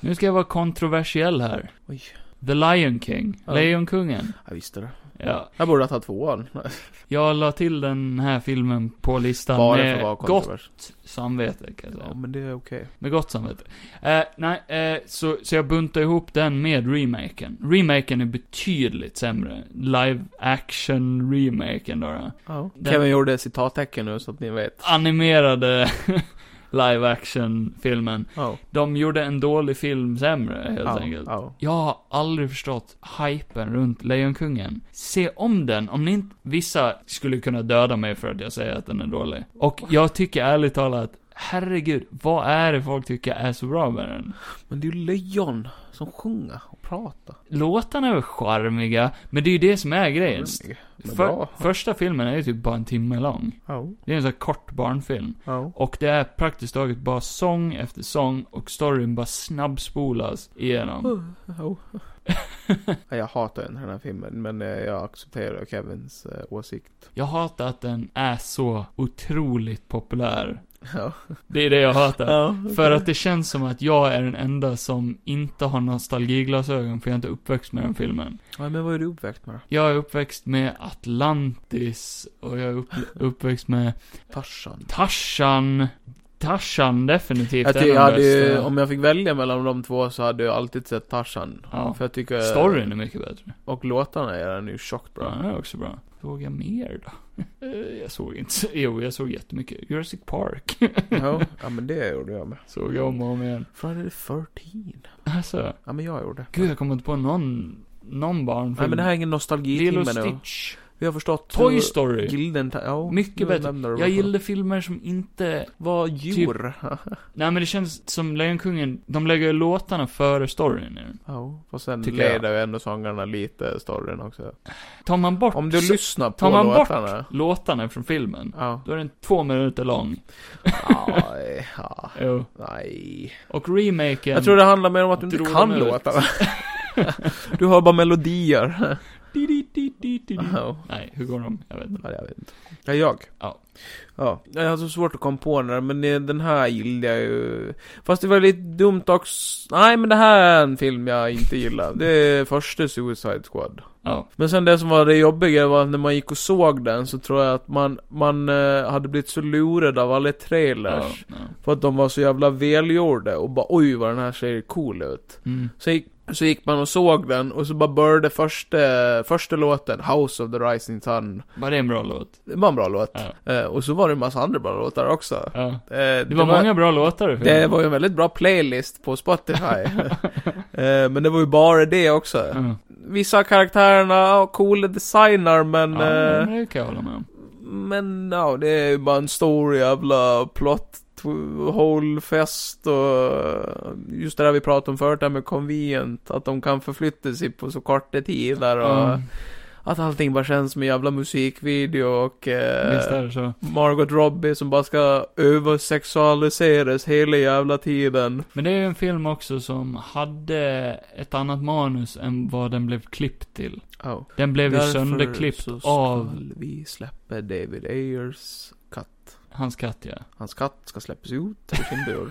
[SPEAKER 3] Nu ska jag vara kontroversiell här.
[SPEAKER 4] Oj.
[SPEAKER 3] The Lion King.
[SPEAKER 4] Ja.
[SPEAKER 3] Lejonkungen.
[SPEAKER 4] Jag visste det.
[SPEAKER 3] Ja.
[SPEAKER 4] Jag borde ha tagit tvåan.
[SPEAKER 3] Jag la till den här filmen på listan
[SPEAKER 4] Bara för att vara
[SPEAKER 3] med gott
[SPEAKER 4] kontrovers.
[SPEAKER 3] samvete kan jag
[SPEAKER 4] Ja,
[SPEAKER 3] säga.
[SPEAKER 4] men det är okej.
[SPEAKER 3] Med gott samvete. Eh, nej, eh, så, så jag buntar ihop den med remaken. Remaken är betydligt sämre. Live action remaken då. då. Den-
[SPEAKER 4] Kevin gjorde citattecken nu så att ni vet.
[SPEAKER 3] animerade live action-filmen.
[SPEAKER 4] Ja.
[SPEAKER 3] De gjorde en dålig film sämre, helt enkelt.
[SPEAKER 4] Ja.
[SPEAKER 3] Jag har aldrig förstått hypen runt Lejonkungen. Se om den, om ni inte... Vissa skulle kunna döda mig för att jag säger att den är dålig. Och jag tycker ärligt talat, herregud, vad är det folk tycker är så bra med den?
[SPEAKER 4] Men det är ju lejon som sjunger och pratar.
[SPEAKER 3] Låtarna är väl charmiga, men det är ju det som är grejen.
[SPEAKER 4] Mm, Men
[SPEAKER 3] För,
[SPEAKER 4] bra.
[SPEAKER 3] första filmen är ju typ bara en timme lång.
[SPEAKER 4] Ja.
[SPEAKER 3] Det är en sån här kort barnfilm.
[SPEAKER 4] Ja.
[SPEAKER 3] Och det är praktiskt taget bara sång efter sång och storyn bara snabbspolas
[SPEAKER 4] Mm.
[SPEAKER 3] igenom.
[SPEAKER 4] Ja. Jag hatar den här filmen, men eh, jag accepterar Kevins eh, åsikt.
[SPEAKER 3] Jag hatar att den är så otroligt populär.
[SPEAKER 4] Ja.
[SPEAKER 3] Det är det jag hatar.
[SPEAKER 4] ja.
[SPEAKER 3] För att det känns som att jag är den enda som inte har nostalgiglasögon för jag är inte uppväxt med den filmen.
[SPEAKER 4] Men vad är du uppväxt med då?
[SPEAKER 3] Jag är uppväxt med Atlantis och jag är upp, uppväxt med
[SPEAKER 4] Tarzan.
[SPEAKER 3] Tarzan, Tarzan definitivt.
[SPEAKER 4] Jag
[SPEAKER 3] är
[SPEAKER 4] tycker, jag
[SPEAKER 3] den
[SPEAKER 4] hade, ju-
[SPEAKER 3] bästa.
[SPEAKER 4] om jag fick välja mellan de två så hade jag alltid sett Tarzan.
[SPEAKER 3] Ja.
[SPEAKER 4] För jag tycker...
[SPEAKER 3] Storyn är mycket bättre.
[SPEAKER 4] Och låtarna är den ju tjockt
[SPEAKER 3] Bra.
[SPEAKER 4] bra.
[SPEAKER 3] Den är också bra. Såg jag mer då? Eh, jag såg inte. så- Jo, jag såg jättemycket. Jurassic Park.
[SPEAKER 4] Ja, ja men det gjorde jag med.
[SPEAKER 3] såg jag om och om igen.
[SPEAKER 4] Friday the 13.
[SPEAKER 3] Alltså,
[SPEAKER 4] Ja men jag gjorde.
[SPEAKER 3] gud jag kommer inte på någon, någon barnfilm.
[SPEAKER 4] Nej men det här är ingen
[SPEAKER 3] Lilo
[SPEAKER 4] nostalgitimme nu.
[SPEAKER 3] Stitch.
[SPEAKER 4] Vi har förstått
[SPEAKER 3] Toy Story.
[SPEAKER 4] Gilden, ja,
[SPEAKER 3] Mycket
[SPEAKER 4] nu
[SPEAKER 3] bättre.
[SPEAKER 4] nämner du
[SPEAKER 3] Jag typ
[SPEAKER 4] det.
[SPEAKER 3] gillade filmer som inte...
[SPEAKER 4] Vad djur.
[SPEAKER 3] Nej men det känns som Lejonkungen, de lägger låtarna före storyn nu.
[SPEAKER 4] ja, och sen
[SPEAKER 3] Tycker jag.
[SPEAKER 4] leder ju ändå sångarna lite storyn också.
[SPEAKER 3] Tar man bort
[SPEAKER 4] Om du
[SPEAKER 3] så-
[SPEAKER 4] lyssnar på
[SPEAKER 3] tar man bort-
[SPEAKER 4] låtarna.
[SPEAKER 3] låtarna från filmen,
[SPEAKER 4] Ja.
[SPEAKER 3] då är den två minuter lång.
[SPEAKER 4] Aj, ja.
[SPEAKER 3] Jo.
[SPEAKER 4] Nej.
[SPEAKER 3] Och remaken...
[SPEAKER 4] Jag tror det handlar mer om att du inte
[SPEAKER 3] Drog
[SPEAKER 4] kan
[SPEAKER 3] dem ut.
[SPEAKER 4] låtarna. du hör bara melodier.
[SPEAKER 3] Di, di, di, di, di, di.
[SPEAKER 4] Ja.
[SPEAKER 3] Nej, hur går de? Jag vet inte.
[SPEAKER 4] Ja, jag vet inte. Ja, jag?
[SPEAKER 3] Ja.
[SPEAKER 4] Ja. Jag har så svårt att komma på den, men eh, den här gillar jag ju. Fast det var lite dumt också. Nej, men det här är en film jag inte gillar. Det är första Suicide Squad.
[SPEAKER 3] Ja.
[SPEAKER 4] Men sen det som var det jobbiga var att när man gick och såg den så tror jag att man, man eh, hade blivit så lurad av alla
[SPEAKER 3] ja,
[SPEAKER 4] trailers.
[SPEAKER 3] ja.
[SPEAKER 4] För att de var så jävla välgjorda och bara oj vad den här ser cool ut.
[SPEAKER 3] Mm.
[SPEAKER 4] Så gick, så gick man och såg den och så bara började första, första låten, House of the Rising Sun.
[SPEAKER 3] Var det en bra låt?
[SPEAKER 4] Det var en bra låt.
[SPEAKER 3] Ja.
[SPEAKER 4] Eh, och så var det en massa andra bra låtar också. Eh,
[SPEAKER 3] Ja.
[SPEAKER 4] det,
[SPEAKER 3] Det var många bra låtar i
[SPEAKER 4] Det
[SPEAKER 3] filmen.
[SPEAKER 4] var ju en väldigt bra playlist på Spotify. Eh, men det var ju bara det också.
[SPEAKER 3] Ja.
[SPEAKER 4] Vissa av karaktärerna har coola designer men...
[SPEAKER 3] Ja,
[SPEAKER 4] eh,
[SPEAKER 3] men det kan jag hålla med om.
[SPEAKER 4] men ja, det är ju bara en stor jävla plot tw- hole fest och eh, just det där vi pratade om förut där med convenient, att de kan förflytta sig på så korta tider och
[SPEAKER 3] Mm.
[SPEAKER 4] att allting bara känns som en jävla musikvideo och
[SPEAKER 3] Visst är
[SPEAKER 4] eh,
[SPEAKER 3] det så.
[SPEAKER 4] Margot Robbie som bara ska översexualiseras hela jävla tiden.
[SPEAKER 3] Men det är ju en film också som hade ett annat manus än vad den blev klippt till.
[SPEAKER 4] Oh.
[SPEAKER 3] Den blev ju
[SPEAKER 4] Därför
[SPEAKER 3] sönderklippt
[SPEAKER 4] så ska
[SPEAKER 3] av
[SPEAKER 4] vi släpper David Ayers katt.
[SPEAKER 3] hans katt, ja.
[SPEAKER 4] Hans katt ska släppas ut ur sin bur.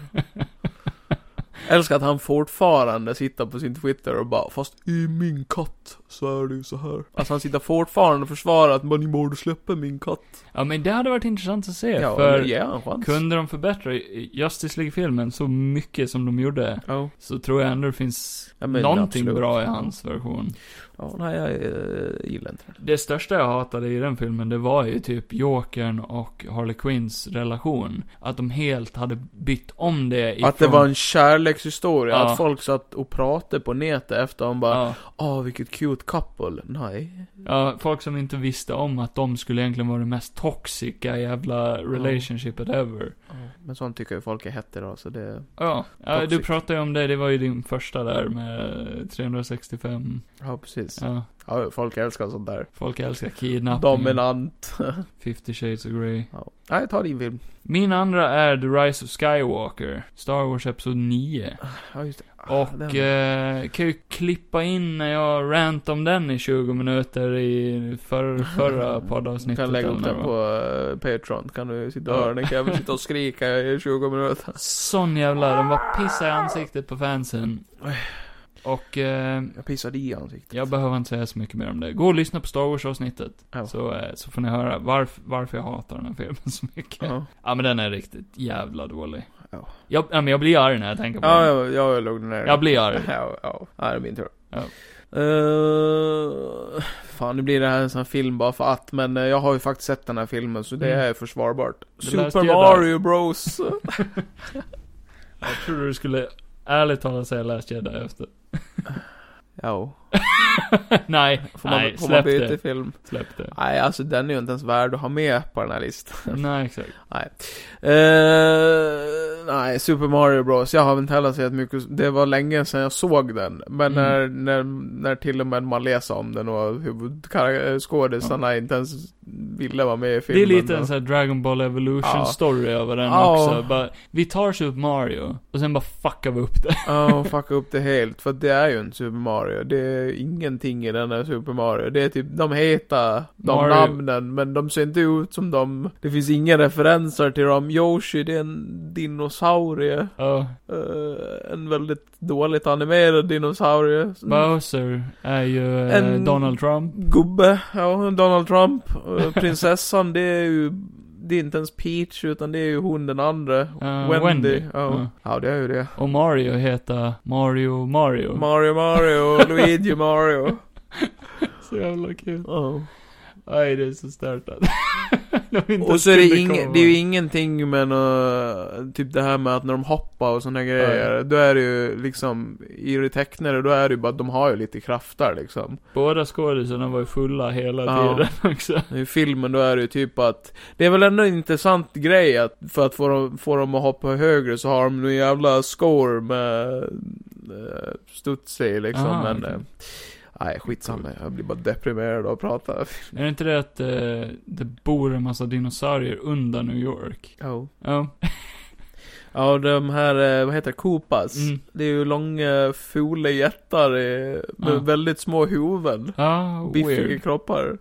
[SPEAKER 4] Älskar att han fortfarande sitter på sin Twitter och bara Fast i min katt så är det ju så här. Alltså han sitter fortfarande och försvarar att man ni borde släppa min katt.
[SPEAKER 3] Ja, men det hade varit intressant att se,
[SPEAKER 4] Ja,
[SPEAKER 3] för
[SPEAKER 4] men ge han en chans.
[SPEAKER 3] kunde de förbättra Justice League-filmen så mycket som de gjorde,
[SPEAKER 4] Ja.
[SPEAKER 3] så tror jag ändå det finns
[SPEAKER 4] Ja, men
[SPEAKER 3] någonting
[SPEAKER 4] absolut.
[SPEAKER 3] bra i hans version.
[SPEAKER 4] Ja, nej jag eh, gillar inte det.
[SPEAKER 3] Det största jag hatade i den filmen, det var ju typ Jokern och Harley Quinns relation. Att de helt hade bytt om det ifrån...
[SPEAKER 4] Att det var en kärlekshistoria,
[SPEAKER 3] Ja.
[SPEAKER 4] att folk satt och pratade på nätet efter och bara
[SPEAKER 3] Ja,
[SPEAKER 4] Åh vilket cute couple. Nej.
[SPEAKER 3] ja, folk som inte visste om att de skulle egentligen vara det mest toxica jävla relationshipet ever.
[SPEAKER 4] Men sånt tycker ju folk är hett idag så det...
[SPEAKER 3] Ja, ja du
[SPEAKER 4] Toxic.
[SPEAKER 3] pratade ju om det, det var ju din första där med 365.
[SPEAKER 4] Ja precis.
[SPEAKER 3] Ja,
[SPEAKER 4] Ja, folk älskar sånt där.
[SPEAKER 3] folk älskar kidnappning.
[SPEAKER 4] Dominant.
[SPEAKER 3] 50 shades of Grey.
[SPEAKER 4] Ja. Nej, ta din film.
[SPEAKER 3] Min andra är The Rise of Skywalker. Star Wars Episod 9.
[SPEAKER 4] Ja, just det. Ah, den.
[SPEAKER 3] Och eh, kan ju klippa in när jag rant om den i 20 minuter i för, förra poddavsnittet.
[SPEAKER 4] kan lägga upp
[SPEAKER 3] eller
[SPEAKER 4] den
[SPEAKER 3] vad.
[SPEAKER 4] på eh, Patreon, kan du sitta och
[SPEAKER 3] Ja.
[SPEAKER 4] höra den, kan jag väl sitta och skrika i 20 minuter.
[SPEAKER 3] Sån jävla, den bara pissar i ansiktet på fansen. Och eh,
[SPEAKER 4] Jag pissade i ansiktet.
[SPEAKER 3] jag behöver inte säga så mycket mer om det. Gå och lyssna på Star Wars-avsnittet.
[SPEAKER 4] Ja.
[SPEAKER 3] Så, eh, så får ni höra varf, varför jag hatar den här filmen så mycket. Ja.
[SPEAKER 4] Ja,
[SPEAKER 3] men den är riktigt jävla dålig.
[SPEAKER 4] Ja.
[SPEAKER 3] Jag, ja, men jag blir arg när jag tänker på
[SPEAKER 4] ja
[SPEAKER 3] den.
[SPEAKER 4] jag, jag lugnar ner
[SPEAKER 3] Jag blir arg.
[SPEAKER 4] Ja, ja. Ja, det är min tur.
[SPEAKER 3] Ja.
[SPEAKER 4] Eh, fan, nu blir det här en sån här film bara för att, men eh, jag har ju faktiskt sett den här filmen, så det
[SPEAKER 3] Mm.
[SPEAKER 4] är försvarbart.
[SPEAKER 3] The Last
[SPEAKER 4] Super
[SPEAKER 3] Jedi.
[SPEAKER 4] Mario Bros.
[SPEAKER 3] Jag trodde du skulle ärligt talat säga Last Jedi efter.
[SPEAKER 4] ja,
[SPEAKER 3] Nej,
[SPEAKER 4] får man,
[SPEAKER 3] nej,
[SPEAKER 4] får man
[SPEAKER 3] släpp
[SPEAKER 4] byta
[SPEAKER 3] det.
[SPEAKER 4] film?
[SPEAKER 3] Släpp det.
[SPEAKER 4] Nej, alltså den är ju inte ens värd att ha med på den här listan.
[SPEAKER 3] Nej, exakt.
[SPEAKER 4] Eh, nej, Super Mario Bros. Jag har inte heller sett mycket. Det var länge sedan jag såg den.
[SPEAKER 3] Mm.
[SPEAKER 4] Men när, när, när till och med man läser om den och huvudskådisarna inte ens ville vara med i
[SPEAKER 3] Det är
[SPEAKER 4] filmen.
[SPEAKER 3] lite en sån här Dragon Ball Evolution
[SPEAKER 4] Ja.
[SPEAKER 3] story över den
[SPEAKER 4] Ja.
[SPEAKER 3] också. Bara, vi tar Super Mario, och sen bara fuckar vi upp det.
[SPEAKER 4] Ja, och fucka upp det helt. För det är ju en Super Mario. Det är ingenting i den här Super Mario. Det är typ, de heter de
[SPEAKER 3] Mario.
[SPEAKER 4] namnen, men de ser inte ut som de. Det finns inga referenser till dem. Yoshi, det är en dinosaurie.
[SPEAKER 3] Ja,
[SPEAKER 4] Eh, en väldigt dåligt animerad dinosaurie.
[SPEAKER 3] Bowser är ju eh,
[SPEAKER 4] En-
[SPEAKER 3] Donald Trump.
[SPEAKER 4] Gubbe, ja, Donald Trump. Eh, prinsessan, det är ju det är inte ens Peach, utan det är ju hon den andra.
[SPEAKER 3] Eh,
[SPEAKER 4] Wendy.
[SPEAKER 3] Wendy.
[SPEAKER 4] Ja.
[SPEAKER 3] Ja.
[SPEAKER 6] Ja, det är ju det.
[SPEAKER 3] Och Mario heter Mario Mario.
[SPEAKER 4] Mario Mario, Luigi Mario.
[SPEAKER 3] så jävla kul.
[SPEAKER 4] Ja.
[SPEAKER 3] Nej, det är så stört att- De inte
[SPEAKER 4] Och så är det,
[SPEAKER 3] skulle
[SPEAKER 4] ing,
[SPEAKER 3] komma.
[SPEAKER 4] det är ju ingenting med nå typ det här med att när de hoppar och såna grejer. Då är det ju liksom, i det tecknade, då är det ju bara att de har ju lite krafter liksom.
[SPEAKER 3] Båda skådisarna var ju fulla hela
[SPEAKER 4] Ja.
[SPEAKER 3] tiden också.
[SPEAKER 4] I filmen då är det ju typ att, det är väl ändå en intressant grej att för att få dem, få dem att hoppa högre så har de någon jävla score med eh, studs i liksom.
[SPEAKER 3] Aha,
[SPEAKER 4] men,
[SPEAKER 3] okej.
[SPEAKER 4] eh, nej skitsamma, jag blir bara deprimerad av att prata.
[SPEAKER 3] Är det inte det att eh, det bor en massa dinosaurier under New York?
[SPEAKER 4] Ja.
[SPEAKER 3] Ja.
[SPEAKER 4] Ja, de här, eh, vad heter det, Koopas.
[SPEAKER 3] Mm.
[SPEAKER 4] Det är ju långa, fula jättar eh, med
[SPEAKER 3] Ja.
[SPEAKER 4] väldigt små huvuden.
[SPEAKER 3] Ja,
[SPEAKER 4] Biffiga
[SPEAKER 3] weird.
[SPEAKER 4] kroppar.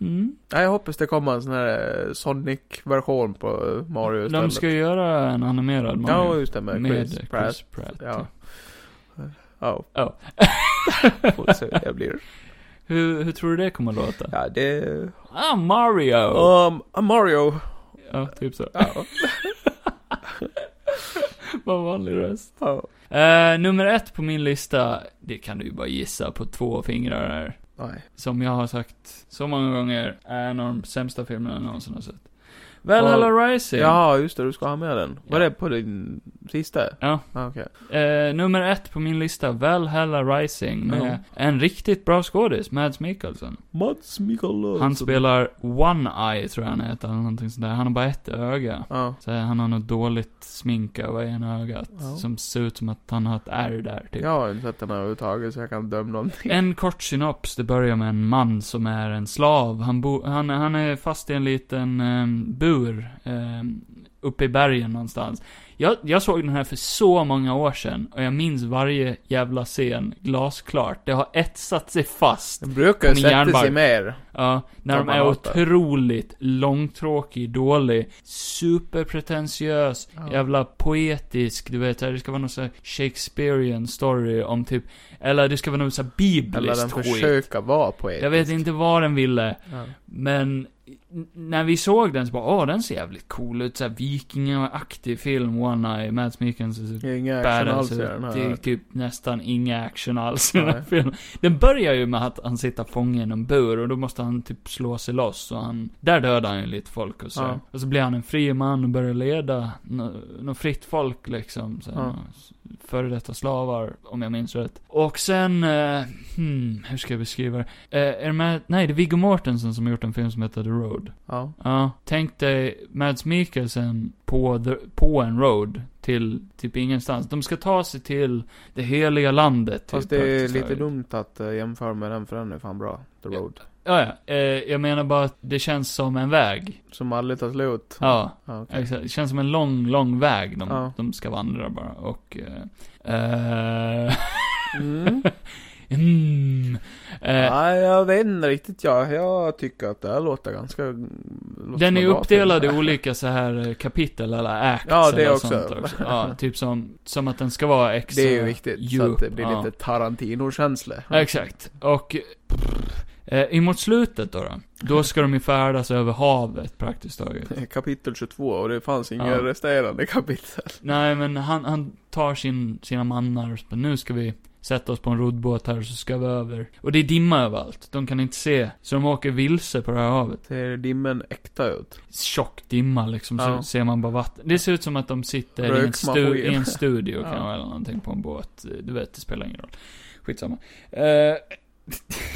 [SPEAKER 3] Mm.
[SPEAKER 4] Nej, jag hoppas det kommer en sån här eh, Sonic-version på eh, Mario
[SPEAKER 3] De
[SPEAKER 4] istället.
[SPEAKER 3] ska ju göra en animerad Mario.
[SPEAKER 4] Ja, just det, med,
[SPEAKER 3] med
[SPEAKER 4] Chris Pratt.
[SPEAKER 3] Pratt.
[SPEAKER 4] Ja. Ja,
[SPEAKER 3] Ja.
[SPEAKER 4] får se hur det blir.
[SPEAKER 3] Hur, hur tror du det kommer låta?
[SPEAKER 4] Ja, det...
[SPEAKER 3] Ah, Mario!
[SPEAKER 4] Um, a Mario.
[SPEAKER 3] Ja, typ så.
[SPEAKER 4] Ja.
[SPEAKER 3] Vad vanlig röst.
[SPEAKER 4] ja.
[SPEAKER 3] Eh, nummer ett på min lista, det kan du ju bara gissa på två fingrar här.
[SPEAKER 4] Nej.
[SPEAKER 3] Som jag har sagt så många gånger, är en av de sämsta filmerna jag någonsin har sett. Valhalla Rising.
[SPEAKER 4] Ja, just det, du ska ha med den. Var det på din sista?
[SPEAKER 3] Ja.
[SPEAKER 4] Ah, Okej.
[SPEAKER 3] Eh, nummer ett på min lista, Valhalla Rising, med
[SPEAKER 4] Ja.
[SPEAKER 3] en riktigt bra skådis, Mads Mikkelsen.
[SPEAKER 4] Mats Mikkelsen.
[SPEAKER 3] Han spelar One-Eye, tror jag han heter, eller någonting sånt där. Han har bara ett öga.
[SPEAKER 4] Ja.
[SPEAKER 3] Så han har något dåligt smink över ena ögat, som ser ut som att han har ett ärr där, typ.
[SPEAKER 4] Jag har inte sett den här överhuvudtaget så jag kan döma någonting.
[SPEAKER 3] En kort synops, det börjar med en man som är en slav. Han, bo, han, han är fast i en liten um, bur um, uppe i bergen någonstans. Jag, jag såg den här för så många år sedan och jag minns varje jävla scen glasklart. Det har etsat sig fast.
[SPEAKER 4] Den brukar ju
[SPEAKER 3] Min
[SPEAKER 4] sätta sig
[SPEAKER 3] järnbark.
[SPEAKER 4] mer.
[SPEAKER 3] Ja, när de
[SPEAKER 4] Som man
[SPEAKER 3] är
[SPEAKER 4] hatar.
[SPEAKER 3] otroligt långtråkig, dålig, superpretentiös, jävla poetisk, du vet, det ska vara någon sån här Shakespearean story om typ, eller det ska vara något sån här
[SPEAKER 4] Eller den
[SPEAKER 3] bibliskt skit.
[SPEAKER 4] försöker vara poetisk.
[SPEAKER 3] Jag vet inte vad den ville,
[SPEAKER 4] Ja.
[SPEAKER 3] men n- när vi såg den så bara, åh, den ser jävligt cool ut, såhär vikingaaktig film, One Eye, Mads Mikkelsen
[SPEAKER 4] Det är inga action
[SPEAKER 3] badass
[SPEAKER 4] alls i
[SPEAKER 3] ut.
[SPEAKER 4] den
[SPEAKER 3] Det är
[SPEAKER 4] här.
[SPEAKER 3] typ nästan inga action alls i den här
[SPEAKER 4] Nej.
[SPEAKER 3] filmen. Den börjar ju med att han sitter fången i en bur och då måste han typ slå sig loss och han, där dödar han ju lite folk och så.
[SPEAKER 4] Ja.
[SPEAKER 3] Och så blir han en fri man och börjar leda nå- något fritt folk liksom. Så här,
[SPEAKER 4] Ja.
[SPEAKER 3] nå- s- Före detta slavar, om jag minns rätt. Och sen, eh, hmm, hur ska jag beskriva det? Eh, är det med, nej, det är Viggo Mortensen som har gjort en film som heter The Road.
[SPEAKER 4] Ja.
[SPEAKER 3] Ja, tänk dig Mads Mikkelsen på, the, på en road till typ ingenstans. De ska ta sig till det heliga landet. Typ,
[SPEAKER 4] Fast det är
[SPEAKER 3] praktiskt
[SPEAKER 4] lite
[SPEAKER 3] taget.
[SPEAKER 4] dumt att eh, jämföra med den för den är fan bra. The
[SPEAKER 3] Ja.
[SPEAKER 4] Road.
[SPEAKER 3] Ja, ja. Eh, jag menar bara att det känns som en väg.
[SPEAKER 4] Som aldrig tar slut.
[SPEAKER 3] Ja.
[SPEAKER 4] Ja, okej.
[SPEAKER 3] Exakt. Det känns som en lång, lång väg de,
[SPEAKER 4] Ja.
[SPEAKER 3] de ska vandra bara. Och... Eh, eh,
[SPEAKER 4] Mm.
[SPEAKER 3] mm, eh,
[SPEAKER 4] Nej, jag vet inte riktigt jag. Jag tycker att det här låter ganska... låter
[SPEAKER 3] Den
[SPEAKER 4] som
[SPEAKER 3] är
[SPEAKER 4] en bra
[SPEAKER 3] uppdelad i
[SPEAKER 4] film.
[SPEAKER 3] olika så här eh, kapitel eller acts
[SPEAKER 4] Ja, det
[SPEAKER 3] eller
[SPEAKER 4] också.
[SPEAKER 3] sånt också. Ja, typ som, som att den ska vara extra
[SPEAKER 4] Det är ju viktigt. så att det blir
[SPEAKER 3] ja.
[SPEAKER 4] lite Tarantino-känsla.
[SPEAKER 3] Ja, Exakt. Och eh, emot slutet då, då, då ska de ju färdas över havet praktiskt taget.
[SPEAKER 4] Kapitel 22 och det fanns inga
[SPEAKER 3] Ja.
[SPEAKER 4] resterande kapitel.
[SPEAKER 3] Nej, men han, han tar sin, sina mannar och så bara, nu ska vi sätta oss på en roddbåt här och så ska vi över. Och det är dimma överallt. De kan inte se. Så de åker vilse på det här havet.
[SPEAKER 4] Ser dimmen äkta ut?
[SPEAKER 3] tjock dimma liksom,
[SPEAKER 4] Ja.
[SPEAKER 3] så ser man bara vatten. Det ser ut som att de sitter i en, stu-
[SPEAKER 4] Röksmaskin.
[SPEAKER 3] i en studio
[SPEAKER 4] Ja.
[SPEAKER 3] kanske, eller någonting på en båt. Du vet, det spelar ingen roll. Skitsamma. Eh,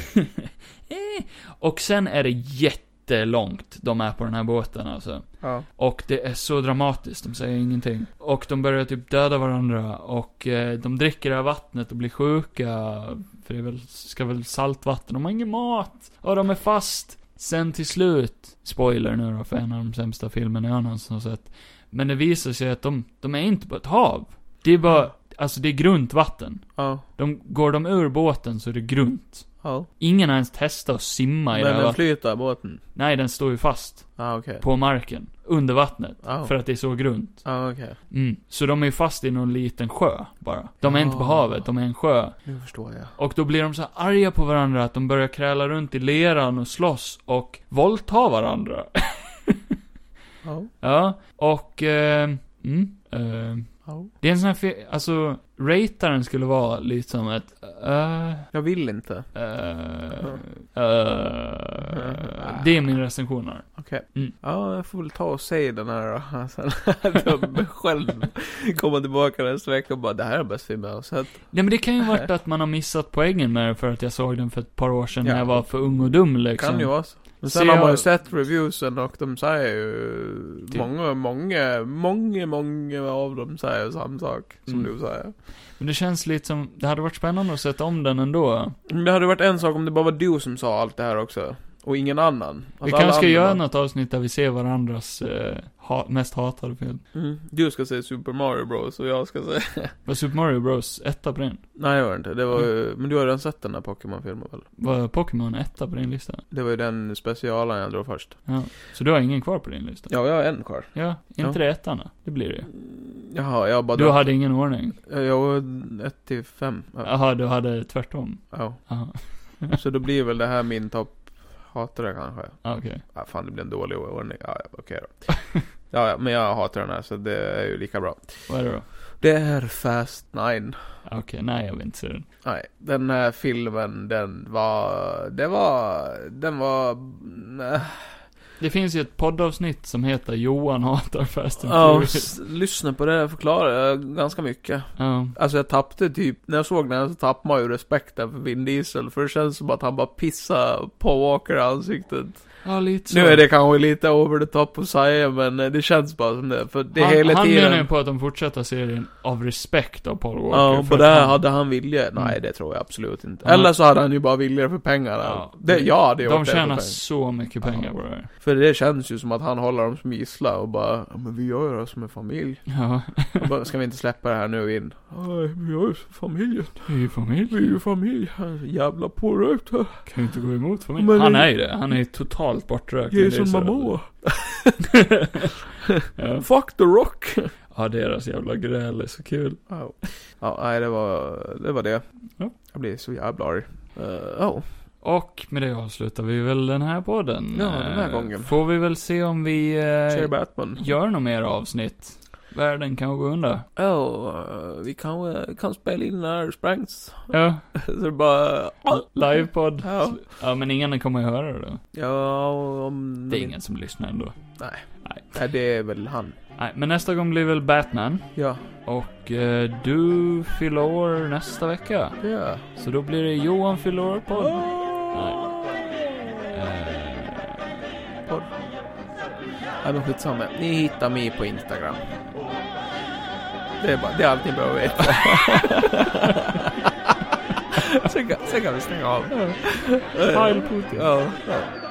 [SPEAKER 3] eh. och sen är det jättelångt de är på den här båten alltså.
[SPEAKER 4] Ja.
[SPEAKER 3] Och det är så dramatiskt, de säger ingenting. Och de börjar typ döda varandra och eh, de dricker det här vattnet och blir sjuka. För det är väl, ska väl saltvatten, de har ingen mat. Och de är fast. Sen till slut, spoiler nu då för en av de sämsta filmerna jag någonsin har sett. Men det visar sig att de, de är inte på ett hav. Det är bara, alltså det är grunt vatten.
[SPEAKER 4] Ja.
[SPEAKER 3] De, går de ur båten så är det grunt.
[SPEAKER 4] ja.
[SPEAKER 3] Ingen har ens testat att simma i det
[SPEAKER 4] Men
[SPEAKER 3] här
[SPEAKER 4] den
[SPEAKER 3] vattnet.
[SPEAKER 4] flyter båten?
[SPEAKER 3] Nej, den står ju fast.
[SPEAKER 4] Ja, okej.
[SPEAKER 3] På marken. Under vattnet.
[SPEAKER 4] Ja.
[SPEAKER 3] För att det är så grunt.
[SPEAKER 4] Ja, Ah, okej.
[SPEAKER 3] Mm. Så de är ju fast i någon liten sjö bara. De är inte på
[SPEAKER 4] Ja.
[SPEAKER 3] havet, de är en sjö.
[SPEAKER 4] Nu förstår jag.
[SPEAKER 3] Och då blir de så här arga på varandra att de börjar kräla runt i leran och slåss och våldta varandra.
[SPEAKER 4] Ja.
[SPEAKER 3] Ja, och... Eh, mm, eh,
[SPEAKER 4] Ja.
[SPEAKER 3] det är en sån här fe- Alltså, rataren skulle vara lite som ett... eh,
[SPEAKER 4] Jag vill inte.
[SPEAKER 3] eh, eh, det är min recension här.
[SPEAKER 4] Ja, jag får väl ta och se den här då. Sen att jag själv kommer tillbaka nästa vecka och bara det här är den bästa filmen jag har sett.
[SPEAKER 3] Nej men det kan ju varit att man har missat poängen med det för att jag såg den för ett par år sedan när
[SPEAKER 4] Ja.
[SPEAKER 3] jag var för ung och dum liksom.
[SPEAKER 4] Kan ju vara så. Men
[SPEAKER 3] Så
[SPEAKER 4] sen har man ju
[SPEAKER 3] jag-
[SPEAKER 4] sett reviewsen och de säger ju
[SPEAKER 3] Typ.
[SPEAKER 4] många, många, många, många av dem säger samma sak som
[SPEAKER 3] Mm.
[SPEAKER 4] du säger.
[SPEAKER 3] Men det känns lite som, det hade varit spännande att sätta om den ändå.
[SPEAKER 4] Men det hade varit en sak om det bara var du som sa allt det här också. Och ingen annan. Att
[SPEAKER 3] vi
[SPEAKER 4] alla
[SPEAKER 3] kanske ska
[SPEAKER 4] andra
[SPEAKER 3] göra
[SPEAKER 4] bara,
[SPEAKER 3] något avsnitt där vi ser varandras eh, ha, mest hatade film.
[SPEAKER 4] Mm, du ska säga Super Mario Bros och jag ska säga...
[SPEAKER 3] Var Super Mario Bros etta på den?
[SPEAKER 4] Nej det var det inte. Det var ju... Men du har redan sett den där Pokémon-filmen väl?
[SPEAKER 3] Var Pokémon etta på din lista?
[SPEAKER 4] Det var ju den specialen jag drog först.
[SPEAKER 3] Ja. Så du har ingen kvar på din lista?
[SPEAKER 4] Ja, jag har en kvar.
[SPEAKER 3] Ja, inte
[SPEAKER 4] Ja.
[SPEAKER 3] det ettan då? Det blir det ju.
[SPEAKER 4] Jaha, jag bara...
[SPEAKER 3] Du hade ingen ordning?
[SPEAKER 4] Jag var 1 till 5. Ja.
[SPEAKER 3] Jaha, du hade tvärtom?
[SPEAKER 4] ja.
[SPEAKER 3] Jaha,
[SPEAKER 4] Så då blir väl det här min topp... Hatar det kanske.
[SPEAKER 3] ah, okej.
[SPEAKER 4] Ja, fan det blir en dålig ordning. Ja, ja, okej då. Ja, ja, men jag hatar den här så det är ju lika bra.
[SPEAKER 3] Vad är det då?
[SPEAKER 4] Det är Fast Nine.
[SPEAKER 3] Ah, Okej, nej jag vill inte se den.
[SPEAKER 4] Nej, den här filmen den var... Det var... Den var... nej.
[SPEAKER 3] Det finns ju ett poddavsnitt som heter Johan hatar Fast and
[SPEAKER 4] Ja,
[SPEAKER 3] Furious.
[SPEAKER 4] s- lyssna på det, jag förklarar eh, ganska mycket.
[SPEAKER 3] Ja.
[SPEAKER 4] Alltså jag tappade typ, när jag såg den här så tappade man ju respekten för Vin Diesel. För det känns som att han bara pissar på Walker i ansiktet.
[SPEAKER 3] Ja, lite så.
[SPEAKER 4] Nu är det kanske lite over the top att säga, men eh, det känns bara som det. För det
[SPEAKER 3] han,
[SPEAKER 4] hela
[SPEAKER 3] han
[SPEAKER 4] tiden...
[SPEAKER 3] menar ju på att de fortsätter serien av respekt av Paul Walker.
[SPEAKER 4] Ja,
[SPEAKER 3] för
[SPEAKER 4] på
[SPEAKER 3] att
[SPEAKER 4] det här
[SPEAKER 3] han-
[SPEAKER 4] hade han vilja. Nej,
[SPEAKER 3] Mm.
[SPEAKER 4] det tror jag absolut inte.
[SPEAKER 3] Han-
[SPEAKER 4] Eller så hade han ju bara vilja för pengarna.
[SPEAKER 3] Ja.
[SPEAKER 4] det, ja, det är
[SPEAKER 3] De
[SPEAKER 4] det för
[SPEAKER 3] tjänar
[SPEAKER 4] pengar.
[SPEAKER 3] så mycket pengar på det här.
[SPEAKER 4] För det känns ju som att han håller dem som gisslan och bara, "Ja, men vi gör ju det här som en familj.
[SPEAKER 3] Ja,
[SPEAKER 4] Och bara, Ska vi inte släppa det här nu in? Nej, vi gör ju som familjen.
[SPEAKER 3] det är ju familj.
[SPEAKER 4] Vi är ju familj. Jävla pårökt.
[SPEAKER 3] Kan ju inte gå emot familj.
[SPEAKER 4] Men
[SPEAKER 3] han
[SPEAKER 4] det-
[SPEAKER 3] är ju det. Han är ju totalt bortrökt.
[SPEAKER 4] Jag är
[SPEAKER 3] Det är
[SPEAKER 4] som
[SPEAKER 3] så-
[SPEAKER 4] Momoa.
[SPEAKER 3] ja.
[SPEAKER 4] Fuck the rock.
[SPEAKER 3] ja, deras jävla gräl är så kul.
[SPEAKER 4] Ja, Ja, nej det var det. Var det.
[SPEAKER 3] Ja.
[SPEAKER 4] Jag blir så jävla arg. Eh, ja.
[SPEAKER 3] Och med det avslutar vi väl den här podden.
[SPEAKER 4] Ja, den här
[SPEAKER 3] Eh,
[SPEAKER 4] gången.
[SPEAKER 3] Får vi väl se om vi
[SPEAKER 4] Ser
[SPEAKER 3] eh,
[SPEAKER 4] Batman.
[SPEAKER 3] gör något mer avsnitt. Världen kan gå under.
[SPEAKER 4] Ja, eh, vi kan, eh, kan spela in när Sprangs.
[SPEAKER 3] Ja,
[SPEAKER 4] så det bara...
[SPEAKER 3] livepodd.
[SPEAKER 4] Ja.
[SPEAKER 3] Ja, men ingen kommer ju höra det.
[SPEAKER 4] Ja, om...
[SPEAKER 3] Det är ingen som lyssnar ändå.
[SPEAKER 4] Nej, det är väl han.
[SPEAKER 3] Nej, men nästa gång blir väl Batman.
[SPEAKER 4] Ja,
[SPEAKER 3] Och eh, du fyller år nästa vecka.
[SPEAKER 4] ja.
[SPEAKER 3] Så då blir det Johan fyller år-podd.
[SPEAKER 4] Nej.
[SPEAKER 3] Eh,
[SPEAKER 4] Nej, men skitsamma. Ni hittar mig på Instagram. Det är, bara, det är allt ni behöver veta. sen, kan, sen kan vi stänga av. Pile Putin. Ja, ja.